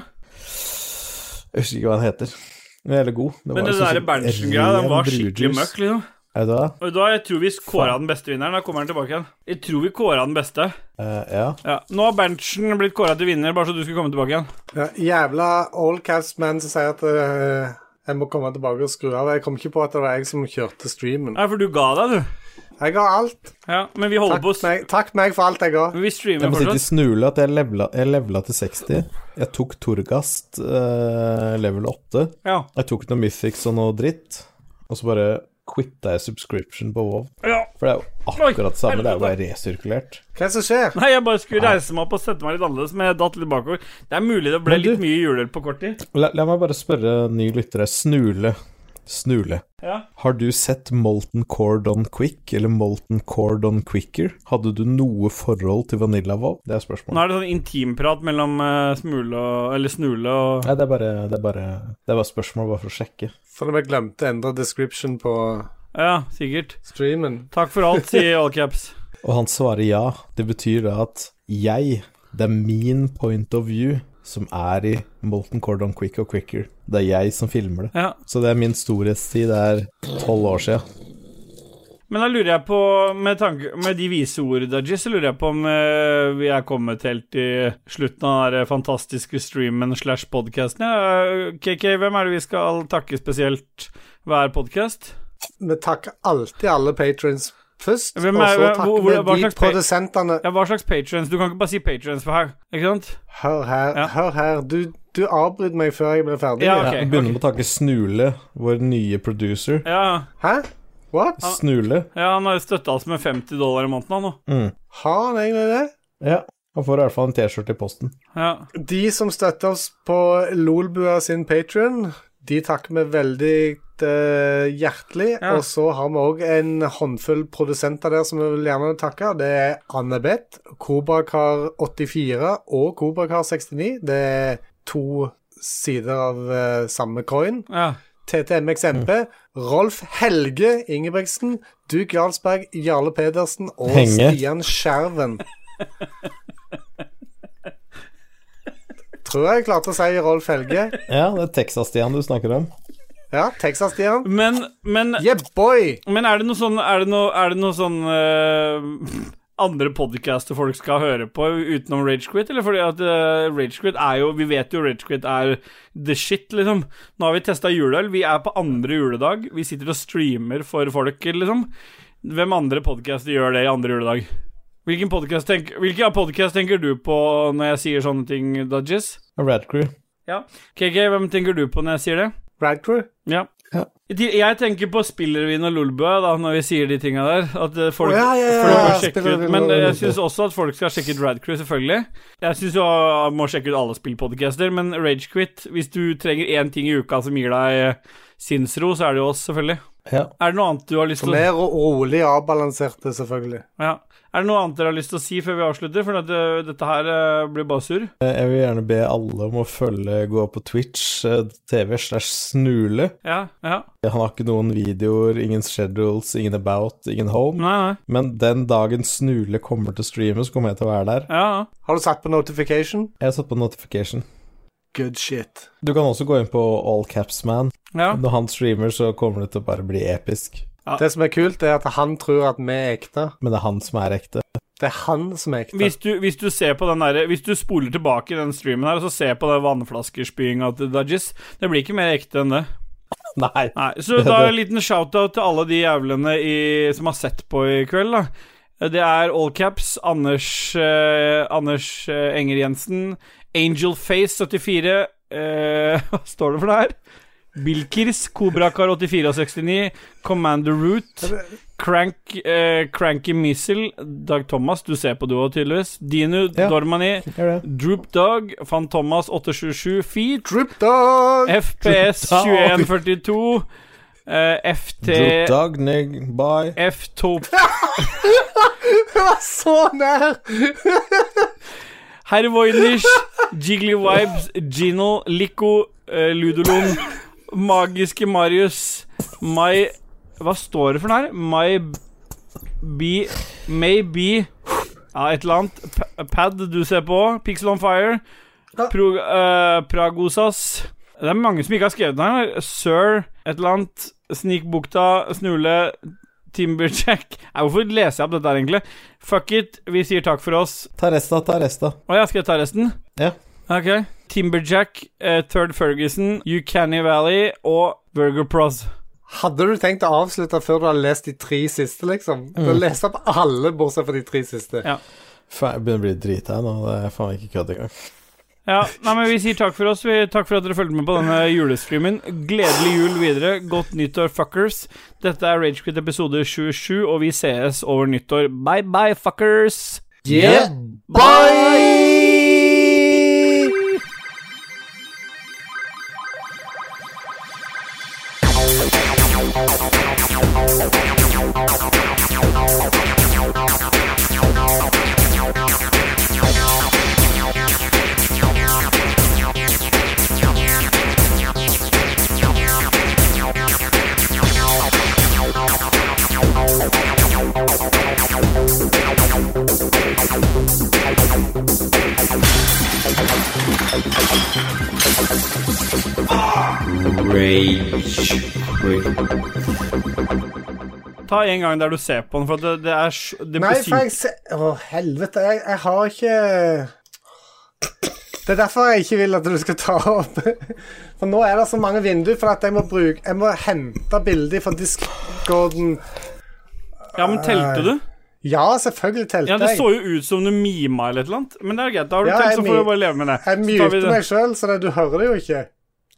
Jeg husker ikke hva den heter. Den er veldig god. Det
Men det
sånn
der
som
Berntsen-greia, den
ren
var skikkelig
brudjuice.
møkk, liksom.
Er det det?
Og da, jeg tror vi kåra den beste vinneren. Da kommer han tilbake igjen. Jeg tror vi kåra den beste.
Eh, ja.
Ja. Nå har Berntsen blitt kåra til vinner, bare så du skulle komme tilbake igjen.
Ja, jævla allcaps-menn som sier at eh, jeg må komme tilbake og skru av. Jeg kom ikke på at det var jeg som kjørte streamen.
Nei, for du ga deg, du.
Jeg ga alt.
Ja, men vi holder
Takk
på å
meg, takk meg for alt jeg ga.
Men Vi streamer
Jeg må si til
fortsatt.
Snule at jeg levela, jeg levela til 60. Jeg tok Torgast eh, level 8.
Ja.
Jeg tok noe Mythics og noe dritt. Og så bare quitta jeg subscription på WoW.
ja.
For det er jo akkurat det samme, det er jo
helvete.
bare resirkulert.
Hva er det som skjer?
Nei, jeg bare skulle reise meg opp og sette meg litt annerledes, men jeg datt litt bakover. Det er mulig det ble
Men du-
litt mye juleøl på kort tid.
La, la meg bare spørre nye lyttere. Snule. Snule.
Ja.
Har du sett Molten Cordon Quick eller Molten Cordon Quicker? Hadde du noe forhold til Vanilla Wow? Det er
Nå
spørsmålet.
er det sånn intimprat mellom eh, Smule og Eller Snule og
Nei, det er bare, det er bare, det er bare spørsmål bare for å sjekke.
For vi glemte å endre description på
Ja, sikkert.
streamen.
Takk for alt, sier Allcaps.
Og han svarer ja. Det betyr da at jeg, det er min point of view, som er i Molten Cordon Quick og Quicker. Det er jeg som filmer det.
Ja.
Så det er min storhetstid. Det er tolv år sia.
Men da lurer jeg på, med, tanke, med de vise ord, Dajis, så lurer jeg på om eh, vi er kommet helt til slutten av den der fantastiske streamen slash podkasten. Ja, KK, hvem er det vi skal takke spesielt hver podkast?
Vi takker alltid alle patrons først,
Hvem
og
er-
så
hvem- hvor-
takker
hvor- hva
vi de
slags pa-
produsentene
Ja, hva slags patrons? Du kan ikke bare si patrons for her, ikke sant?
Hør her,
Ja.
hør her. Du, du avbryter meg før jeg blir ferdig.
Ja,
Ja,
ok,
vi begynner
ok.
med å takke Snule, vår nye producer.
Ja,
Hæ? What?
Snule.
ja han har støtta oss med 50 dollar i måneden, han nå.
Har han egentlig det?
Ja. Han får i hvert fall en T-skjorte i posten.
Ja.
De som støtter oss på Lolbua sin Patron, de takker vi veldig eh, hjertelig.
Ja.
Og så har vi òg en håndfull produsenter der som vi vil gjerne takke. Det er Anne-Beth, Kobrakar84 og Kobrakar69. Det er to sider av eh, samme coin.
ja.
TTMXMP, Rolf Helge Ingebrigtsen, Duke Jarlsberg, Jarle Pedersen og
Henge.
Stian Skjerven. Tror jeg klarte å si Rolf Helge.
Ja, det er Texas-Stian du snakker om.
Ja, Texas-Stian.
Men, men,
Yeah, boy!
men er det noe sånn Er det noe, er det noe sånn eh, andre podcaster folk skal høre på utenom Ragequit, eller fordi at uh, Ragequit er jo Vi vet jo Ragequit er the shit, liksom. Nå har vi testa juleøl, vi er på andre juledag, vi sitter og streamer for folk, liksom. Hvem andre podcaster gjør det i andre juledag? Hvilken podcast, tenk, hvilken podcast tenker du på når jeg sier sånne ting, Dodges?
Radcrew.
Ja. KK, hvem tenker du på når jeg sier det?
Radcrew?
Ja.
Ja.
I til- Jeg tenker på Spillervin og Lolbø da, når vi sier de tinga der. At eh, folk,
Å, ja, ja, ja,
folk må
ja,
sjekke
Spillervin
ut
og
Men eh, jeg
Lolbø.
syns også at folk skal sjekke ut Radcrew, selvfølgelig. Jeg syns jo man må sjekke ut alle spillpodcaster, men Ragequit Hvis du trenger én ting i uka som gir deg eh, sinnsro, så er det jo oss, selvfølgelig.
Ja.
Er det noe annet du har lyst til å
Mer og rolig avbalanserte, selvfølgelig.
ja. Er det noe annet dere har lyst til å si før vi avslutter? For dette, dette her eh, blir bare surr.
Eh, Jeg vil gjerne be alle om å følge Gå på Twitch, eh, TV slash Snule.
Ja, ja.
Han har ikke noen videoer, ingen schedules, ingen about, ingen home.
Nei, nei.
Men den dagen Snule kommer til å streame, så kommer jeg til å være der.
Ja, ja.
Har du satt på notification?
Jeg har satt på notification.
Good shit.
Du kan også gå inn på All Caps Man.
ja.
Når han streamer, så kommer det til å bare bli episk.
Det som er kult, er at han tror at vi er ekte.
Men det er han som er ekte.
Det er han som er ekte.
Hvis du, hvis du ser på den der, Hvis du spoler tilbake i den streamen her, og så ser på den vannflaskespyinga til Dudgies Det blir ikke mer ekte enn det.
Nei.
Nei, Så da en liten shout-out til alle de jævlene i, som har sett på i kveld, da. Det er Allcaps, Anders, eh, Anders eh, Enger Jensen, Angelface74 eh, Hva står det for det her? Bilkirs, Kobrakar84 og 69, Commander Root, Crank, eh, Cranky Missile, Dag Thomas, du ser på du òg, tydeligvis. Dinu,
Ja.
Dormani,
Gjør det.
Droop Dog, Fan Thomas 827 Feet,
Drip dog!
FPS
Droop Dog.
2142, eh,
Droop
FT
dog, nigg, bye.
F2
Det var så nær!
Herr Voynich, Jiggly Vibes, Gino, Lico, eh, Ludolon, Magiske Marius, My Hva står det for noe her? My B... Maybe Ja, et eller annet. Pa- Pad du ser på. Pixel on Fire. Pro, eh, Pragosas. Det er mange som ikke har skrevet den her. Sir, et eller annet. Snikbukta, Snule, Timberjack Nei, Hvorfor leser jeg opp dette her, egentlig? Fuck it, vi sier takk for oss.
Ta resta, ta resta.
Å ja, skal jeg ta resten?
Ja.
Ok. Timberjack, eh, Third Ferguson, Uncanny Valley og Burger Pros.
Hadde du tenkt å avslutte før du har lest de tre siste, liksom? Du har lest opp alle bortsett fra de tre siste.
Faen, jeg begynner å bli drita her nå. Det er faen ikke kødd engang.
Ja, nei, men vi sier takk for oss. Vi, takk for at dere fulgte med på denne julestreamen. Gledelig jul videre. Godt nyttår, fuckers. Dette er Ragequit episode 27, og vi sees over nyttår. Bye bye, fuckers.
Yeah, bye!
Ta en gang der du ser på den, for at det, det er sj- det
Nei,
blir
for jeg
sykt.
se... Å, helvete. Jeg, jeg har ikke Det er derfor jeg ikke vil at du skal ta opp For nå er det så mange vinduer, for at jeg må bruke Jeg må hente bilder fra discorden.
Ja, men
eh,
telte du?
Ja, selvfølgelig telte
Ja, det
jeg.
så jo ut som du mima eller et eller annet, men det er greit. Da har du
Ja,
telt,
jeg
så får
mi-
du bare leve med det.
Jeg
Så tar vi
muter
det.
meg sjøl, så det, du hører det jo ikke.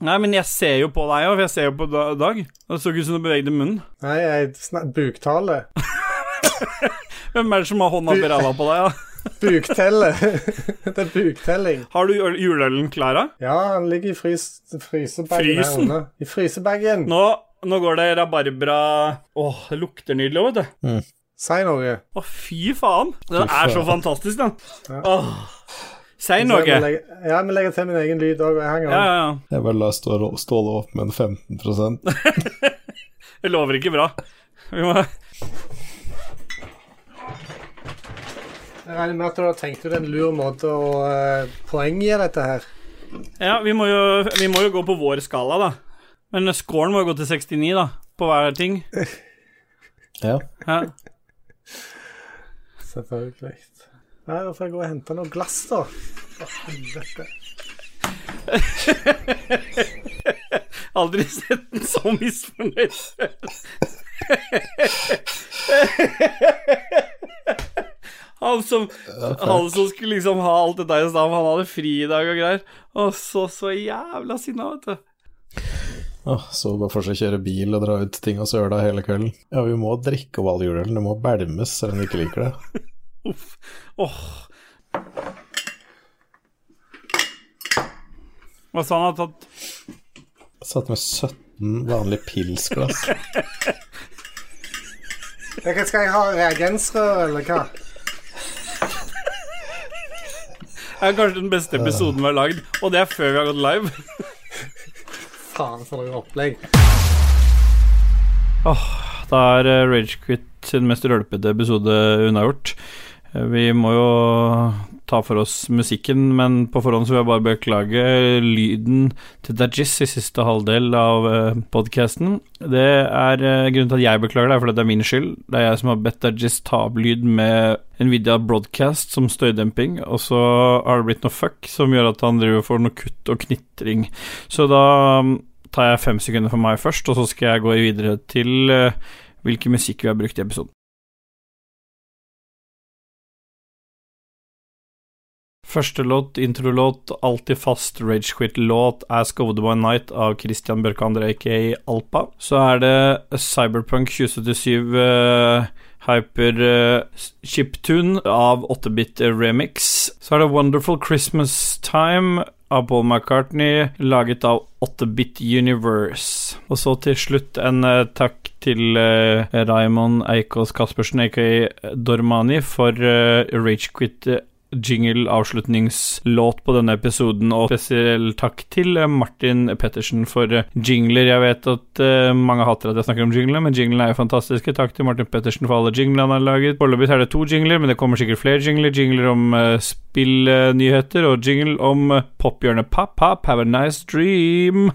Nei, men jeg ser jo på deg òg, for jeg ser jo på da- Dag. Det så ikke ut som du bevegde munnen.
Nei, jeg snak- buktale.
Hvem er det som har hånda oppi ræva på deg? da?
Buktelle. det er buktelling.
Har du øl- juleølen klar? da?
Ja, han ligger i frys frysebagen her
Frysen?
under. I frysebagen.
Nå, nå går det rabarbra Åh, det lukter nydelig òg, vet du.
Si noe.
Å, fy faen. Det er så fantastisk, den. Åh. Si
Så jeg må
noe.
legge- Ja, vi legger til min egen lyd òg, og jeg henger
Ja,
om.
ja, ja.
Jeg bare la Ståle Ståle opp med en 15
Det lover ikke bra. Vi må
Jeg regner med at du har tenkt ut en lur måte å uh, poenggi dette her.
Ja, vi må, jo, vi må jo gå på vår skala, da. Men scoren må jo gå til 69, da. På hver ting.
Ja.
Ja.
Selvfølgelig. Nei, da får jeg gå og hente noe glass, da. Å, helvete.
Aldri sett den så misfornøyd før. Han som, han som skulle liksom ha alt dette i stad, men han hadde fri i dag og greier. Og så så jævla sinna, vet du.
Åh, så bare for seg å kjøre bil og dra ut ting og søla hele kvelden. Ja, vi må drikke opp all juleølen, det må bælmes selv om du ikke liker det.
Uff. Åh. Hva sa han hadde tatt?
Jeg satt med 17 vanlige pilsglass.
Jeg, kan- skal jeg ha reagensrør, eller hva?
Det er kanskje den beste episoden vi har lagd, og det er før vi har gått live.
Faen, for noe opplegg.
Da er eh, Ragequit sin mest rølpete episode unnagjort. Eh, Vi må jo ta for oss musikken, men på forhånd så vil jeg bare beklage lyden til Dajis i siste halvdel av podkasten. Det er eh, grunnen til at jeg beklager det, er fordi det er min skyld. Det er jeg som har bedt Dajis ta opp lyd med Nvidia Broadcast som støydemping, og så har det blitt noe fuck som gjør at han driver og får noe kutt og knitring. Så da mm, tar jeg fem sekunder for meg først, og så skal jeg gå videre til eh, hvilken musikk vi har brukt i episoden. Første låt, introlåt, alltid fast Ragequit-låt, Ask Over The One Night av Christian Børke André aka Alpa. Så er det Cyberpunk 2077 eh, Hyper eh, Chiptune av 8-bit remix. Så er det Wonderful Christmas Time av Paul McCartney, laget av 8-bit Universe. Og så til slutt en eh, takk til uh, Raymond Eikås Caspersen, aka Dormani, for uh, Ragequit jingle-avslutningslåt på denne episoden, og spesiell takk til eh, Martin Pettersen for eh, jingler. Jeg vet at eh, mange hater at jeg snakker om jinglene, men jinglene er jo fantastiske. Takk til Martin Pettersen for alle jinglene han har laget. Foreløpig så er det to jingler, men det kommer sikkert flere jingler. Jingler om eh, spillnyheter, og jingle om eh, pophjørnet Pop Pop, have a nice dream.